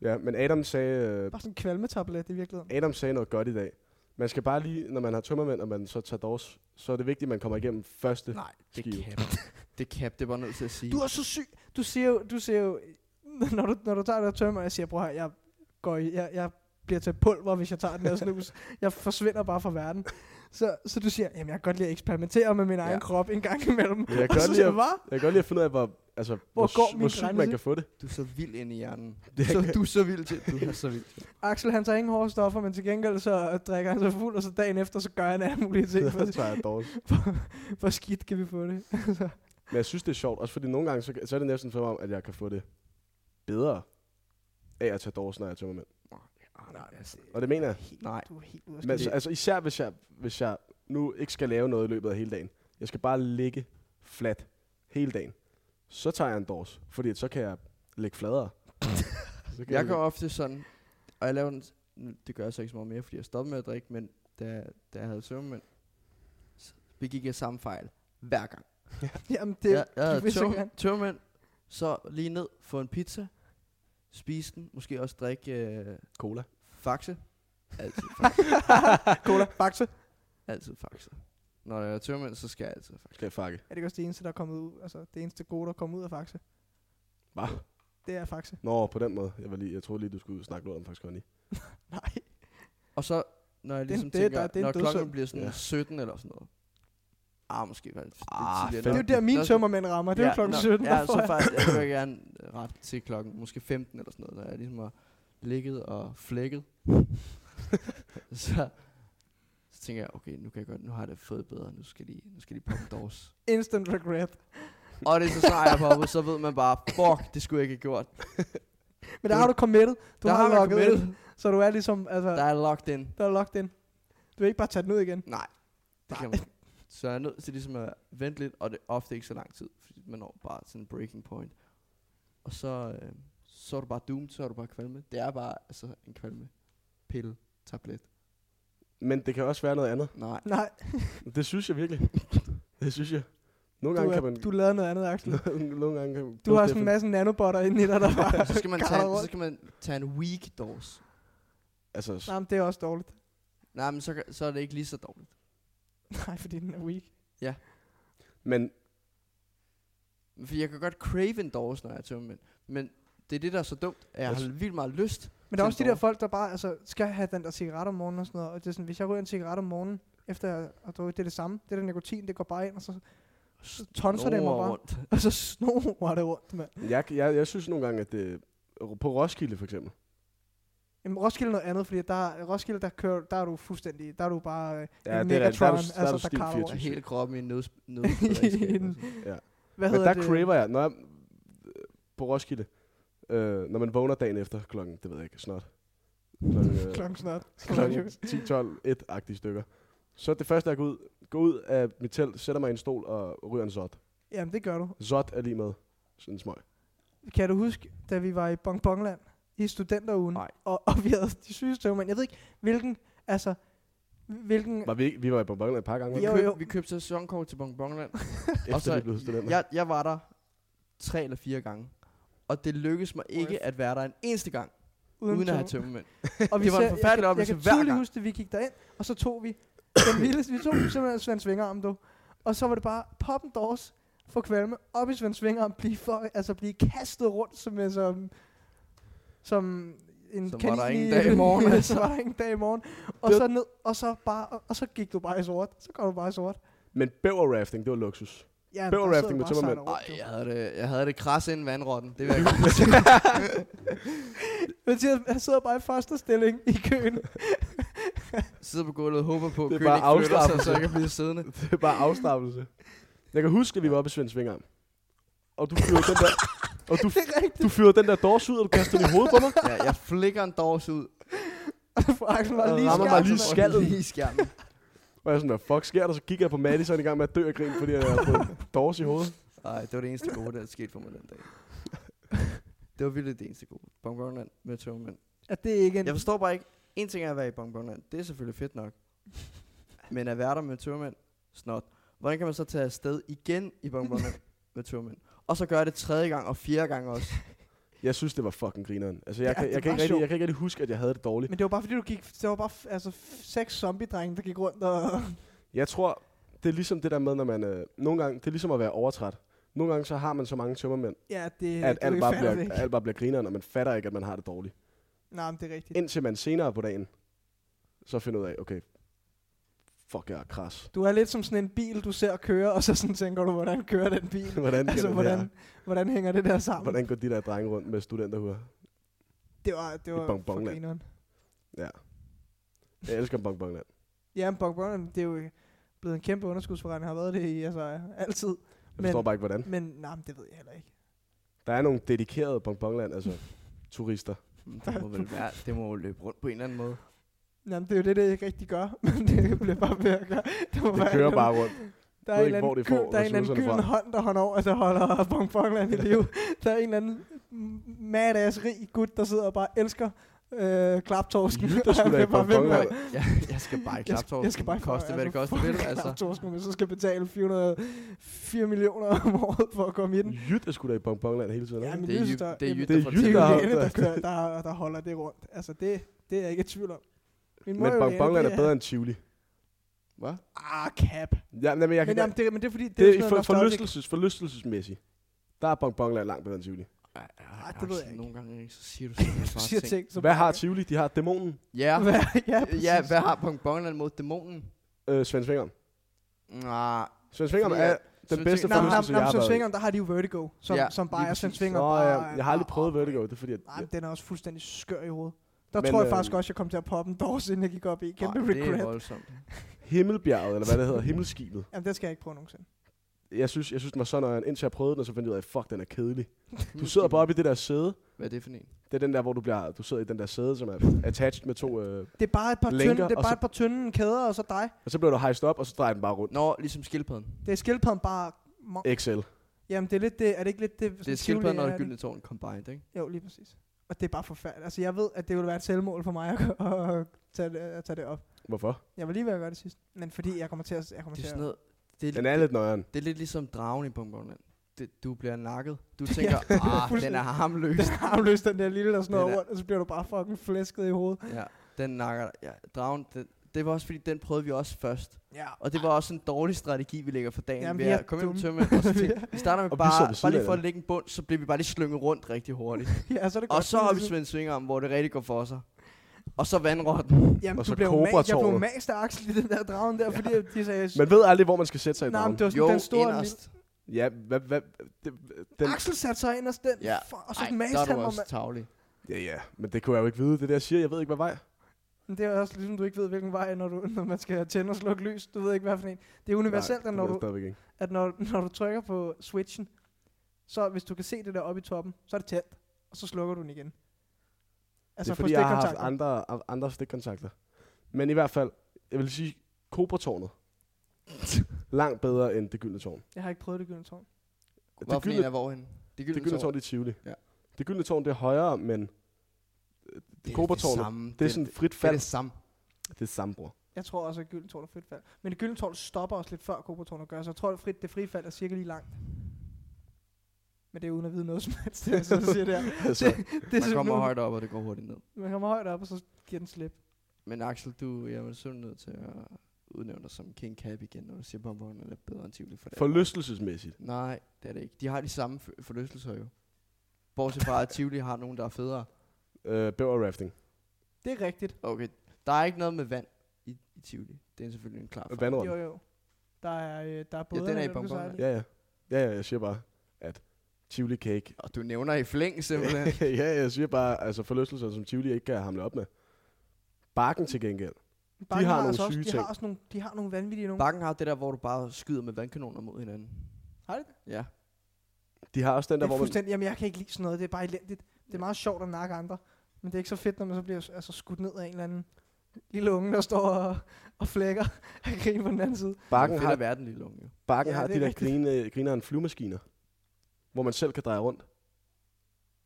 S2: Ja, men Adam sagde, øh,
S3: Bare sådan en kvalmetablet i virkeligheden.
S2: Adam sagde noget godt i dag. Man skal bare lige, når man har tømmermænd, og man så tager dårs, så er det vigtigt, at man kommer igennem første
S3: Nej.
S1: Det
S2: skive.
S1: cap. det cap, det var nødt til at sige.
S3: Du er så syg. Du siger jo, du siger jo når, du, når du tager det her tømmer, jeg siger, bror her, jeg, går i, jeg, jeg bliver til pulver, hvis jeg tager den her snus. jeg forsvinder bare fra verden. Så, så du siger, jamen jeg kan godt lide at eksperimentere med min egen
S2: Ja.
S3: krop en gang imellem.
S2: kan
S3: Og
S2: godt
S3: så
S2: lide
S3: siger
S2: at-
S3: jeg, hvad?
S2: Jeg kan godt lide at finde ud af, hvor, altså, hvor,
S3: går
S2: hvor,
S3: min
S2: hvor sygt man
S3: grænse?
S2: kan få det.
S1: Du er så vild inde i hjernen.
S2: Det
S1: så,
S2: kan-
S1: du er så vild til. Du er så vild til.
S3: Axel han tager ingen hårde stoffer, men til gengæld så drikker han sig fuld, og så dagen efter, så gør han alle mulige ting. For,
S2: Så tager jeg dårs.
S3: for skidt kan vi få det. Altså,
S2: Men jeg synes, det er sjovt, også fordi nogle gange, så, så er det næsten som om, at jeg kan få det bedre af at tage dårs, når jeg er tømmermænd.
S1: Nej, altså,
S2: Og det mener jeg.
S1: nej.
S3: du er helt ude af
S2: Men altså, altså især hvis jeg, hvis jeg nu ikke skal lave noget i løbet af hele dagen. Jeg skal bare ligge flat hele dagen. Så tager jeg en dårs, fordi så kan jeg ligge fladere. så kan
S1: Jeg går ofte sådan, og jeg laver den, nu- det gør jeg så ikke så meget mere, fordi jeg stoppede med at drikke, men da, da jeg havde søvnmænd, så begik jeg samme fejl hver gang.
S3: Jamen det
S1: Det, jeg,
S3: er
S1: jeg havde
S3: vil så
S1: tøm,
S3: gerne.
S1: tømmermænd, så lige ned, få en pizza, spise den, måske også drikke øh,
S2: cola.
S1: faxe. Altid,
S3: Cola, Faxe.
S1: altid faxe. Når jeg er tømmermænd, så skal jeg altid faxe.
S2: Skal jeg fakke.
S3: Er det ikke også det eneste, der er kommet ud? Altså det eneste gode, der er kommet ud af Faxe?
S2: Hva?
S3: Det er Faxe.
S2: Nå, på den måde. Jeg, var lige, jeg troede lige, du skulle snakke noget om faktisk Conny.
S3: Nej.
S1: Og så, når jeg
S3: Det er en-
S1: ligesom
S3: det er-
S1: tænker,
S3: der- det er en
S1: når
S3: dødssynd.
S1: klokken bliver sådan
S2: Ja.
S1: ja. 17 eller sådan noget. Ah, måske var det lidt
S2: Ah,
S1: tidligere.
S3: Det er jo
S1: Nå,
S3: der, mine
S1: nå,
S3: tømmermænd rammer. Det er jo klokken
S1: nå,
S3: 17.
S1: Ja,
S3: derfor
S1: så
S3: er-
S1: faktisk, jeg vil gerne ret til klokken, måske 15 eller sådan noget, når jeg ligesom har ligget og flækket. så, så tænker jeg, okay, nu kan jeg godt, nu har jeg det fået bedre, nu skal de, nu skal de poppe dårs.
S3: Instant regret.
S1: og det er så snart jeg har poppet, så ved man bare, fuck, det skulle jeg ikke have gjort.
S3: Men der har du committed. Du
S1: der
S3: har,
S1: man
S3: logget
S1: committed.
S3: ind. Så du er ligesom, altså,
S1: Der
S3: der,
S1: er locked in.
S3: der er locked in. Du vil ikke bare tage den ud igen.
S1: Nej, det kan man. ikke. Så jeg er nødt til ligesom at vente lidt, og det er ofte ikke så lang tid, fordi man når bare sådan en breaking point. Og så, øh, så er du bare doomed, så er du bare kvalme. Det er bare altså, en kvalme. Pille, tablet.
S2: Men det kan også være noget andet.
S1: Nej,
S3: Nej,
S2: Det synes jeg virkelig. det synes jeg. Nogle
S3: du,
S2: gange
S3: er,
S2: kan man...
S3: du lavede noget andet, Axel.
S2: nogle gange kan man...
S3: Du har sådan en masse nanobotter inde i dig, der bare
S1: så skal man
S3: galler
S1: tage, en, så
S3: rundt.
S1: skal man tage en weak dose.
S2: Altså,
S3: Nej, men det er også dårligt.
S1: Nej, men så, kan- så er det ikke lige så dårligt.
S3: Nej, fordi den er weak.
S2: men
S1: For jeg kan godt crave en dose, når jeg er tømmermænd. Men det er det, der er så dumt, at jeg
S2: Jeg
S1: har vildt meget lyst.
S3: Men der er også de
S1: Tænk over.
S3: der folk, der bare altså, skal have den der cigaret om morgenen og sådan noget. Og det er sådan, hvis jeg ryger en cigaret om morgenen, efter jeg har drukket, det er det samme. Det der nikotin, det går bare ind, og så, så tonser det mig
S1: Snurrer
S3: bare.
S1: rundt.
S3: Og så snor det rundt, mand.
S2: jeg, jeg, jeg synes nogle gange, at det... På Roskilde for eksempel.
S3: Jamen, Roskilde er noget andet, fordi der, Roskilde, der, kører, der er du fuldstændig, der er du bare øh,
S2: Ja,
S3: en Altså,
S2: det er rigtigt. Der er du-
S3: Megatron,
S2: der er du stiv
S3: kaller rundt.
S1: Og
S2: 24.
S1: hele kroppen i en nøds,
S3: en-
S1: nøds
S3: Hvad
S2: Men
S3: hedder
S2: der
S3: det?
S2: det? craver jeg, når jeg, på Roskilde, øh, når man vågner dagen efter klokken, det ved jeg ikke, snart. Klokken, øh,
S3: Klokken snart.
S2: klokken 10, 12, 1 agtige stykker. Så det første, jeg går ud, går ud af mit telt, sætter mig i en stol og ryger en zot.
S3: Jamen, det gør du.
S2: Zot er lige med sådan en smøg.
S3: Kan du huske, da vi var i Bongbongland i studenterugen,
S1: Nej.
S3: og, og vi havde de sygeste tømmermænd. Jeg ved ikke, hvilken, altså, hvilken...
S2: Var vi, ikke, vi var i Bonbonland et par gange, var vi
S1: Vi,
S2: ikke?
S3: Jo,
S1: køb,
S3: jo.
S1: vi købte sæsonkort til Bongbongland. og
S2: efter
S1: så-
S2: vi blev studenter.
S1: jeg, jeg var der tre eller fire gange. Og det lykkedes mig ikke at være der en eneste gang, uden, uden at have
S3: tømmer.
S1: tømmermænd.
S3: Og
S1: Det var en
S3: jeg
S1: forfærdelig
S3: kan-
S1: oplevelse
S3: Jeg
S1: hver
S3: kan tydeligt
S1: gang.
S3: huske, at vi gik derind, og så tog vi den vildeste, vi tog simpelthen Svend Svingarm, du. Og så var det bare poppen dårs for kvalme op i Svend Svingarm, blive, for, altså blive kastet rundt som, som, som en
S1: Som var
S3: kanin
S1: der ingen
S3: i-
S1: dag i morgen,
S3: Ja,
S1: altså.
S3: så var der ingen dag i morgen. Og
S2: Det-
S3: så ned, og så, bare, og, og så gik du bare i sort. Så går du bare i sort.
S2: Men bæver rafting, det var luksus.
S3: Ja, der
S2: Bøvl
S3: sidder
S2: rafting med
S3: du bare og
S2: tømmermænd.
S3: sejler
S1: Ej,
S3: rundt, du.
S1: jeg havde det, jeg havde det kras inden vandrotten. Det vil jeg
S3: Mathias, han sidder bare i første stilling i køen.
S1: sidde på gulvet og håber på, at
S2: Det er
S1: køen
S2: bare
S1: ikke flytter sig,
S2: afslappelse.
S1: så jeg kan blive siddende.
S2: Det er bare afstraffelse. Jeg kan huske, at vi var oppe i Svend Svingarm. Og du fyrede den der, og du,
S3: Det er rigtigt.
S2: du fyrede den der dårs ud, og du kastede den i hovedet på mig.
S1: Ja, jeg flikker en dårs ud.
S3: For Axel var
S2: Og
S3: lige
S2: rammer mig
S3: skarpt,
S2: lige skallen.
S3: mand.
S1: Øh, Lige i skærmen.
S2: Og jeg er sådan, hvad fuck sker der? Så kigger jeg på Maddie, så er han i gang med at dø af grin, fordi jeg har fået en dårs i hovedet.
S1: Ej, det var det eneste gode, der skete for mig den dag. Det var virkelig det eneste gode. Bongbongland med tømmermænd. At det ikke en... Jeg forstår bare ikke. En ting er at være i Bongbongland. Det er selvfølgelig fedt nok. Men at være der med tømmermænd? Snot. Hvordan kan man så tage afsted igen i Bongbongland med tømmermænd? Og så gøre det tredje gang og fjerde gang også.
S2: Jeg synes, det var fucking grineren. Altså, jeg,
S3: Ja,
S2: ja, kan,
S3: det
S2: jeg, kan
S3: var
S2: ikke rigtig,
S3: sjovt.
S2: jeg kan ikke rigtig huske, at jeg havde det dårligt.
S3: Men det var bare fordi, du gik... Det var bare f- altså, f- seks zombie-drenge, der gik rundt og...
S2: Jeg tror, det er ligesom det der med, når man... Øh, nogle gange, det er ligesom at være overtræt. Nogle gange så har man så mange tømmermænd,
S3: ja, det...
S2: at
S3: du
S2: alt
S3: ikke
S2: bare,
S3: fatter det
S2: bliver,
S3: ikke.
S2: alt bare bliver grineren, og man fatter ikke, at man har det dårligt.
S3: Nej, men det er rigtigt.
S2: Indtil man senere på dagen, så finder ud af, okay, fuck, jeg er kras.
S3: Du er lidt som sådan en bil, du ser køre, og så sådan tænker du, hvordan kører den bil?
S2: hvordan,
S3: altså,
S2: altså,
S3: hvordan, hvordan hænger det der sammen?
S2: hvordan går de der drenge rundt med studenterhuer?
S3: Det var, det
S2: I
S3: var for
S2: Bonbonland.
S3: grineren.
S2: Ja. Jeg elsker bonbonland.
S3: Ja, men Bongbongland, det er jo blevet en kæmpe underskudsforretning, har været det i altså, altid.
S2: Jeg forstår
S3: Men-
S2: bare ikke, hvordan.
S3: Men nej, men det ved jeg heller ikke.
S2: Der er nogle dedikerede bonbonland, altså turister.
S1: Men Hm, Det må vel være, det må jo løbe rundt på en eller anden måde.
S3: Jamen, det er jo det, det ikke rigtig gør, men det bliver bare ved at gøre. Det, må
S2: Det
S3: være
S2: kører
S3: en-
S2: bare rundt.
S3: Der
S2: Jeg
S3: er,
S2: ved
S3: en
S2: ikke, hvor
S3: eller anden
S2: de får
S3: gyld- der er en eller anden
S2: ressourcerne
S3: gylden
S2: fra.
S3: hånd, der hånder over, der holder Bongbongland i live. Der er en eller anden madass rig gut, der sidder og bare elsker øh, klaptorsken.
S2: Lytter sgu
S3: Han
S2: da i
S3: bliver bare ved med at-
S2: Bonbonland.
S1: Jeg, jeg skal bare i
S3: Jeg skal,
S1: klaptår.
S3: jeg skal bare
S1: koste, hvad det koster.
S3: fucking
S1: Vel, altså.
S3: Klaptorsken, hvis jeg skal betale 404 millioner om året for at komme i den.
S2: Jyt er sgu da i bonbonland hele tiden.
S3: Ja,
S2: ikke?
S3: men
S1: Det er
S3: det,
S1: Jytte,
S3: der,
S1: det er
S3: jamen,
S2: det
S1: Jytte,
S2: er
S1: der
S2: Jytte,
S1: fortæller.
S3: det
S2: der
S3: er
S2: har-
S3: jo Jytte, der, kører, der, der holder det rundt. Altså, det, det er jeg ikke i tvivl om. Min
S2: Men
S3: mor jo
S2: bonbonland
S3: lærer,
S2: er bedre end Tivoli. Hvad?
S3: Ah, cap.
S2: Ja, men jeg kan
S3: Men,
S2: ikke-
S3: jamen, det, men det er fordi, det,
S2: det,
S3: er jo
S2: er
S3: sådan
S2: for,
S3: noget nostalgisk.
S2: forlystelses, forlystelsesmæssigt. Der er bonbonland langt bedre end Tivoli.
S1: Ej, ej,
S3: Ah, det
S1: Axel,
S3: ved jeg ikke.
S1: Nogle gange ikke, så siger du sådan nogle
S3: Du
S1: smarte
S3: siger ting, som
S2: Hvad har Tivoli? De har dæmonen,
S1: Ja,
S3: Hvad, ja,
S1: ja, hvad har Bongbongland mod dæmonen?
S2: øh, Svend Svingeren.
S1: Nej,
S2: Svend Svingeren
S1: Fordi jeg-
S2: er den
S1: Svend
S2: bedste
S1: Svingeren-
S3: Nej,
S1: Nå,
S3: nej,
S2: forlystelse, jeg
S3: nej,
S2: har
S3: som
S2: været i.
S3: Svingeren, der har de jo Vertigo, som,
S1: Ja,
S3: ja, som bare
S1: lige
S3: er Svend
S1: præcis.
S3: Svingeren.
S2: Nå,
S3: bare,
S2: jeg, jeg har aldrig
S3: bare-
S2: prøvet Vertigo, det er fordi, at
S3: Nej, men den er også fuldstændig skør i hovedet. Der
S2: Men,
S3: tror jeg
S2: øhm,
S3: faktisk også, jeg kom til at poppe en dårs, inden jeg gik op i. Kæmpe
S1: nej, det er
S3: regret.
S1: voldsomt.
S2: Himmelbjerget, eller hvad det hedder, Himmelskibet.
S3: Jamen, det skal jeg ikke prøve nogensinde.
S2: Jeg synes, jeg synes den var så nøjeren, indtil jeg prøvede den, og så fandt jeg ud af, fuck, den er kedelig. Du sidder bare oppe i det der sæde.
S1: Hvad er det for en?
S2: Det er den der, hvor du, bliver, du sidder i den der sæde, som er attached med to... Øh,
S3: Det er bare et par,
S2: Lænker,
S3: tynde, det er
S2: og
S3: bare
S2: så-
S3: et par tynde kæder, og så dig.
S2: og så bliver du hejst op, og så drejer den bare rundt.
S1: Nå, ligesom skildpadden.
S3: Det er skildpadden bare... Mon-
S2: XL.
S3: Jamen, det er lidt det... Er det ikke lidt det... sådan
S1: Det er
S3: Tivoli,
S1: skildpadden og
S3: er
S1: det
S3: det?
S1: gyldne tårn combined, ikke?
S3: Jo, lige præcis. Og det er bare forfærdeligt. Altså, jeg ved, at det ville være et selvmål for mig at, at, tage, det, at tage det op.
S2: Hvorfor?
S3: Jeg var lige ved at gøre det sidst. Men fordi jeg kommer til at... Jeg kommer
S1: Det er
S3: til
S1: sådan
S3: at
S1: noget, det er,
S2: Den er
S1: det,
S2: lidt nøjeren.
S1: det er lidt ligesom dragen i Bongbongland. Det, du bliver nakket. Du tænker, ah, den er
S3: fuldstændig.
S1: harmløs.
S3: den harmløs, den der lille, der sådan
S1: Den
S3: noget
S1: er-
S3: rundt, og så bliver du bare fucking flæsket i hovedet.
S1: Ja, den nakker ja, dragen. Den, det var også fordi, den prøvede vi også først.
S3: Ja.
S1: Og det var også en dårlig strategi, vi lægger for dagen.
S3: Ah.
S1: Jamen,
S3: Jamen,
S1: vi
S3: vi
S1: er
S3: er
S1: kommet ind med
S3: dumme.
S1: tømmermænd, og så tænkte, vi starter med
S2: Og vi sidder ved
S1: bare,
S2: siden
S1: bare lige
S2: af
S1: for at
S2: dem.
S1: lægge en bund, så bliver vi bare lige slynget rundt rigtig hurtigt.
S3: ja, så er det godt.
S1: og så
S3: sådan
S1: har vi
S3: lidt-
S1: Svend Svingerm, hvor det rigtig går for sig. Og så vandrotten.
S3: Jamen,
S2: og
S3: du
S2: så
S3: blev jo ma- jeg blev
S2: Cobra-tårnet.
S3: mast af Axel i den der dragen der, fordi de sagde...
S2: Man ved aldrig, hvor man skal sætte sig i
S3: Nej,
S2: dragen.
S3: men det var sådan
S1: Jo,
S3: den store...
S1: inderst.
S2: Ja, hvad, hvad, det, den,
S3: Den... Axel satte sig ind og den,
S1: Ja.
S3: ja. for, og så
S1: Ej, der
S3: maste
S1: er
S3: han
S1: du
S3: mig.
S1: også tavlig.
S2: ja, ja, men det kunne jeg jo ikke vide. Det der jeg siger, jeg ved ikke, hvad vej.
S3: Men det er også ligesom, du ikke ved, hvilken vej, når, du, når man skal tænde og slukke lys. Du ved ikke, hvad for en. Det er universelt,
S2: Nej,
S3: at,
S2: det
S3: når
S2: ved jeg
S3: du,
S2: stadigvæk ikke.
S3: at når, når du trykker på switchen, så hvis du kan se det der oppe i toppen, så er det tændt, og så slukker du den igen.
S2: Altså,
S3: Altså
S2: det er
S3: på
S2: fordi, jeg har haft
S3: stikkontakten.
S2: andre, andre stikkontakter. Men i hvert fald, jeg vil sige, Cobra-tårnet. Langt bedre end det gyldne tårn.
S3: Jeg har ikke prøvet det gyldne tårn.
S1: Hvorfor
S2: gyldne-
S1: en er hvorhen? Det
S2: Det gyldne tårn, det er Tivoli.
S1: Ja.
S2: Det gyldne tårn, det er højere, men det, det,
S1: det,
S2: Cobra-tårnet,
S1: samme.
S2: det er sådan
S1: det,
S2: frit
S1: det, er
S2: fald.
S1: det samme.
S2: Det er samme, bror.
S3: Jeg tror også, at gyldne tårn er frit fald. Men det gyldne tårn stopper også lidt før Cobra-tårnet gør, så jeg tror, at frit, det frie fald er cirka lige langt. Men det er uden at vide noget som helst, det jeg sidder og siger der.
S2: Altså,
S3: Det er
S1: Man
S3: sådan
S1: kommer
S3: nogle-
S1: højt op, og det går hurtigt ned.
S3: Man kommer højt op, og så giver den slip.
S1: Men Axel, du, jeg er sådan nødt til at udnævne dig som King Cap igen, når du siger, at er bedre end Tivoli. For det er-
S2: forlystelsesmæssigt.
S1: Nej, det er det ikke. De har de samme f- forlystelser jo. Bortset fra, at Tivoli har nogen, der er federe.
S2: Øh, bæver rafting.
S3: Det er rigtigt.
S1: Okay, der er ikke noget med vand i, i Tivoli. Det er selvfølgelig en klar fejl.
S2: Vandrund.
S3: Jo, jo. Der er, øh, der er både...
S1: den er i Bonbon,
S3: bonbon.
S2: Ja, ja. Ja, ja, jeg siger bare, at Tivoli kan ikke...
S1: Og du nævner i flæng simpelthen.
S2: ja, jeg siger bare, altså forlystelser, som Tivoli ikke kan hamle op med. Bakken til gengæld.
S3: Bakken
S2: har
S3: har
S2: nogle
S3: altså også,
S2: syge
S3: de
S2: ting.
S3: Har også nogle, de har nogle vanvittige nogle.
S1: Bakken har det der, hvor du bare skyder med vandkanoner mod hinanden.
S3: Har de det?
S1: Ja.
S2: De har også den
S3: det
S2: der,
S3: er
S2: hvor man...
S3: fuldstændig, jamen jeg kan ikke lide sådan noget, det er bare elendigt. Det er meget sjovt at nakke andre, men det er ikke så fedt, når man så bliver altså, skudt ned af en eller anden lille unge, der står og, og flækker og griner på den anden side.
S2: Bakken har,
S1: verden lille unge, jo.
S2: bakken
S3: Ja,
S2: har
S3: det
S2: de
S3: er
S2: der
S3: rigtigt.
S2: grine, grineren flyvemaskiner, hvor man selv kan dreje rundt.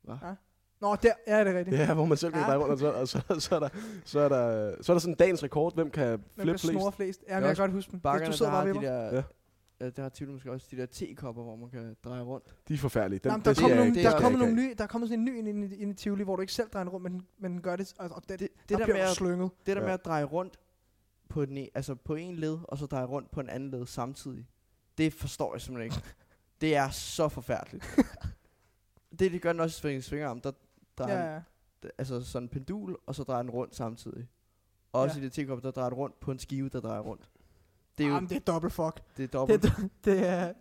S3: Nå, der ja, det er rigtigt.
S2: Ja, hvor man selv kan
S3: Ja.
S2: dreje rundt, og, så, og så, så, er der, så, er der, så er der sådan dagens rekord. Hvem kan
S3: Hvem der
S2: flippe flest?
S3: snurrer flest. Ja, men
S1: er
S3: jeg
S1: også
S3: kan godt huske den. Hvis
S1: Bakkerne,
S3: du
S1: der
S3: sidder bare
S1: har
S3: ved
S1: de
S3: mig.
S1: der...
S2: Ja.
S1: Ja. Der har Tivoli måske også de der tekopper, hvor man kan dreje rundt.
S2: De er forfærdelige. Dem,
S3: Dem, Jamen, der
S2: det
S3: kommer
S2: skal jeg
S3: nogle,
S2: ikke-
S1: det
S3: der
S2: det skal
S3: kommer
S2: jeg
S3: nogle
S2: ikke
S3: nye, der kommer sådan en ny ind, ind, ind i Tivoli, hvor du ikke selv drejer den rundt, men, men gør det, og, og det,
S1: Det, det,
S3: det
S1: det
S3: der
S1: der
S3: bliver
S1: med
S3: med
S1: at,
S3: slynget.
S1: det der
S2: Ja.
S1: med at dreje rundt på, den, e- altså på en led, og så dreje rundt på en anden led samtidig, det forstår jeg simpelthen ikke. Det er så forfærdeligt. det, det gør den også i sving- svingerarm, der drejer
S3: Ja,
S1: ja, ja.
S3: ja.
S1: altså sådan en pendul, og så drejer den rundt samtidig. Og også ja. i det tekopper, der drejer den rundt på en skive, der drejer rundt. Det er jo
S3: Jamen, det er dobbelt fuck.
S1: det er
S3: Det
S1: dobbelt,
S3: er, det er,
S2: have.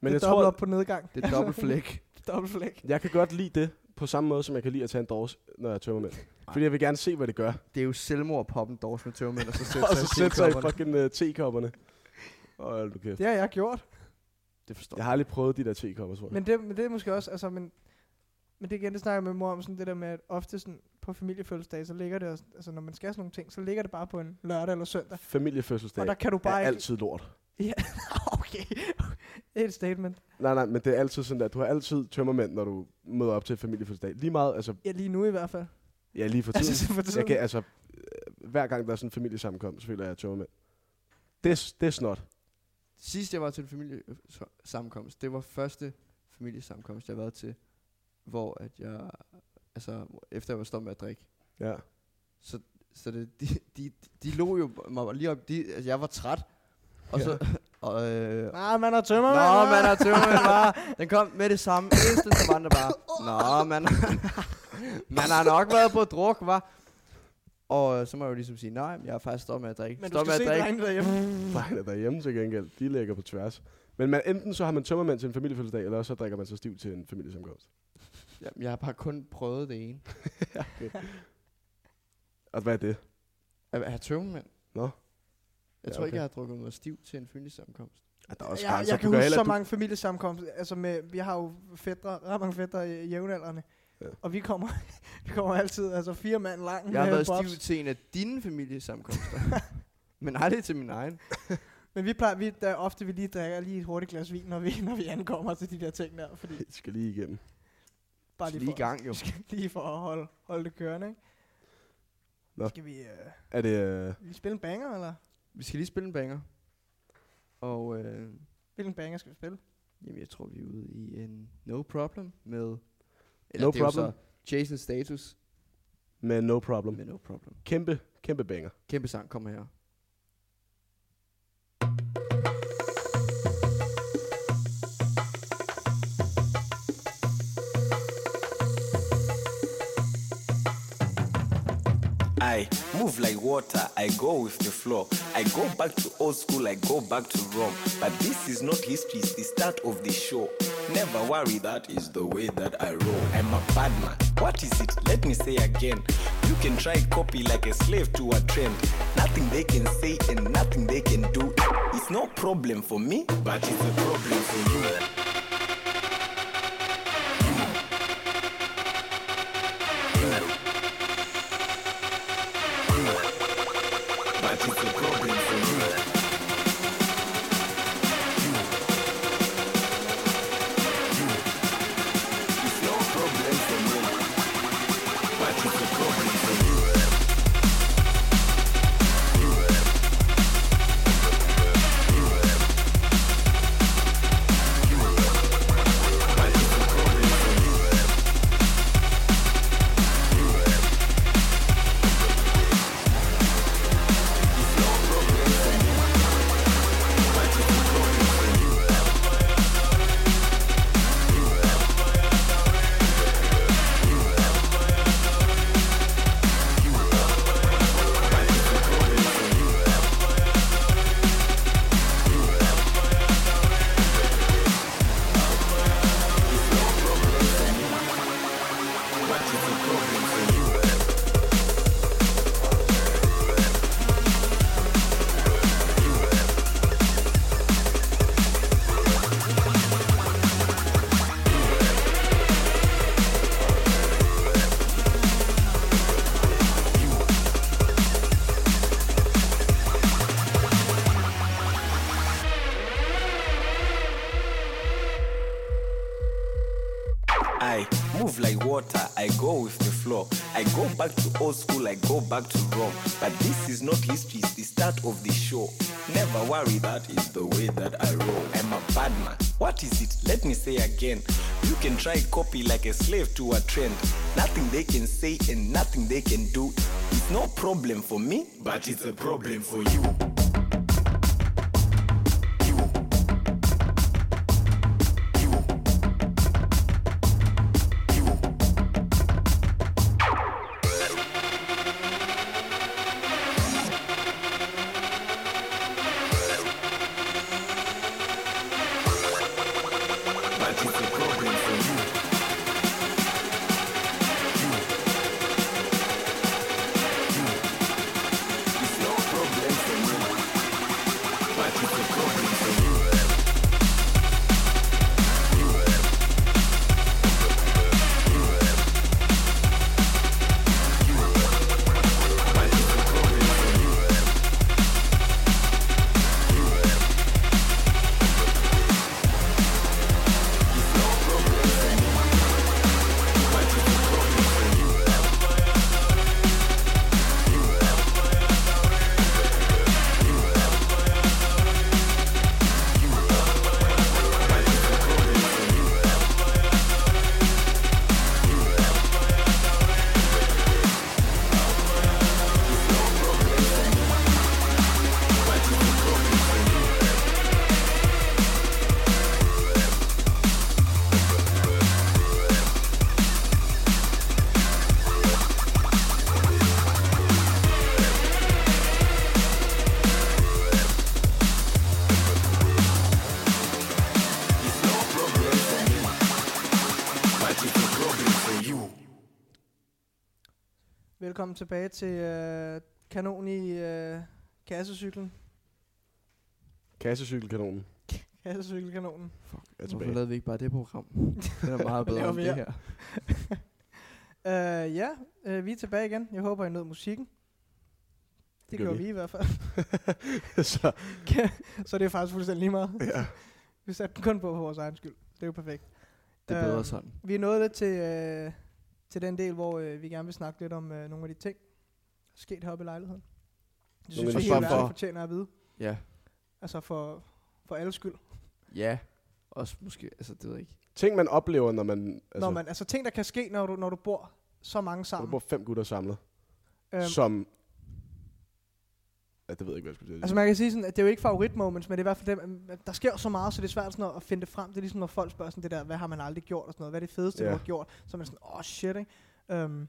S2: Men
S3: det
S2: jeg
S3: er dobbelt
S2: tror,
S3: op på nedgang.
S1: det er dobbelt flæk.
S3: dobbelt flæk.
S2: jeg kan godt lide det på samme måde, som jeg kan lide at tage en dårs, når jeg tømmer mænd. Fordi jeg vil gerne se, hvad det gør.
S1: Det er jo selvmord at poppe en dårs med tøvmænd, og så sætte
S2: Og
S1: sig,
S2: så
S1: i
S2: sætte sig i
S1: tekopperne.
S2: fucking uh, tekopperne. Åh, hold nu kæft.
S3: Det har jeg gjort.
S1: Det forstår
S2: Jeg har aldrig prøvet de der tekopper, tror jeg.
S3: Men det, men det er måske også, altså, men, men det igen, det snakker jeg med mor om, sådan det der med, at ofte sådan, på familiefødselsdage, så ligger det, også- altså når man skal sådan nogle ting, så ligger det bare på en lørdag eller søndag.
S2: Familiefødselsdag
S3: Og der kan du
S2: er
S3: bare ikke...
S2: altid lort.
S3: okay, det er et statement.
S2: Nej, nej, men det er altid sådan, at du har altid tømmermænd, når du møder op til familiefødselsdag. Lige meget, altså,
S3: Ja, lige nu i hvert fald.
S2: ja, lige for tiden.
S3: Altså, for
S2: jeg
S3: tiden.
S2: kan, altså, øh, hver gang der er sådan en familiesammenkomst, så føler jeg, at jeg er tømmermænd. Det, er s- det er snot.
S1: Sidst jeg var til en familiesammenkomst, det var første familiesammenkomst, jeg har været til, hvor at jeg, altså efter jeg var stoppet med at drikke,
S2: Ja.
S1: så, så det, de, de, de lå jo mig lige op, de, altså jeg var træt, og så, og, øh,
S3: Nej, man har tømmer,
S1: Nå, man har tømmermænd bare. Den kom med det samme. Eneste som andre bare. Nå, man, man har nok været på druk, var. Og øh, så må jeg jo ligesom sige, nej, jeg er faktisk stoppet med at drikke.
S3: Men du
S1: Stoppet
S3: skal se
S1: med at drikke.
S3: drengene derhjemme.
S2: Drengene derhjemme til gengæld, de ligger på tværs. Men man, enten så har man tømmermænd til en familiefødselsdag, eller også så drikker man sig stiv til en familiesammenkomst.
S1: Jamen, jeg har bare kun prøvet det ene.
S2: Og hvad er det?
S1: At have tømmermænd.
S2: Nå.
S1: Jeg
S2: Ja,
S1: tror ikke,
S2: okay.
S1: jeg har drukket noget stiv til en fyldesamkomst.
S2: Ja, der er også
S3: Jeg,
S2: grænser.
S3: jeg
S2: Du
S3: kan huske
S2: heller-
S3: så
S2: du-
S3: mange familiesammenkomster, altså med, vi har jo fædre, ret mange fædre i i jævnaldrende.
S2: Ja.
S3: Ja. Og vi kommer, vi kommer altid, altså fire mand lang.
S1: Jeg har
S3: med
S1: været
S3: bobs.
S1: stiv til en af dine familiesamkomster. Men aldrig til min egen.
S3: Men vi plejer, vi, der er ofte, vi lige drikker lige et hurtigt glas vin, når vi, når vi ankommer til de der ting der. Fordi
S2: Jeg skal lige igennem.
S3: bare
S1: Så
S3: lige,
S1: lige i
S3: for,
S1: gang, jo.
S3: lige for at holde, holde det kørende, ikke?
S2: Nå.
S3: Skal vi øh,
S2: Er det... Øh,
S3: lige spille en banger, eller?
S1: Vi skal lige spille en banger. Og øh,
S3: Hvilken banger skal vi spille?
S1: Jamen, jeg tror, vi er ude i en no problem med...
S2: No
S1: det er jo
S2: Problem.
S1: Så Jason Status
S2: med no problem.
S1: med no problem.
S2: Kæmpe, kæmpe banger.
S1: Kæmpe sang, kom her.
S7: I move like water, I go with the flow. I go back to old school, I go back to Rome. But this is not history, it's the start of the show. Never worry, that is the way that I roll. I'm a bad man. What is it? Let me say again. You can try copy like a slave to a trend. Nothing they can say and nothing they can do. It's no problem for me, but it's a problem for you. But it's a problem for you. move like water, I go with the flow. I go back to old school, I go back to Rome. But this is not history, it's the start of the show. Never worry, that is the way that I roll. I'm a bad man. What is it? Let me say again. You can try copy like a slave to a trend. Nothing they can say and nothing they can do. It's no problem for me, but it's a problem for you. But it's a problem for you. It's no problem for me, but it's a problem for you. But it's a problem for you. It's no problem for me, but it's a problem for you. It's no problem for me, but it's a problem for you.
S3: Velkommen tilbage til øh, kanon i øh, kassecyklen.
S2: Kassecykelkanonen
S3: Kassecykelkanonen.
S2: er
S1: Hvorfor
S2: tilbage.
S1: lavede vi ikke bare det program? Det er meget bedre
S3: Laver
S1: end
S3: vi
S1: det
S3: her.
S1: her.
S3: Øh, ja, øh, vi er tilbage igen. Jeg håber, I nød musikken. Det, det
S2: gør
S3: gjorde
S2: vi.
S3: vi. i hvert fald.
S2: så,
S3: så det er faktisk fuldstændig lige meget.
S2: ja.
S3: Vi satte den kun på for vores egen skyld. Det er jo perfekt.
S1: Det er bedre
S3: Øhm,
S1: sådan.
S3: Vi er nået lidt til, øh, til den del, hvor øh, vi gerne vil snakke lidt om øh, nogle af de ting, der er sket heroppe i lejligheden. Det
S2: Nogle
S3: synes
S2: af
S3: vi
S2: de
S3: hele
S2: ting,
S1: for-
S3: verden fortjener at vide.
S1: Ja.
S3: Altså for, for alles skyld.
S1: Ja. Også måske, altså det ved jeg ikke.
S2: Ting, man oplever, når man,
S3: Altså,
S2: altså,
S3: når man, altså ting, der kan ske, når du, når du bor så mange
S2: når
S3: sammen.
S2: man bor fem gutter samlet,
S3: Øhm,
S2: som... Ja, det ved jeg ikke, hvad jeg skulle til at sige.
S3: Altså man kan sige sådan, at det er jo ikke favoritmoments, men det er i hvert fald dem, mm, at der sker jo så meget, så det er svært sådan at- at finde det frem. Det er ligesom, når folk spørger sådan det der, hvad har man aldrig gjort og sådan noget, hvad er det fedeste,
S2: Ja.
S3: du har gjort? Så er man sådan, åh oh, shit, ikke? Um,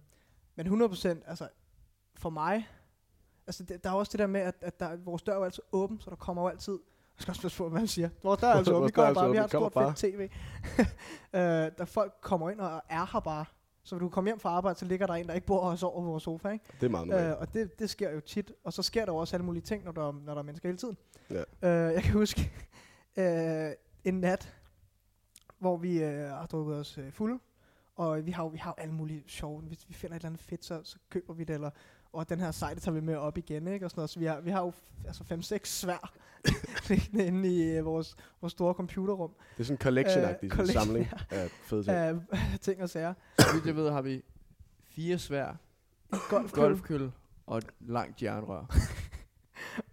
S3: men 100%, altså for mig, altså det, der er også det der med, at, at der, vores dør er jo altid åben, så der kommer jo altid, jeg skal også passe på, hvad man siger, vores dør er altså åben,
S2: Vores
S3: vi
S2: dør er
S3: kommer
S2: altid åben,
S3: bare, vi har et
S2: vi kommer
S3: stort fedt tv. uh, der folk kommer ind og er her bare, så når du kommer hjem fra arbejde, så ligger der en, der ikke bor og sover på vores sofa, ikke?
S2: Det er meget normalt.
S3: Øh, og det, det sker jo tit. Og så sker der jo også alle mulige ting, når der, når der er mennesker hele tiden.
S2: Ja.
S3: Øh, jeg kan huske øh, en nat, hvor vi øh, har drukket os øh, fulde. Og vi har jo vi har jo alle mulige sjove. Hvis vi finder et eller andet fedt, så, så køber vi det. Eller, og den her sej, det tager vi med op igen. Ikke? Og sådan noget. Så vi har, vi har jo f- altså 5-6 svær liggende inde i øh, vores, vores store computerrum.
S2: det er sådan en collection-agtig sådan en
S3: øh, collection,
S2: samling af fede ting.
S3: Af ting og sager.
S1: Så vidt jeg ved, har vi fire svær,
S3: Golfkølle.
S1: golfkøl og et langt jernrør.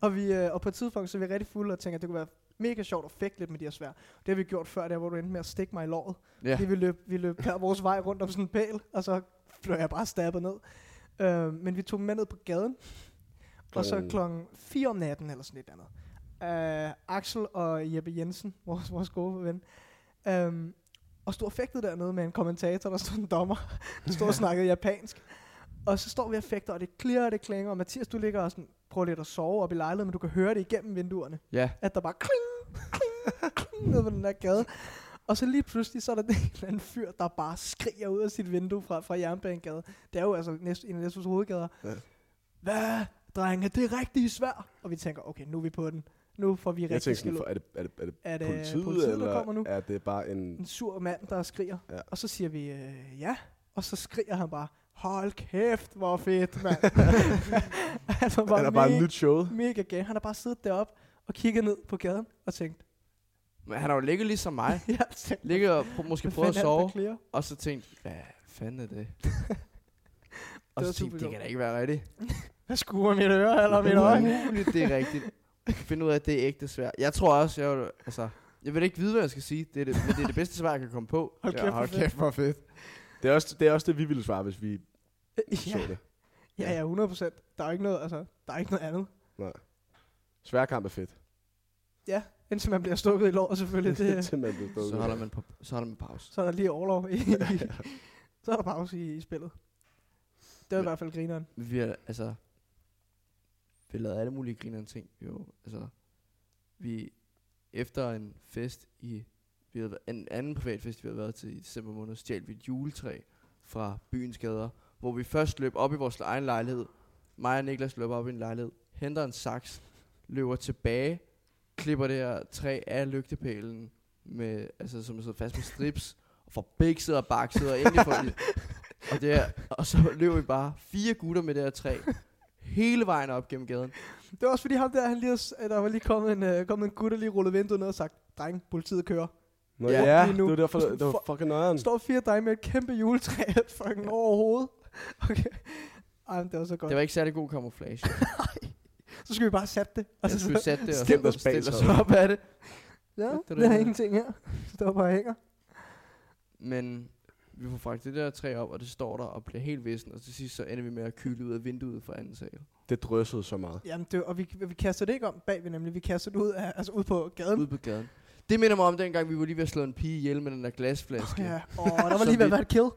S3: Og, vi, øh, og på et tidspunkt, så er vi rigtig fulde og tænker, at det kunne være mega sjovt at fægte lidt med de her svær. Det har vi gjort før, der hvor du endte med at stikke mig i låret.
S1: Ja.
S3: Ja. Det, vi løb, vi løb hver vores vej rundt om sådan en pæl, og så blev jeg bare stabbet ned. Øh, men vi tog dem med ned på gaden, og så
S2: Klokken-
S3: klokken 4 om natten, eller sådan et eller andet. Øh, Axel og Jeppe Jensen, vores, vores gode ven, øh, og stod og fægtede dernede med en kommentator, der stod en dommer, der stod og snakkede japansk. Og så står vi og fægter, og det klirrer, og det klinger, og Mathias, du ligger og sådan, prøver lidt at sove op i lejligheden, men du kan høre det igennem vinduerne
S1: Ja,
S3: at der bare kling, kling, kling ned på den der gade. Og så lige pludselig, så er der den eller anden fyr, der bare skriger ud af sit vindue fra, fra Jernbanegade. Det er jo altså næst, en af Næstos hovedgader.
S2: Ja.
S3: Hvad, drenge, det er rigtig svært. Og vi tænker, okay, nu er vi på den. Nu får vi
S2: Jeg
S3: rigtig
S2: tænkte
S3: skæld
S2: sådan,
S3: ud.
S2: for, er det, er det, er det
S3: Er det
S2: politiet,
S3: politiet, politiet
S2: eller
S3: der kommer nu?
S2: er det bare en...
S3: En sur mand, der skriger.
S2: Ja.
S3: Og så siger vi, øh, ja. Og så skriger han bare, hold kæft, hvor fedt, mand. han var
S2: Han er bare en nyt show.
S3: mega gay. Han har bare siddet deroppe og kigget ned på gaden og tænkt,
S1: Men han har jo ligget ligesom mig.
S3: Jeg tænkte,
S1: Ligget og pr- måske
S3: hvad
S1: prøvet at
S3: fanden er det, der
S1: sove.
S3: clear?
S1: Og så tænkt, hvad fanden er det? og så
S3: var
S1: tænkte, det
S3: supergodt.
S1: kan da ikke være rigtigt.
S3: Hvad skuer mit øre eller mit øje?
S1: Umuligt, det er rigtigt. Finde ud af, at det er ægte svært. Jeg tror også, jeg, vil- altså, jeg vil ikke vide, hvad jeg skal sige. Det er det, men det, er det bedste svar, jeg kan komme på.
S3: Hold
S1: Ja,
S3: kæft, hvor fedt.
S1: hvor fedt.
S2: Det er, også, det er også det, vi ville svare, hvis vi så
S3: Øh, Ja,
S2: det.
S3: ja, ja, 100 procent. Der er jo ikke noget, altså, der er ikke noget andet.
S2: Sværkamp er fedt.
S3: Ja, indtil man bliver stukket i låret selvfølgelig. Det,
S2: Simpelthen blevet stukket.
S1: Så holder man, på, så holder man pause.
S3: så er der lige overlov. I, i, så er der pause i, i spillet. Det var i hvert fald grineren.
S1: Vi har, altså, vi lavede alle mulige grinerende ting. Jo, altså, vi, efter en fest i, vi havde, været- en anden privat fest, vi havde været til i december måned, stjal vi et juletræ fra byens gader, hvor vi først løb op i vores egen lejlighed. Mig og Niklas løber op i en lejlighed, henter en saks, løber tilbage, klipper det her træ af lygtepælen, med, altså, som er sidder fast med strips, og får bikset og bakset, og endelig får vi- og, det er, og så løber vi bare fire gutter med det her træ, hele vejen op gennem gaden.
S3: Det var også fordi ham der, han lige, har s- der var lige kommet en, øh, kommet en gut, der lige rullede vinduet ned og sagt, dreng, politiet kører.
S2: Nå
S1: Ja,
S2: ja, ja
S3: lige
S2: det
S3: nu.
S2: var derfor, det var fucking
S1: Mm.
S2: nøjeren.
S3: står fire drenge med et kæmpe juletræ fucking over hovedet. Okay. Ej, men det var så godt.
S1: Det var ikke særlig god camouflage.
S3: Så skal vi bare sætte det.
S1: Altså, jeg skulle sætte det og
S2: Stem
S1: stille
S2: dig
S1: os, stille os
S2: bag
S1: op af det.
S3: ja,
S1: det er
S3: der er
S1: det.
S3: ingenting her. Det står bare og hænger.
S1: Men vi får fragtet det der træ op, og det står der og bliver helt vissen. Og til sidst så ender vi med at kyle ud af vinduet fra anden sal.
S2: Det dryssede så meget.
S3: Jamen, det, og vi, vi kaster det ikke om bagved, nemlig. Vi kaster det ud, af, altså ud på gaden.
S1: Ude på gaden. Det minder mig om dengang, vi var lige ved at slå en pige ihjel med den der glasflaske.
S3: Ja. Og der var
S1: Så
S3: lige ved at
S1: vi-
S3: være et kill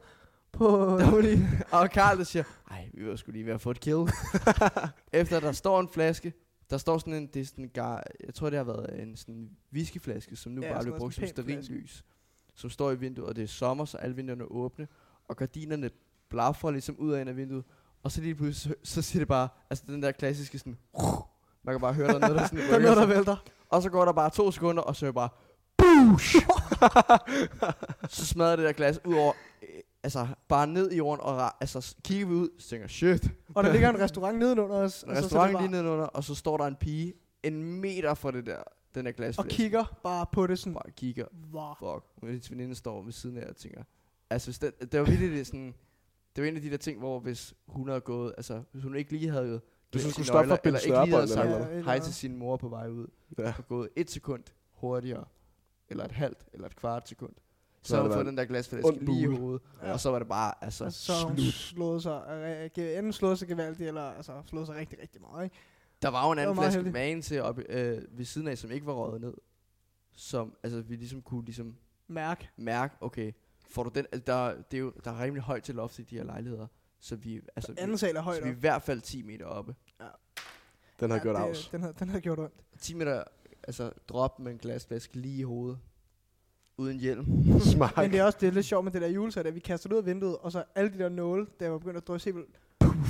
S3: på...
S1: Der var lige, og Karl der siger, nej, vi var sgu lige ved at få et kill. Efter der står en flaske, der står sådan en, det er sådan en gar, jeg tror det har været en sådan whiskyflaske, som nu
S3: Ja,
S1: ja, bare
S3: sådan
S1: bliver
S3: noget
S1: brugt som
S3: sådan en pæn
S1: sterillys, som står i vinduet, og det er sommer, så alle vinduerne er åbne, og gardinerne blaffer ligesom ud af en af vinduet, og så lige pludselig, så, så siger det bare, altså den der klassiske sådan, man kan bare høre, der er noget, der sådan
S3: Der er noget, der
S1: rykker.
S3: vælter.
S1: Og så går der bare to sekunder, og så er det bare, BOOSH! så smadrer det der glas ud over, øh, altså bare ned i jorden, og ra- altså s- kigger vi ud, så tænker jeg, shit.
S3: Og der ligger en restaurant nedenunder os. og
S1: En
S3: så- så er det
S1: restaurant
S3: bare-
S1: lige nedenunder, og så står der en pige en meter fra det der, den der glas.
S3: Og kigger bare på det sådan.
S1: Bare kigger.
S3: Wow.
S1: Fuck. Hun hendes veninde står ved siden af og tænker, altså hvis det, det var virkelig det sådan, det var en af de der ting, hvor hvis hun havde gået, altså hvis hun ikke lige havde
S2: Du synes,
S1: glemt
S2: du
S1: sine
S2: stopper
S1: nøgler,
S2: Bill
S1: eller ikke lige havde
S2: Snørrebånd eller
S1: sagt
S3: noget.
S1: hej til sin mor på vej ud,
S2: Ja.
S1: og gået et sekund hurtigere, eller et halvt, eller et kvart sekund, så
S2: har
S1: havde
S2: der
S1: hun fået
S2: været
S1: den der glasflaske
S2: ond
S1: lige i
S2: bule.
S1: hovedet,
S3: Ja.
S1: ja. og så var det bare, altså,
S3: Og så har hun slået sig, øh, ge- enten slået sig gevaldigt, eller altså, slået sig rigtig, rigtig meget. Ikke?
S1: Der var jo en anden
S3: var meget
S1: flaske
S3: heldigt.
S1: magen til op, øh, ved siden af, som ikke var røget ned. Som, altså, vi ligesom kunne ligesom
S3: Mærk.
S1: mærke, okay, får du den, altså, der, det er jo, der er rimelig højt til loft i de her lejligheder. Så vi, altså, vi,
S3: Anden sal er
S1: så
S3: højt
S1: vi er
S3: op.
S1: i hvert fald 10 meter oppe.
S2: Den har
S3: Ja,
S2: gjort
S3: det-
S2: afs.
S3: Den har, den har gjort ondt.
S1: 10 meter, altså, drop med en glasflaske lige i hovedet. Uden hjelm.
S2: Smart.
S3: Men det er også det er lidt sjovt med det der juletræ, der vi kaster det ud af vinduet, og så alle de der nåle, der var begyndt at drysse helt vildt.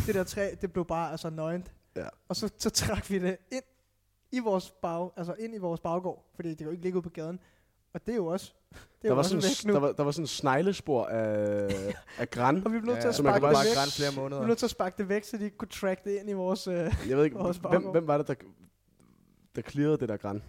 S3: Det der træ, det blev bare altså nøgent.
S2: Ja.
S3: Og så, så trak vi det ind i vores bag, altså ind i vores baggård, fordi det kan jo ikke ligge ude på gaden. Og det er jo også, det er
S2: Der
S3: jo
S2: var,
S3: også
S2: sådan,
S3: væk nu.
S2: der, var, der var sådan en sneglespor af, af græn.
S3: og vi blev nødt til at
S2: så man
S3: sparke
S2: kan
S3: det
S2: bare
S3: væk.
S1: græn flere
S3: Vi blev
S1: måneder.
S3: nødt til at sparke det væk, så de ikke kunne track det ind i vores... Øh,
S2: Jeg ved ikke,
S3: Vores
S2: hvem,
S3: baggård.
S2: hvem var det, der, der clearede det der græn?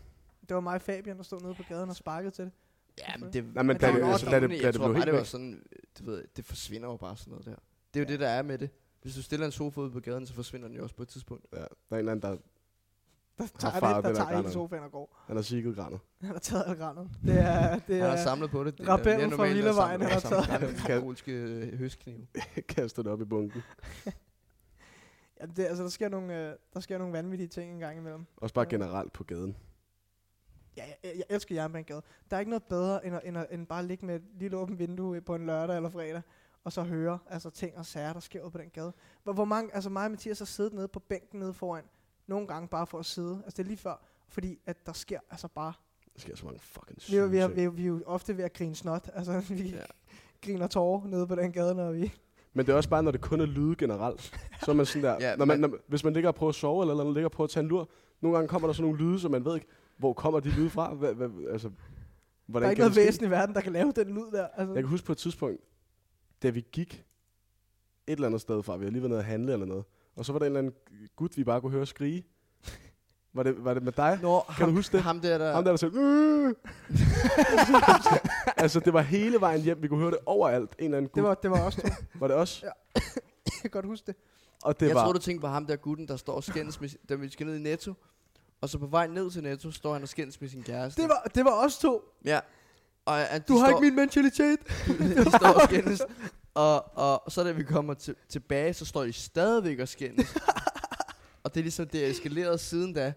S3: det var mig og Fabian, der stod nede på gaden og sparkede til det.
S1: Ja, men det,
S2: Nej, men
S3: Men
S2: da
S3: der
S2: det,
S3: var jo
S2: altså, da det, da
S1: jeg
S2: det
S1: tror bare,
S2: blev helt
S1: det var
S2: væk.
S1: sådan, du ved, det forsvinder jo bare sådan noget der. Det er jo det, der er med det. Hvis du stiller en sofa ud på gaden, så forsvinder den jo også på et tidspunkt.
S2: Ja, der er en eller anden, der
S3: Der
S2: farvet
S3: tager, det, der
S2: det der
S3: tager hele
S2: granat.
S3: sofaen og går.
S2: han har sigget granet.
S3: Han har taget alt granet. Det er, det
S1: Han har
S3: er,
S1: samlet på det. det er
S3: Rebellen
S1: mere
S3: fra
S1: normalt at
S3: Villavejen,
S1: samle-
S3: han har
S1: samle
S3: taget.
S1: gamle mongolske øh, høstknive.
S2: Kaster det op i bunken.
S3: ja, det, er- altså, der sker nogle, øh, der sker nogle vanvittige ting en gang imellem.
S2: Også bare generelt på gaden.
S3: Ja, jeg, jeg elsker Jernbanegade. Der er ikke noget bedre, end, at, end, at, end bare at ligge med et lille åbent vindue på en lørdag eller fredag, og så høre altså, ting og sager, der sker ude på den gade. Hvor, hvor mange, altså mig og Mathias har siddet nede på bænken nede foran, nogle gange bare for at sidde. Altså det er lige før, fordi at der sker altså bare...
S2: Der sker så mange fucking syge
S3: Vi, er jo- vi, er, vi,
S2: ting.
S3: er, vi er jo ofte ved at grine snot. Altså vi
S1: Ja.
S3: ja. griner tårer nede på den gade, når vi...
S2: Men det er også bare, når det kun er lyde generelt. Så er man sådan der,
S1: Ja,
S2: ja, når man,
S1: men-
S2: når, hvis man ligger og prøver at sove, eller, eller ligger og prøver at tage en lur, nogle gange kommer der sådan nogle lyde, som man ved ikke, hvor kommer de lyde fra? Hva, hva, altså,
S3: Der
S2: hvordan
S3: er ikke
S2: kan det
S3: noget
S2: ske?
S3: væsen i verden, der kan lave den lyd der. Altså,
S2: Jeg kan huske på et tidspunkt, da vi gik et eller andet sted fra, vi havde lige været nede at handle eller noget, og så var der en eller anden gut, vi bare kunne høre skrige. Var det, var det med dig?
S1: Nå,
S2: Kan du huske det?
S1: Ham der, der...
S2: Ham der, der sagde, "Øh." altså, det var hele vejen hjem. Vi kunne høre det overalt. En eller anden
S3: Det
S2: gut.
S3: var, det var også to.
S2: var det os?
S3: Ja. Jeg kan godt huske det.
S2: Og det
S1: jeg
S2: var...
S1: tror, du tænkte på ham der gutten, der står og skændes med, da vi skal ned i Netto. Og så på vej ned til Netto, står han og skændes med sin kæreste.
S3: Det var, det var også to.
S1: Ja. Og, at de
S3: Du har
S1: står,
S3: ikke min mentalitet.
S1: de står og skændes. Og, og så da vi kommer til, tilbage, så står de stadigvæk og skændes. og det er ligesom, det er eskaleret siden da.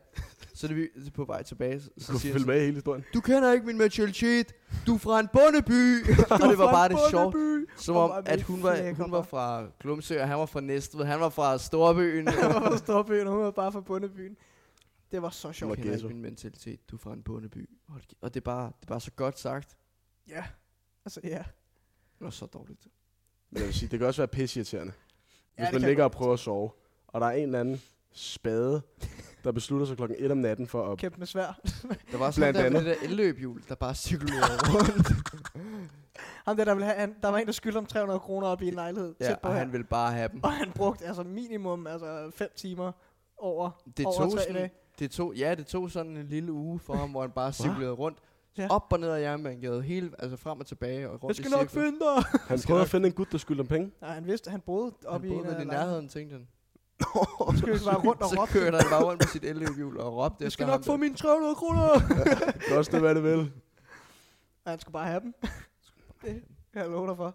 S1: Så det vi på vej tilbage, så,
S2: du
S1: så
S2: kunne
S1: siger han
S2: følge
S1: sådan,
S2: med i hele historien.
S1: du kender ikke min mentalitet, du er fra en bondeby. og det var bare det sjovt, som
S3: Og
S1: om,
S3: hvor er
S1: at
S3: vi
S1: hun var,
S3: flækker,
S1: hun var
S3: hva'?
S1: fra Glumsø, og han var fra Næstved, han var fra Storbyen.
S3: Han var fra Storbyen, og hun var bare fra Bundebyen. Det var så
S1: Du
S3: sjovt.
S2: Okay.
S1: kender
S2: ghetto.
S1: ikke min mentalitet, du er fra en bondeby. Hold kæ- Og det er bare, det er bare så godt sagt,
S3: Ja. Altså, ja.
S1: og så dårligt.
S2: Men jeg vil sige, det kan også være pisseirriterende.
S3: Ja,
S2: Hvis
S3: det
S2: man
S3: kan
S2: ligger og
S3: godt.
S2: prøver at sove, og der er en eller anden spade, der beslutter sig klokken 1 om natten for at...
S3: Kæmpe med svær.
S1: Der var sådan
S2: Blandt
S1: der med det
S2: andet.
S1: der elløbhjul, der bare cirkulerede rundt.
S3: Ham der, der, ville have, han, der var en, der skyldte om 300 kroner op i en lejlighed.
S1: ja,
S3: tæt på
S1: og
S3: her.
S1: han ville bare have dem.
S3: og han brugte altså minimum altså 5 timer over,
S1: Det
S3: over
S1: tog,
S3: tre
S1: sådan,
S3: dage.
S1: det tog, ja, det tog sådan en lille uge for ham, hvor han bare cirkulerede rundt.
S3: Ja.
S1: Op og ned ad jernbanegade, hele, altså frem og tilbage og rundt
S3: Jeg
S1: i
S3: skal nok
S1: cirkler.
S3: finde dig.
S2: Han prøvede at finde en gut, der skyldte om penge.
S3: Nej, han vidste, han boede
S1: Han
S3: op i en
S1: boede
S3: af
S1: vel i
S3: lejlighederne.
S1: nærheden, tænkte han.
S3: Så skulle vi bare rundt og
S1: Så
S3: råbe.
S1: kørte han bare rundt på sit elløbhjul og råbte
S3: Jeg
S1: efter
S3: skal
S1: ham.
S3: nok få
S1: der.
S3: mine 300 kroner.
S2: Det kan også det, hvad det vil.
S3: Og han skulle bare have dem. det kan jeg love dig for.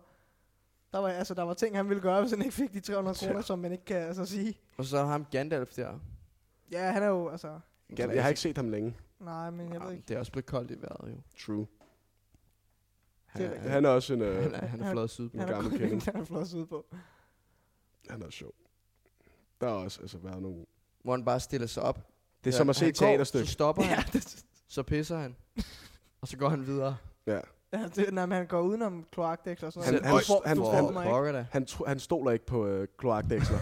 S3: Der var, altså, der var ting, han ville gøre, hvis han ikke fik de 300 kroner, som man ikke kan altså, sige.
S1: Og så er der ham Gandalf der.
S3: Ja, han er jo, altså...
S2: Jeg har ikke set ham længe.
S3: Nej, men jeg ved
S1: Jamen,
S3: ikke.
S1: Det er også blevet koldt i vejret, jo.
S2: True.
S1: Han,
S3: Det er
S1: er,
S2: Han er også en... Øh,
S1: han, er, han er flot syd.
S2: en
S3: Han er
S2: gammel
S3: kun
S2: kending.
S3: en, han er flot ud på.
S2: han er sjov. Der har også altså, været nogle...
S1: Hvor han bare stiller sig op.
S2: Det er som at se
S1: han
S2: et
S1: går,
S2: teaterstykke.
S1: Så stopper
S3: Ja,
S1: han,
S3: det,
S1: så pisser han. Og så går han videre.
S2: Ja.
S3: ja, det, nej, men han går udenom kloakdæk og sådan
S2: Han-
S3: noget.
S1: Selv- Øj,
S2: han- får- han-
S1: du
S2: han-
S1: får mig ikke. Pokker da.
S2: Han, tro, han stoler ikke på øh, kloakdæksler.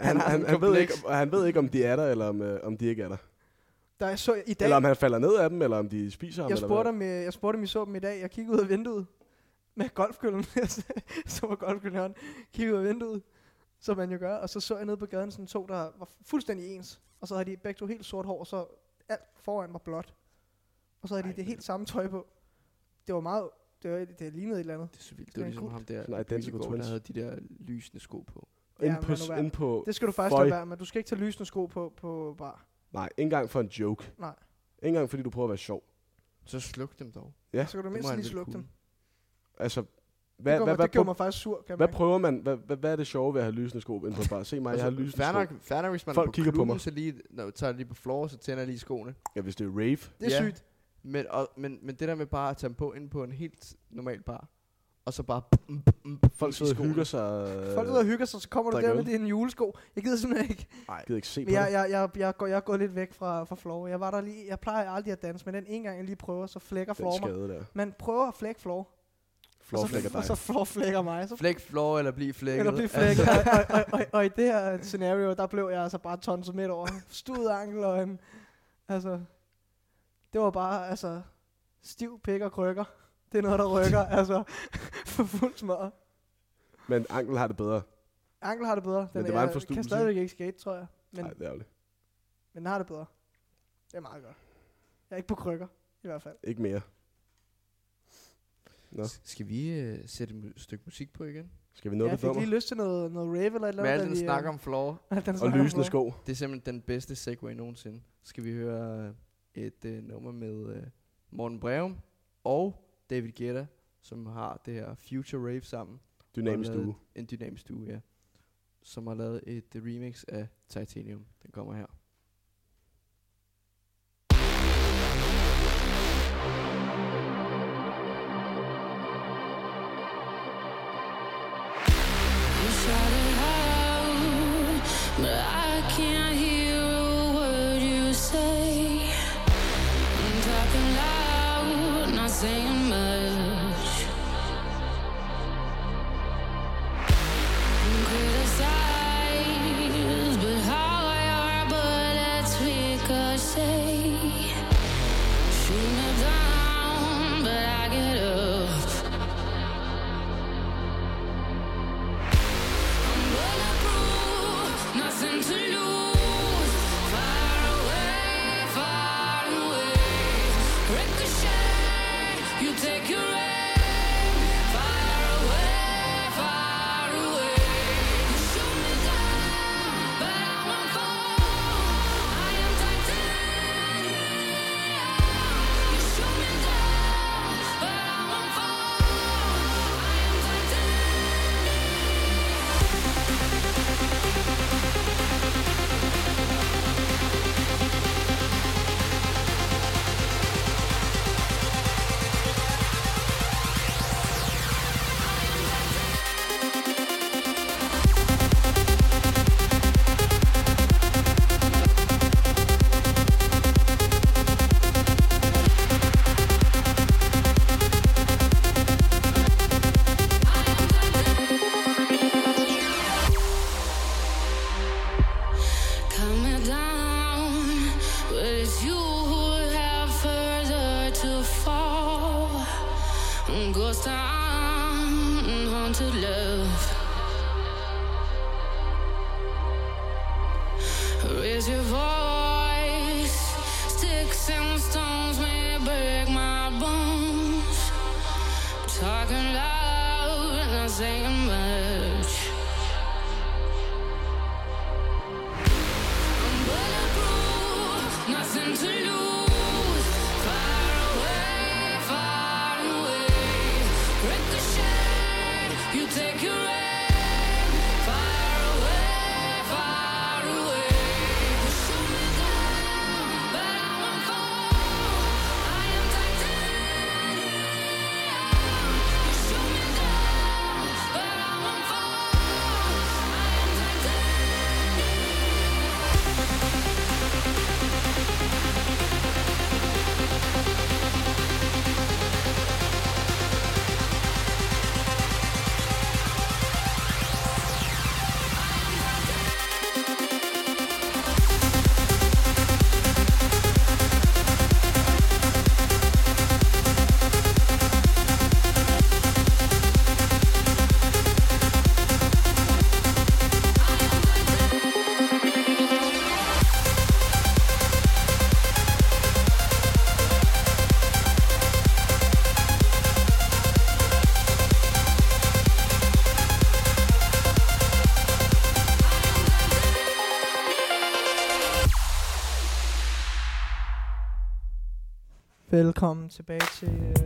S2: han,
S1: har
S2: han,
S1: et
S2: han, ved ikke,
S1: kompleks.
S2: og han ved ikke, om de er der, eller om, øh, om de ikke er der.
S3: Der er så, I dag,
S2: Eller om han falder ned af dem, eller om de spiser ham.
S3: jeg
S2: eller
S3: spurgte, om, øh, jeg spurgte, om I så dem i dag. Jeg kiggede ud af vinduet med golfkøllen. så var golfkøllen i hånden. Kiggede ud af vinduet, som man jo gør. Og så så jeg nede på gaden sådan to, der var fuldstændig ens. Og så havde de begge to helt sort hår, så alt foran var blåt. Og så havde de det helt samme tøj på. Det var meget... Det, var, det lignede et eller andet.
S1: Det er så vildt.
S3: Det
S1: Det
S3: er
S1: var ligesom
S3: kult.
S1: ham der,
S2: Sådan
S1: i
S2: identical
S1: Byllegård, der
S2: twins.
S1: havde de der lysende sko på.
S2: hvad? Ind
S3: Ja,
S2: på,
S3: men lad nu være.
S2: ind på,
S3: Det skal du faktisk
S2: Føj.
S3: lade være med. Du skal ikke tage lysende sko på, på bar.
S2: nej, ikke engang for en joke.
S3: Nej.
S2: Ikke engang fordi du prøver at være sjov.
S1: Så sluk dem dog.
S2: Ja,
S3: Så kan du
S1: det
S3: mindst
S1: må han
S3: lige
S1: vel
S3: slukke dem.
S1: kunne.
S2: Altså,
S3: Det
S2: hvad,
S3: gjorde
S2: hvad,
S3: mig-
S2: hvad,
S3: det gjorde
S2: hvad,
S3: mig faktisk sur, kan
S2: hvad
S3: man
S2: prøver man? Hvad, hvad, hvad er det sjove ved at have lysende sko ind på bare? Se mig,
S3: Altså,
S2: jeg har lysende
S1: Altså, fair
S2: sko.
S1: nok, fair nok, hvis man
S2: Folk
S1: er på
S2: kigger på
S1: klubben,
S2: mig.
S1: så lige, når, tager jeg lige på floor, så tænder jeg lige skoene.
S2: Ja, hvis det er rave.
S3: Det er
S1: Ja.
S3: sygt.
S1: Men, og, men, men det der med bare at tage dem på ind på en helt normal bar, og så bare...
S2: Folk sidder og hygger sig.
S3: Folk sidder og hygger sig, så kommer du
S2: øh, drikker
S3: der med
S2: øl.
S3: dine julesko. Jeg gider simpelthen ikke.
S2: Jeg øh, gider ikke se på
S3: Men jeg,
S2: det.
S3: jeg, jeg, jeg, går, jeg er gået lidt væk fra, fra floor. Jeg var der lige, jeg plejer aldrig at danse, men den ene gang, jeg lige prøver, så flækker
S2: Den
S3: floor mig.
S2: skade der.
S3: Man prøver at flække floor, og
S2: Flor
S3: så,
S2: flækker
S3: og
S2: dig.
S3: så floor flækker mig. Så
S1: Flæk floor eller bliv flækket.
S3: eller blive
S1: Altså,
S3: flækket. og, og, og, og, og, i det her scenario, der blev jeg altså bare tonset midt over. Stud ankel og en, altså, det var bare, altså, stiv pik og krykker. Det er noget, der rykker, altså, for fuld smadret.
S2: Men Ankel har det bedre.
S3: Ankel har det bedre. Den
S2: Men det
S3: er-
S2: var en
S3: Jeg kan
S2: forstuelse,
S3: stadigvæk ikke skate, tror jeg. Men
S2: Nej, det er ærgerligt.
S3: Men den har det bedre. Det er meget godt. Jeg er ikke på krykker, i hvert fald.
S2: Ikke mere. Nå,
S1: S- Skal vi øh, sætte et mu- stykke musik på igen?
S2: skal vi nå
S3: jeg
S2: det
S3: fik
S2: nummer?
S3: lige lyst til noget, noget rave eller et eller
S1: Med
S3: andet.
S1: al den snak
S3: øh,
S1: om floor,
S2: Og lysende sko.
S1: det er simpelthen den bedste segway nogensinde. Skal vi høre øh, et øh, nummer med øh, Morten Breum og David Guetta, som har det her Future Rave sammen.
S2: Dynamisk
S1: Og lavet
S2: uge.
S1: En dynamisk duo, ja. Som har lavet et øh, remix af Titanium. Den kommer her.
S8: You shout it out, but I can't hear a word you say. I'm talking loud, not saying much. You criticize, but how your bullets ricochet. Shoot me down, but I get up. Bulletproof, nothing to lose. Far away, saying much. I'm bulletproof, nothing to lose. Far away, far away. Ricochet, you take your aim. Far away, far away. You shoot me down, but I won't fall. I am titanium. You shoot me down, but I won't fall. I am titanium.
S3: Velkommen tilbage til... Øh...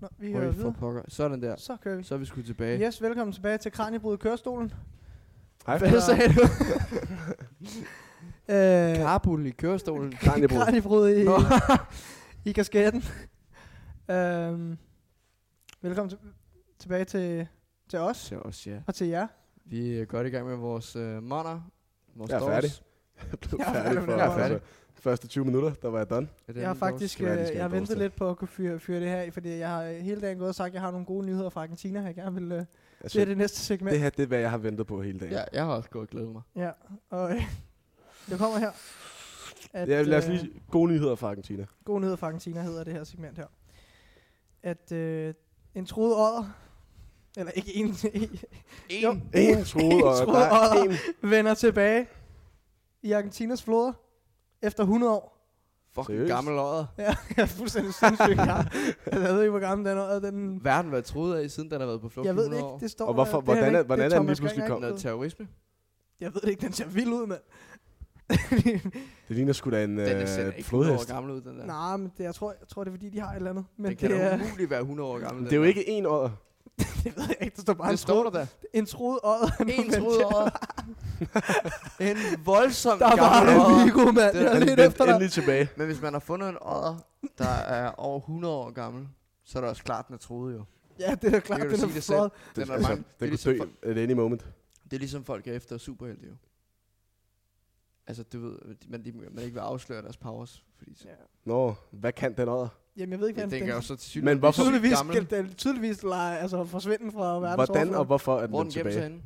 S3: Nå, vi hører
S1: Øj, for
S3: videre.
S1: pokker. Sådan der.
S3: Så kører vi.
S1: Så er vi sgu tilbage.
S3: Yes, velkommen tilbage til Kranjebrud i kørestolen.
S2: Hej.
S1: Hvad sagde du?
S3: Øh,
S1: Karbul i kørestolen.
S2: Kranjebrud.
S3: Kranjebrud i,
S1: Nå.
S3: i kasketten. øhm, velkommen til, tilbage til, til os
S1: Så også, ja.
S3: og til jer.
S1: Vi er godt i gang med vores øh, monner. Vores
S2: Jeg er
S1: doors.
S2: færdig. Jeg blev
S3: Jeg er
S2: færdig
S3: færdig
S2: for
S3: med
S1: det.
S2: jeg altså, første 20 minutter, der var jeg done.
S1: Er det
S3: Jeg har
S1: anden doors?
S3: faktisk
S2: skal være,
S3: øh,
S2: de skal
S3: jeg har
S2: have en
S3: ventet
S2: dårlig
S3: lidt på at kunne fyre, fyre det her i, fordi jeg har øh, hele dagen gået og sagt, at jeg har nogle gode nyheder fra Argentina, jeg gerne vil... Øh,
S2: Altså,
S3: det er
S2: det,
S3: det næste segment.
S2: det her, det er, hvad jeg har ventet på hele dagen.
S1: Ja, jeg har også gået og glædet mig.
S3: Ja, og øh, det kommer her. At,
S2: Ja, lad os
S3: Øh,
S2: lige gode nyheder fra Argentina.
S3: god nyhed for Argentina hedder det her segment her. At øh, en troet ådder, eller ikke en,
S1: En.
S3: Jo.
S2: En troede, og
S3: troede
S2: der er
S3: odder.
S2: en
S3: vender tilbage i Argentinas floder efter 100 år.
S1: Fucking
S2: Seriøst?
S1: gammel ådder.
S3: Ja, jeg er fuldstændig sindssygt gammel. Altså, Jeg ved ikke, hvor gammel den er. Den,
S1: Verden, hvad troede af, siden den har været på flugt
S3: jeg
S1: i
S3: ved
S1: 100
S3: ikke,
S1: år.
S3: det står
S2: Og hvorfor-
S3: der. Det her
S2: hvordan
S3: ikke-
S2: er- hvordan
S3: det
S2: er den
S3: Thomas
S2: lige pludselig
S3: Gang, jeg
S2: kommet?
S3: ikke
S1: Noget terrorisme.
S3: ved. Jeg ved det ikke, den ser vild ud, mand.
S2: Det ligner sgu da en
S1: Den er selv
S2: øh,
S1: ikke 100 år
S2: flodhest.
S1: gammel ud, den der.
S3: Nej, men det, jeg, tror, jeg tror, det er, fordi de har et eller andet. Men
S1: den
S3: det,
S1: kan
S3: det,
S1: da
S3: er,
S1: umuligt være 100 år gammel.
S2: Det er jo ikke en ådder.
S3: det ved jeg ikke. Der står bare
S1: Det
S3: en
S1: står
S3: troet-
S1: der da.
S3: En troet ådder.
S1: En troede over. en voldsom
S3: Der var
S1: gammel
S3: en
S1: ådder.
S3: Vigo, mand.
S1: Den
S3: Jeg
S1: er
S3: er lidt
S2: Vent
S3: efter dig.
S2: endelig tilbage.
S1: Men hvis man har fundet en ådder, der er over 100 år gammel, så er det også klart, den er troet jo.
S3: Ja, det er da klart,
S1: kan du
S3: den
S1: sige
S3: er
S1: det selv.
S3: flot.
S1: Den er
S2: altså,
S1: mange, det, er
S2: den
S1: ligesom,
S2: kunne
S1: folk,
S2: dø at any moment.
S1: det er ligesom folk er efter superhelte jo. Altså, du ved, man, de, man ikke vil afsløre deres powers. Fordi så,
S3: Ja.
S2: Nå, hvad kan den ådder?
S3: Jamen, jeg ved ikke,
S1: ja,
S3: hvordan
S1: den
S3: den...
S1: kan jo så til
S2: Men
S1: syne
S2: hvorfor-
S3: Tydeligvis,
S1: gammel.
S3: skal den tydeligvis lege, altså forsvinde fra verdens
S2: Hvordan og
S3: overflade.
S2: hvorfor er
S1: Hvor er
S2: den
S1: den gemt sig
S2: tilbage?
S1: henne?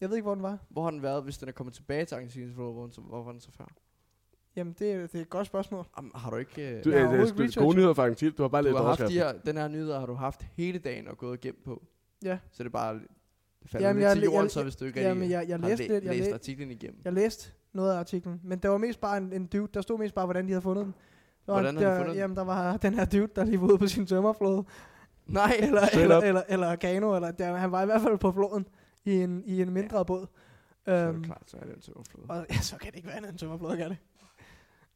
S3: Jeg ved ikke, hvor den var.
S1: Hvor har den været, hvis den er kommet tilbage til Argentinas flod, hvor, den så- hvor var den så før?
S3: Jamen, det, er- det er et godt spørgsmål.
S1: Jamen, har du ikke... Øh,
S2: Du, øh, det
S3: Jeg har overhovedet
S2: er
S3: ikke
S2: sgu- gode nyheder fra Argentina. Du har bare lidt
S1: du har haft
S2: overskrift.
S1: de her, den her nyheder har du haft hele dagen og gået og gemt på.
S3: Ja.
S1: Så det er bare... Det falder
S3: Jamen,
S1: Jamen, lidt til
S3: jeg- jeg-
S1: jorden,
S3: jeg-
S1: så hvis du ikke
S3: Jamen,
S1: rigtig
S3: jeg, jeg
S1: har
S3: læste
S1: læ-
S3: lidt. Jeg,
S1: læst
S3: læ-
S1: artiklen igennem.
S3: jeg læste noget af artiklen, men der var mest bare en, en dude. Der stod mest bare, hvordan de havde fundet den. Der var-
S1: Hvordan havde de
S3: der,
S1: fundet den?
S3: Jamen, der var den her dude, der lige var ude på sin tømmerflåde.
S1: Nej,
S3: Eller,
S2: Straight
S3: eller,
S2: up.
S3: eller, eller Gano, eller der, han var i hvert fald på floden i en, i en mindre båd.
S1: så er
S3: Øhm,
S1: det klart, så er det en tøverflod.
S3: Og ja, så kan det ikke være andet end tømmerflåde, gør det.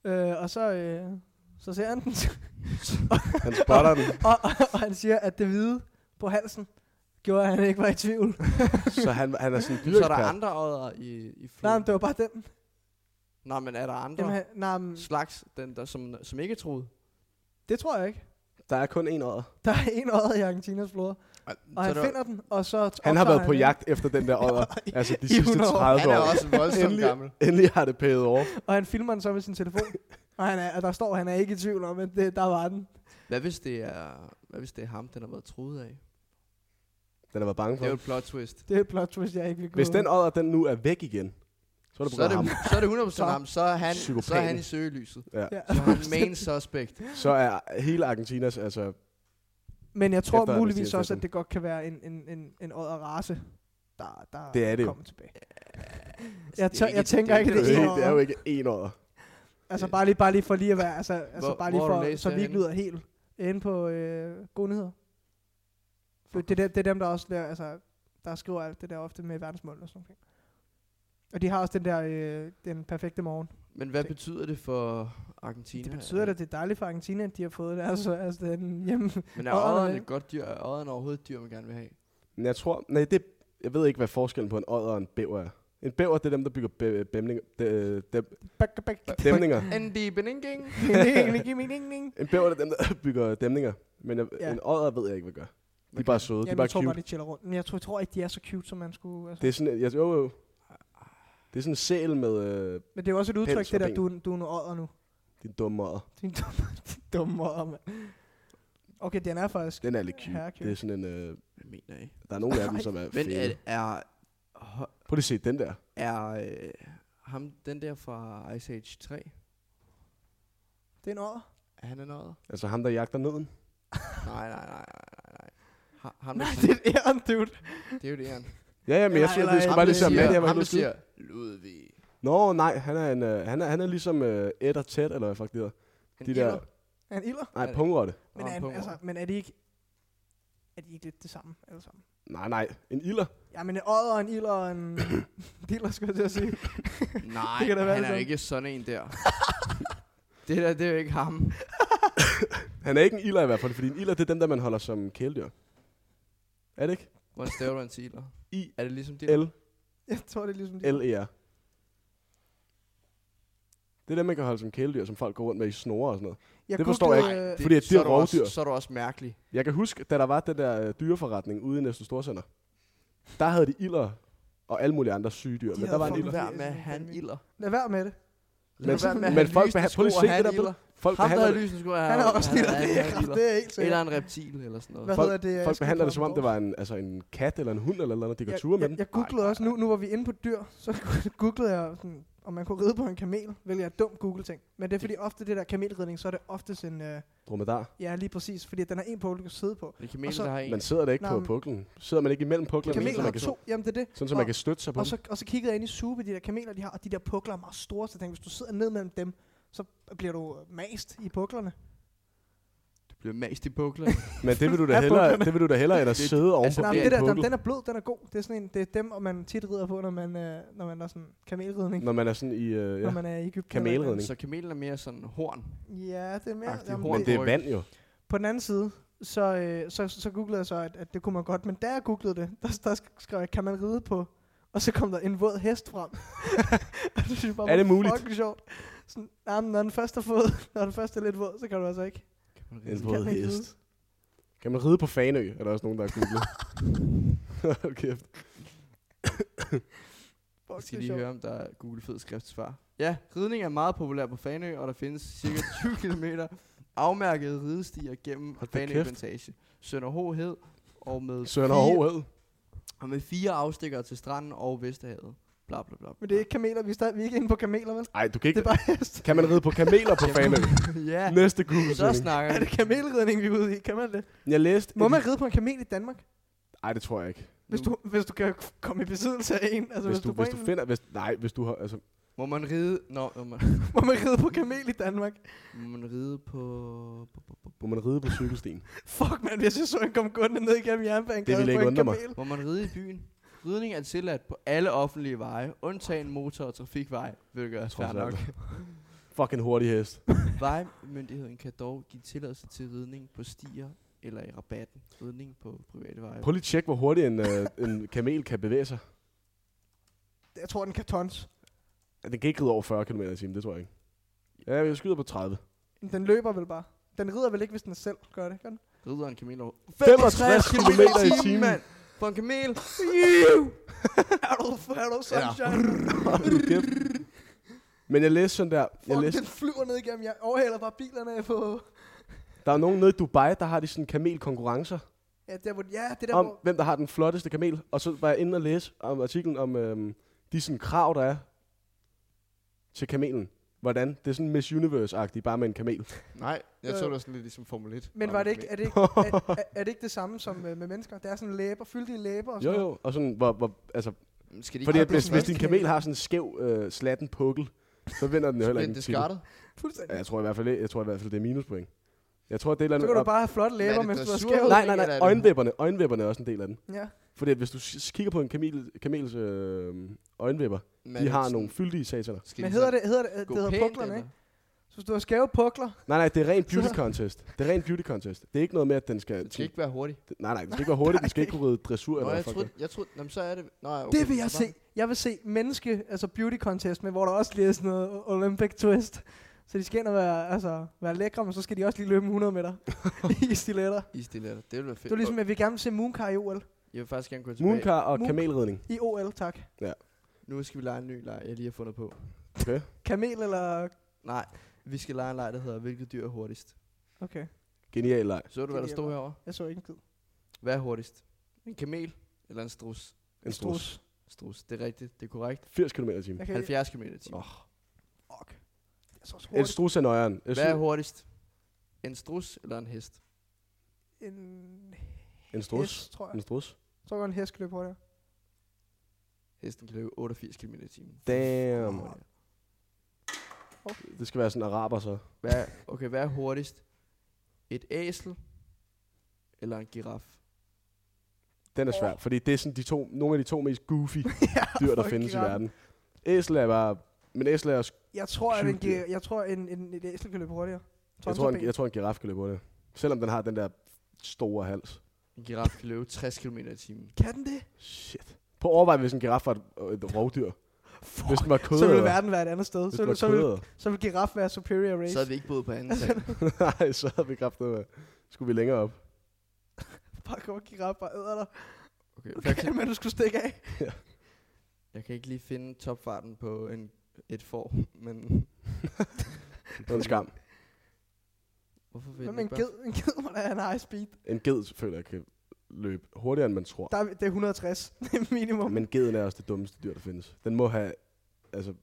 S3: Øh, og så, øh, så ser han den,
S2: Han spotter den,
S3: og, og, og, han siger, at det hvide på halsen gjorde, at han ikke var i tvivl.
S2: så han, han er sådan en
S1: Så er der
S2: dyrekspert.
S1: andre ådder i, i
S3: Nej,
S1: floden.
S3: men det var bare den.
S1: Nej, men er der andre
S3: Jamen, han, nej, men
S1: slags, den der, som, som ikke er troet?
S3: det tror jeg ikke.
S2: Der er kun en ådder.
S3: Der er en øjet i Argentinas floder, og han
S1: der-
S3: finder den, og så
S2: Han har
S3: opdager
S2: været på
S3: den.
S2: jagt efter den der ådder. Altså de
S3: i
S2: sidste
S3: 100 år.
S2: 30
S1: Han er
S2: år.
S1: også voldsomt gammel.
S2: Endelig har det paid off.
S3: Og han filmer den så med sin telefon. og, han er, og der står, at han er ikke i tvivl om, at det, der var den.
S1: Hvad hvis, det er, hvad hvis det er ham, den har været troet af?
S2: Den har været bange
S1: Det
S2: for.
S1: er jo
S2: ham.
S1: et plot twist.
S3: Det er et plot twist, jeg ikke vil gå
S2: Hvis den ådder, den nu er væk igen, så er det på
S1: Så er
S2: grund af
S1: det,
S2: ham.
S1: så er det 100% ham. Så er han, så er
S2: Psykopaten.
S1: han i søgelyset.
S3: Ja.
S1: Så er han main suspect.
S2: Så er hele Argentinas, altså
S3: Men jeg tror
S2: Efter
S3: muligvis
S2: Argentina
S3: også, at
S2: Festen.
S3: det godt kan være en, en, en, en odder race, der, der
S2: Det er det jo.
S3: kommer tilbage. Jeg,
S1: det er
S3: tør,
S1: ikke-
S3: jeg
S1: det
S3: tænker
S1: er
S3: ikke,
S2: det
S1: ikke-
S2: er,
S3: det er
S2: jo ikke, det er jo
S3: ikke.
S2: ikke en ådder.
S3: Altså bare lige, bare lige for lige at være, altså, altså
S1: Hvor-
S3: bare lige
S1: hvor har du
S3: for,
S1: læst
S3: så
S1: det
S3: vi ikke
S1: henne?
S3: lyder helt inde på øh, gode nyheder. For det, er dem- det er dem, der også laver, altså, der skriver alt det der ofte med verdensmål og sådan noget. Og de har også den der, øh, den perfekte morgen.
S1: Men hvad
S3: Det-
S1: betyder det for Argentina? Altså,
S3: Det betyder da,
S1: at
S3: at det er dejligt for Argentina, at de har fået det. Altså, altså den hjemme.
S1: Men er
S3: odderne
S1: odderen
S3: med?
S1: et godt dyr? Er odderen overhovedet et dyr, man gerne vil have?
S2: Men jeg tror, nej, det, jeg ved ikke, hvad forskellen på en odder og en bæver er. En bæver, det er dem, der bygger bæ- bæmlinger, dæ- dæm-
S3: Bak, bak, bak.
S2: dæmninger.
S1: Andy Benenging.
S3: Ding, ding, ding, ding, ding.
S2: En bæver, det er dem, der bygger dæmninger. Men jeg,
S3: Ja.
S2: en odder ved jeg ikke, hvad gør. De er bare søde, de er
S3: Jamen,
S2: bare
S3: jeg tror bare,
S2: cute.
S3: de chiller rundt. Men jeg tror, jeg tror ikke, de er så cute, som man skulle. Altså.
S2: Det er sådan, jeg, jo, jo. Det er sådan en sæl med øh,
S3: Men det er jo også et udtryk,
S2: pels
S3: det
S2: og
S3: der, du, er en- du er en odder nu.
S2: din dumme odder.
S3: Det er en dum, dum odder, mand. Okay, den er faktisk...
S2: Den er lidt cute.
S3: Herre cute.
S2: Det er sådan en, øh,
S1: Hvad mener I?
S2: der er nogle af dem, som er
S1: Men
S2: fede.
S1: er, er,
S2: Prøv lige at se den der.
S1: er øh, ham, den der fra Ice Age 3,
S3: Det er en odder.
S1: er han en odder?
S2: Altså ham, der jagter nøden.
S1: Nej, nej, nej, nej, nej, nej. Ha, ham,
S3: Nej,
S1: der,
S3: det er et æren, dude.
S1: det er jo det, han.
S2: Ja, ja, men jeg
S3: Nej,
S2: synes,
S3: nej,
S2: det skulle bare lige se, om Matt, jeg var
S1: ham,
S2: inde
S1: der
S2: og skyde.
S1: siger, Ludvig.
S2: Nå, nej, han er, en, øh, han er, han er ligesom øh, Ed og Ted, eller hvad fuck det hedder.
S1: En
S2: De der,
S1: ilder.
S3: Er en ilder?
S1: Er
S2: nej,
S1: det-
S2: pungrotte.
S3: Men
S1: Nå,
S3: er,
S1: en
S3: en,
S1: pung-
S3: altså, men er de ikke... Er de ikke lidt det samme, alle sammen?
S2: Nej, nej, en ilder.
S3: Ja, men en odder, og en ilder og en... dealer, skulle jeg til at sige.
S1: Nej,
S3: Det kan da være
S1: han er
S3: det samme.
S1: ikke sådan en der. det der, det er jo ikke ham.
S2: Han er ikke en ilder i hvert fald, fordi en ilder, det er dem, der man holder som kæledyr. Er det ikke?
S1: Hvordan staver du en til ilder?
S2: I-
S1: Er det ligesom det?
S2: L,
S3: Jeg tror, det er ligesom... De...
S2: L, E, R. Det er dem, man kan holde som kæledyr, som folk går rundt med i snore og sådan noget.
S3: Jeg
S2: det forstår jeg
S3: googlede, øh,
S2: Fordi at
S1: så
S2: det er
S1: du også-
S2: rovdyr.
S1: Så er du også mærkelig.
S2: Jeg kan huske, da der var den der øh, dyreforretning ude i Næste Storcenter, der havde de ilder og alle mulige andre syge dyr.
S3: De
S2: men der
S3: havde
S2: var en
S3: fucking
S2: ilder.
S3: vildt.
S1: Vær med, at han ilder.
S3: øh, Lad være med det.
S1: Lad
S2: Men-
S1: være med, at
S2: men
S1: han
S2: folk
S1: lysende
S2: beha- prøv lige
S1: sko
S2: at se
S1: og
S2: det
S1: han
S2: der billede.
S1: ilder.
S2: Folk
S1: Ham, der
S2: behandler
S1: havde
S2: det,
S1: lysende sko, han,
S3: Han er også dealer, det er,
S1: han
S3: det er helt sikkert.
S1: Eller en reptil eller sådan noget.
S3: Hvad
S2: Folk-
S3: hedder det? Jeg
S2: folk
S3: skal
S2: behandler det,
S3: komme
S2: som om
S3: på.
S2: det var en, altså en kat eller en hund eller noget, de går ture
S3: jeg,
S2: med
S3: jeg,
S2: dem.
S3: jeg googlede også, nu, nu var vi inde på dyr, så googlede jeg, sådan, om man kunne ride på en kamel, hvilket er et dumt Google-ting. Men det er fordi ofte det der kamelridning, så er det oftest en, øh,
S2: Dromedar.
S3: ja lige præcis, fordi den har en pukkel, du kan sidde på.
S1: Det kan mene,
S3: Og så-
S1: der har en.
S2: Man sidder der ikke
S3: Nej,
S2: på
S3: men-
S2: puklen. Sidder man ikke imellem puklerne,
S3: Kameler
S2: sådan,
S3: har
S2: man kan,
S3: to, jamen det er det.
S2: sådan, så man kan støtte sig på
S3: og,
S2: dem.
S3: så, og så kiggede jeg ind i supe, de der kameler, de har, og de der pukler er meget store, så jeg tænkte, hvis du sidder ned mellem dem, så bliver du øh, mast i puklerne.
S1: Du bliver mast i bukler.
S2: Men det vil du da
S3: af
S2: hellere,
S3: puklerne.
S2: det vil du da hellere end at
S1: Det-
S2: sidde ovenpå
S1: altså,
S3: Nej,
S2: på
S3: men
S1: det er
S3: det
S2: en
S3: der, den,
S2: pukkel,
S3: den er blød, den er god. Det er sådan en, det er dem, og man tit rider på, når man, øh, når man er sådan kamelridning.
S2: når man er sådan i... Øh, ja.
S3: Når man er i Ægypten. eller et eller andet.
S2: Kamelridning.
S1: så kamelen er mere sådan horn.
S3: Ja, det er mere...
S1: Agtig
S3: Jamen,
S1: horn.
S2: Men
S3: det,
S2: det er vand jo.
S3: på den anden side, så, øh, så, så googlede jeg så, at, at det kunne man godt. Men da jeg googlede det, der, der skrev jeg, kan man ride på? Og så kom der en våd hest frem. Og det synes jeg bare
S2: Er det
S3: var
S2: muligt?
S3: Fucking sjovt. Sådan, nej, men når den første er fod, når den første er lidt våd, så kan du altså ikke.
S2: En
S3: kan
S2: våd
S3: man ikke
S2: hest. Kan man ride på Fanø? Er der også nogen, der har googlet? Hold kæft.
S1: Jeg
S3: Fuck, det
S1: skal
S3: er
S1: lige
S3: sjovt.
S1: høre, om der er Google fed skriftsvar. Ja, ridning er meget populær på Fanø, og der findes cirka 20 km afmærkede ridestier gennem
S2: Hold da
S1: Fanø
S2: kæft.
S1: Plantage. Sønderho Hed og med,
S2: Sønder
S1: fire,
S2: Håhed.
S1: og med fire afstikker til stranden og Vesterhavet. Bla bla bla.
S3: Men det er ikke kameler, vi er, stadig, vi er ikke inde på kameler, vel?
S2: Ej, du kan
S3: Det
S2: ikke...
S3: er bare hest.
S2: Kan man ride på kameler på Fanø?
S1: ja,
S2: Næste google
S1: så
S2: -søgning.
S1: snakker
S3: Er
S1: vi.
S3: det kamelridning, vi er ude i? Kan man det?
S2: Jeg læste...
S3: Må
S2: et-
S3: man ride på en kamel i Danmark?
S2: Ej, det tror jeg ikke.
S3: Hvis du, hvis du kan komme i besiddelse af en. Altså,
S2: Altså, Hvis du,
S3: på
S2: hvis du
S3: en-
S2: finder... Hvis, nej, hvis du har... Altså,
S1: Må man ride... Nå, må man,
S3: Må man ride på kamel i Danmark?
S1: må man ride på... på, på, på
S2: må man ride på cykelsten?
S3: Fuck, mand, hvis jeg så en kom gående ned igennem jernbanen.
S2: Det ville
S3: på
S2: ikke
S3: en
S2: undre mig.
S3: kamel.
S1: Må man ride i byen? Ridning er tilladt på alle offentlige veje, undtagen motor- og trafikveje, hvilket er
S2: Trods
S1: fair nok.
S2: Fucking hurtig hest.
S1: Vejmyndigheden kan dog give tilladelse til ridning på stier eller i rabatten. Ridning på private veje.
S2: Prøv lige at tjekke, hvor hurtigt en, øh, en kamel kan bevæge sig.
S3: Jeg tror, den kan tons.
S2: Den kan ikke ride over 40 km i timen, det tror jeg ikke. Ja, jeg skyder på 30.
S3: Den løber vel bare. Den rider vel ikke, hvis den selv gør det, gør den?
S1: Rider en kamel over
S2: 65 kilometer i timen.
S1: mand. For en kamel.
S3: Er du, er du sunshine?
S2: Hold nu kæft. Men jeg læste sådan der, jeg
S3: Fuck,
S2: læste,
S3: den flyver ned igennem. Jeg overhaler bare bilerne på...
S2: der er nogen nede i Dubai, der har de sådan kamelkonkurrencer
S3: Ja, der, hvor, ja det der,
S2: om,
S3: hvor...
S2: hvem der har den flotteste kamel. Og så var jeg inde og læse om artiklen om øhm, de sådan krav, der er til kamelen. Hvordan? Det er sådan Miss Universe-agtigt, bare med en kamel.
S1: Nej,
S3: jeg så det
S1: sådan lidt ligesom Formel 1.
S3: Øh. Men var det ikke, er, det ikke, er, er, er det ikke det samme som øh, med mennesker? Der er sådan læber, fyldige læber og
S2: Jo,
S3: sådan noget.
S2: jo. Og sådan, hvor, hvor, altså,
S1: Skal de
S2: fordi at
S3: det er
S2: hvis,
S3: sådan
S2: hvis
S3: en
S2: din
S3: kamel.
S2: kamel har sådan en skæv, øh, slatten pukkel, så vinder den jo heller ikke en titel.
S1: discarded?
S2: Ja,
S3: Fuldstændig.
S2: Jeg tror i hvert fald, jeg tror i hvert fald det er minuspoint. Jeg tror, det er et
S3: Så
S2: eller
S3: kan du
S2: andet...
S3: bare have flotte læber,
S1: det
S3: mens du er
S1: dressur?
S2: Nej,
S3: skæv.
S2: nej,
S1: Eller
S2: nej.
S1: er det-
S2: Øjenvipperne. Øjenvipperne er også en del af den.
S3: Ja.
S2: Fordi at hvis du s- kigger på en kamel, kamels øh, øjenvipper, de har nogle fyldige sataner.
S1: Skal
S3: Men hedder det, hedder det, det hedder puklerne, ikke? Så hvis du har skæve pukler,
S2: Nej, nej, det er rent beauty
S3: Så-
S2: contest. Det er rent beauty contest. Det er ikke noget med, at den skal...
S1: Det skal ikke være hurtigt.
S2: Det- Nej, nej, den skal ikke være hurtig. Den skal ikke kunne ride dressur
S1: Nå,
S2: eller
S1: jeg
S2: fuck
S1: troede,
S2: det.
S1: jeg troede, jamen, så er det... Nej, okay,
S3: okay, det vil jeg
S1: så var-
S3: se. Jeg vil se menneske, altså beauty contest, med, hvor der også lige er sådan noget Olympic twist. Så de skal ind og være, altså, være lækre, men så skal de også lige løbe 100 meter i stiletter.
S1: I stiletter. Det ville være fedt.
S3: Det var ligesom, at vi gerne vil se Mooncar i OL.
S1: Jeg vil faktisk gerne gå tilbage.
S2: Mooncar og
S3: Moon-
S2: kamelridning.
S3: I OL, tak.
S1: Nu skal vi lege en ny leg, jeg lige har fundet på.
S2: Okay.
S3: Kamel eller...
S1: Nej, vi skal lege en leg, der hedder, hvilket dyr er hurtigst.
S3: Okay,
S2: Genial leg.
S1: Så du, hvad der
S3: Genial.
S1: stod herovre?
S3: jeg så ikke en kid.
S1: Hvad er hurtigst? En kamel eller en strus?
S2: En strus.
S1: Strus, det er rigtigt, det er korrekt.
S2: 80 km i timen.
S3: Jeg kan ikke...
S1: 70 km i timen.
S2: Åh,
S3: Fuck. Jeg så også
S2: En
S3: hurtigt.
S2: strus er nøjeren. Jeg
S1: Hvad er
S2: synes-
S1: hurtigst? En strus eller en hest?
S3: En
S2: En strus.
S3: hest, tror jeg.
S2: En strus.
S3: Jeg tror godt, en hest kan løbe hurtigere.
S1: Hesten kan løbe 88 km i timen.
S2: Damn. Det skal være sådan en araber så.
S1: Hvad er, okay, hvad er hurtigst? Et æsel eller en giraf?
S2: Den er svær, fordi det er sådan de to, nogle af de to mest goofy dyr, der
S3: fuck
S2: findes i
S3: giraffen. verden.
S2: verden. Æsel er bare... Men æsel er også...
S3: Jeg tror, at en,
S2: Sygt dyr.
S3: gi- jeg tror, en, en, et æsel kan løbe hurtigere.
S2: Jeg tror, en,
S3: Tonserben.
S2: jeg tror, en giraf kan løbe hurtigt. Selvom den har den der store hals.
S1: En giraf kan løbe 60 km i timen.
S3: Kan den det?
S2: Shit. Prøv at overveje, hvis en giraf var et, et rovdyr.
S3: Fuck.
S2: Hvis den var kød.
S3: Så ville verden være et andet sted.
S2: Hvis
S3: Så
S2: den
S3: ville,
S2: var
S3: så, ville,
S2: kød.
S3: så ville giraf være superior race.
S1: Så er vi ikke boet på anden sal.
S2: Nej, så havde vi kraftet med. Skulle vi længere op.
S3: Bare kommer giraf bare æder dig.
S1: Okay,
S3: Du
S1: for
S3: kan
S1: eksempel,
S3: med, du skulle stikke af.
S1: jeg kan ikke lige finde topfarten på en, et får, men
S2: Det var en skam.
S1: hvorfor vil
S3: Hvad
S1: den
S3: med en
S1: ikke bare...
S3: ged? En ged, hvor der er en high speed.
S2: En ged, føler jeg, kan løbe hurtigere, end man tror.
S3: Der er, det er 160. Det er minimum.
S2: Men geden er også det dummeste dyr, der findes. Den må have altså,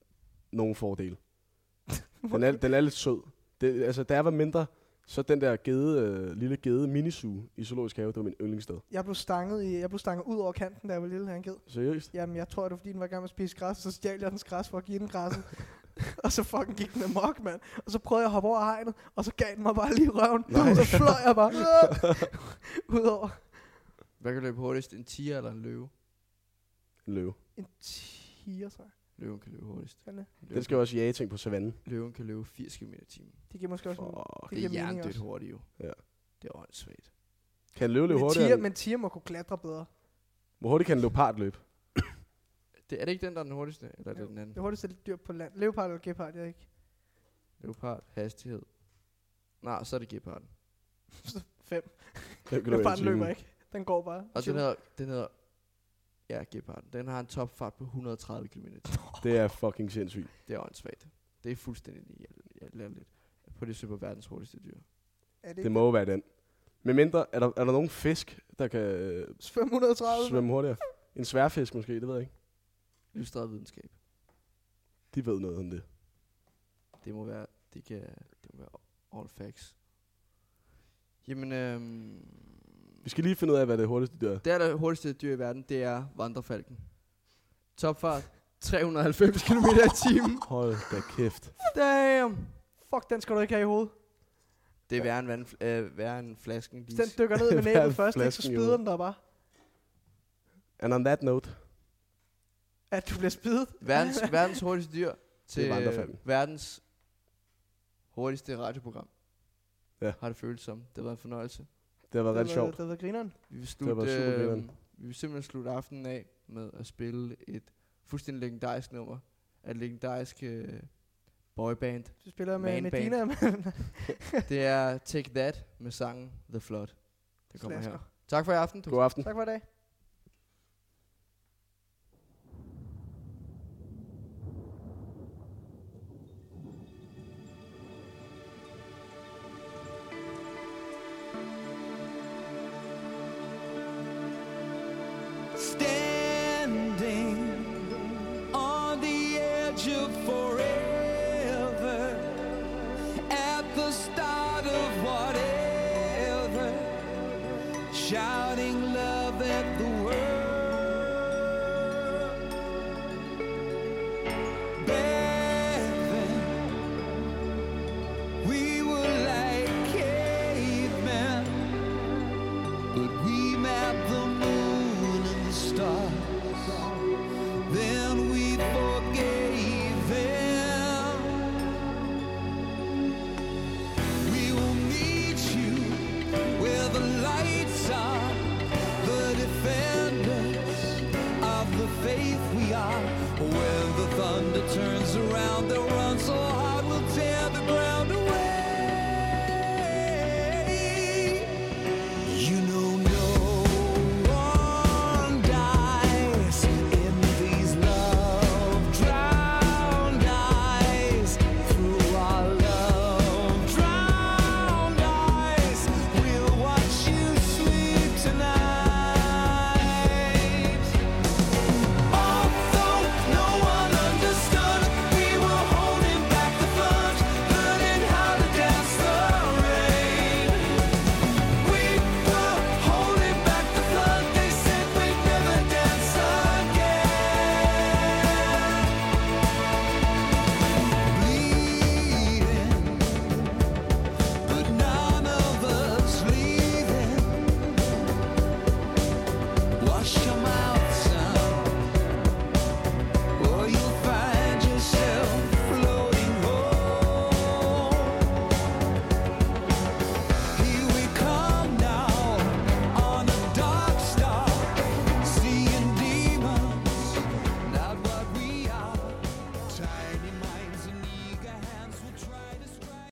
S2: nogle fordele. Den er, den er lidt sød. Det, altså, da jeg var mindre, så den der gede, øh, lille gede minisue i Zoologisk Have, det var min yndlingssted.
S3: Jeg blev stanget, i, jeg blev stanget ud over kanten, da jeg var lille her en ged.
S2: Seriøst?
S3: Jamen, jeg tror, det var, fordi den var i gang med at spise græs, så stjal jeg dens græs for at give den græsset. og så fucking gik den amok, mand. Og så prøvede jeg at hoppe over hegnet, og så gav den mig bare lige i røven.
S2: Nej.
S3: Og så fløj jeg bare øh, udover
S1: Hvad kan løbe hurtigst? En tiger eller en løve?
S2: En løve.
S3: en tiger, så.
S1: Løven kan løbe hurtigst.
S3: Sådan det.
S1: Løven,
S2: Den skal jo også jage ting på savannen.
S1: løven kan løbe 80 km i timen.
S3: Det giver måske også en...
S2: Fuck.
S1: Det er
S3: giver mening
S1: hjernedødt
S3: også.
S1: hurtigt jo.
S2: Ja.
S1: Det er åndssvagt.
S2: Kan en løve løbe
S3: Men tiger,
S2: hurtigere? end-
S3: men tiger må kunne klatre bedre.
S2: Hvor hurtigt kan en leopard løbe?
S1: Det, er det ikke den, der er den hurtigste? Eller er det den anden?
S3: Det hurtigste dyr på land. Leopard eller gepard, jeg er ikke.
S1: Leopard, hastighed. Nej, så er det geparden.
S3: Fem.
S2: Hvem kan løbe en
S3: Leoparden
S2: time?
S3: løber ikke. Den går bare.
S1: Og den
S3: Chill.
S1: hedder, den hedder, ja, geparden. Den har en topfart på 130 km.
S2: Det er fucking sindssygt.
S1: Det er åndssvagt. Det er fuldstændig lidt på det super verdens hurtigste dyr.
S3: Er det
S2: Det
S3: ikke
S2: må jo være den. Med mindre, er der, er der nogen fisk, der kan øh,
S3: 530?
S2: svømme hurtigere? En sværfisk måske, det ved jeg ikke.
S1: Illustreret videnskab.
S2: De ved noget om det.
S1: Det må være, det kan, det må være all facts. Jamen, øhm,
S2: Vi skal lige finde ud af, hvad det hurtigste dyr er.
S1: Det aller hurtigste dyr i verden, det er vandrefalken. Topfart 390 km i timen.
S2: Hold da kæft.
S3: Damn! Fuck, den skal du ikke have i hovedet.
S1: Det er værre end, vand, øh, værre end flasken.
S3: Hvis
S1: Lise.
S3: den dykker ned med
S2: Hvad er
S3: næbet først, ikke, så
S2: flasken i
S3: spider
S2: hovedet?
S3: den der bare.
S2: And on that note,
S3: At du bliver spidet.
S1: Verdens, verdens hurtigste dyr til
S2: vandrefalken.
S1: øh, verdens hurtigste radioprogram.
S2: Ja.
S1: Har det følt som. Det var en fornøjelse.
S2: det har været ret sjovt.
S3: Det har været grineren.
S1: Vi vil,
S2: har været
S1: slutte, øh,
S2: supergrineren.
S1: vi vil simpelthen slutte aftenen af med at spille et fuldstændig legendarisk nummer. Af et legendarisk øh, boyband.
S3: Så spiller jeg med
S1: Man band.
S3: Medina.
S1: Det er Take That med sangen The Flood. Det kommer her. Tak for i aften.
S2: God aften.
S3: Tak for i dag.
S4: standing on the edge of forever at the start of whatever shouting love at the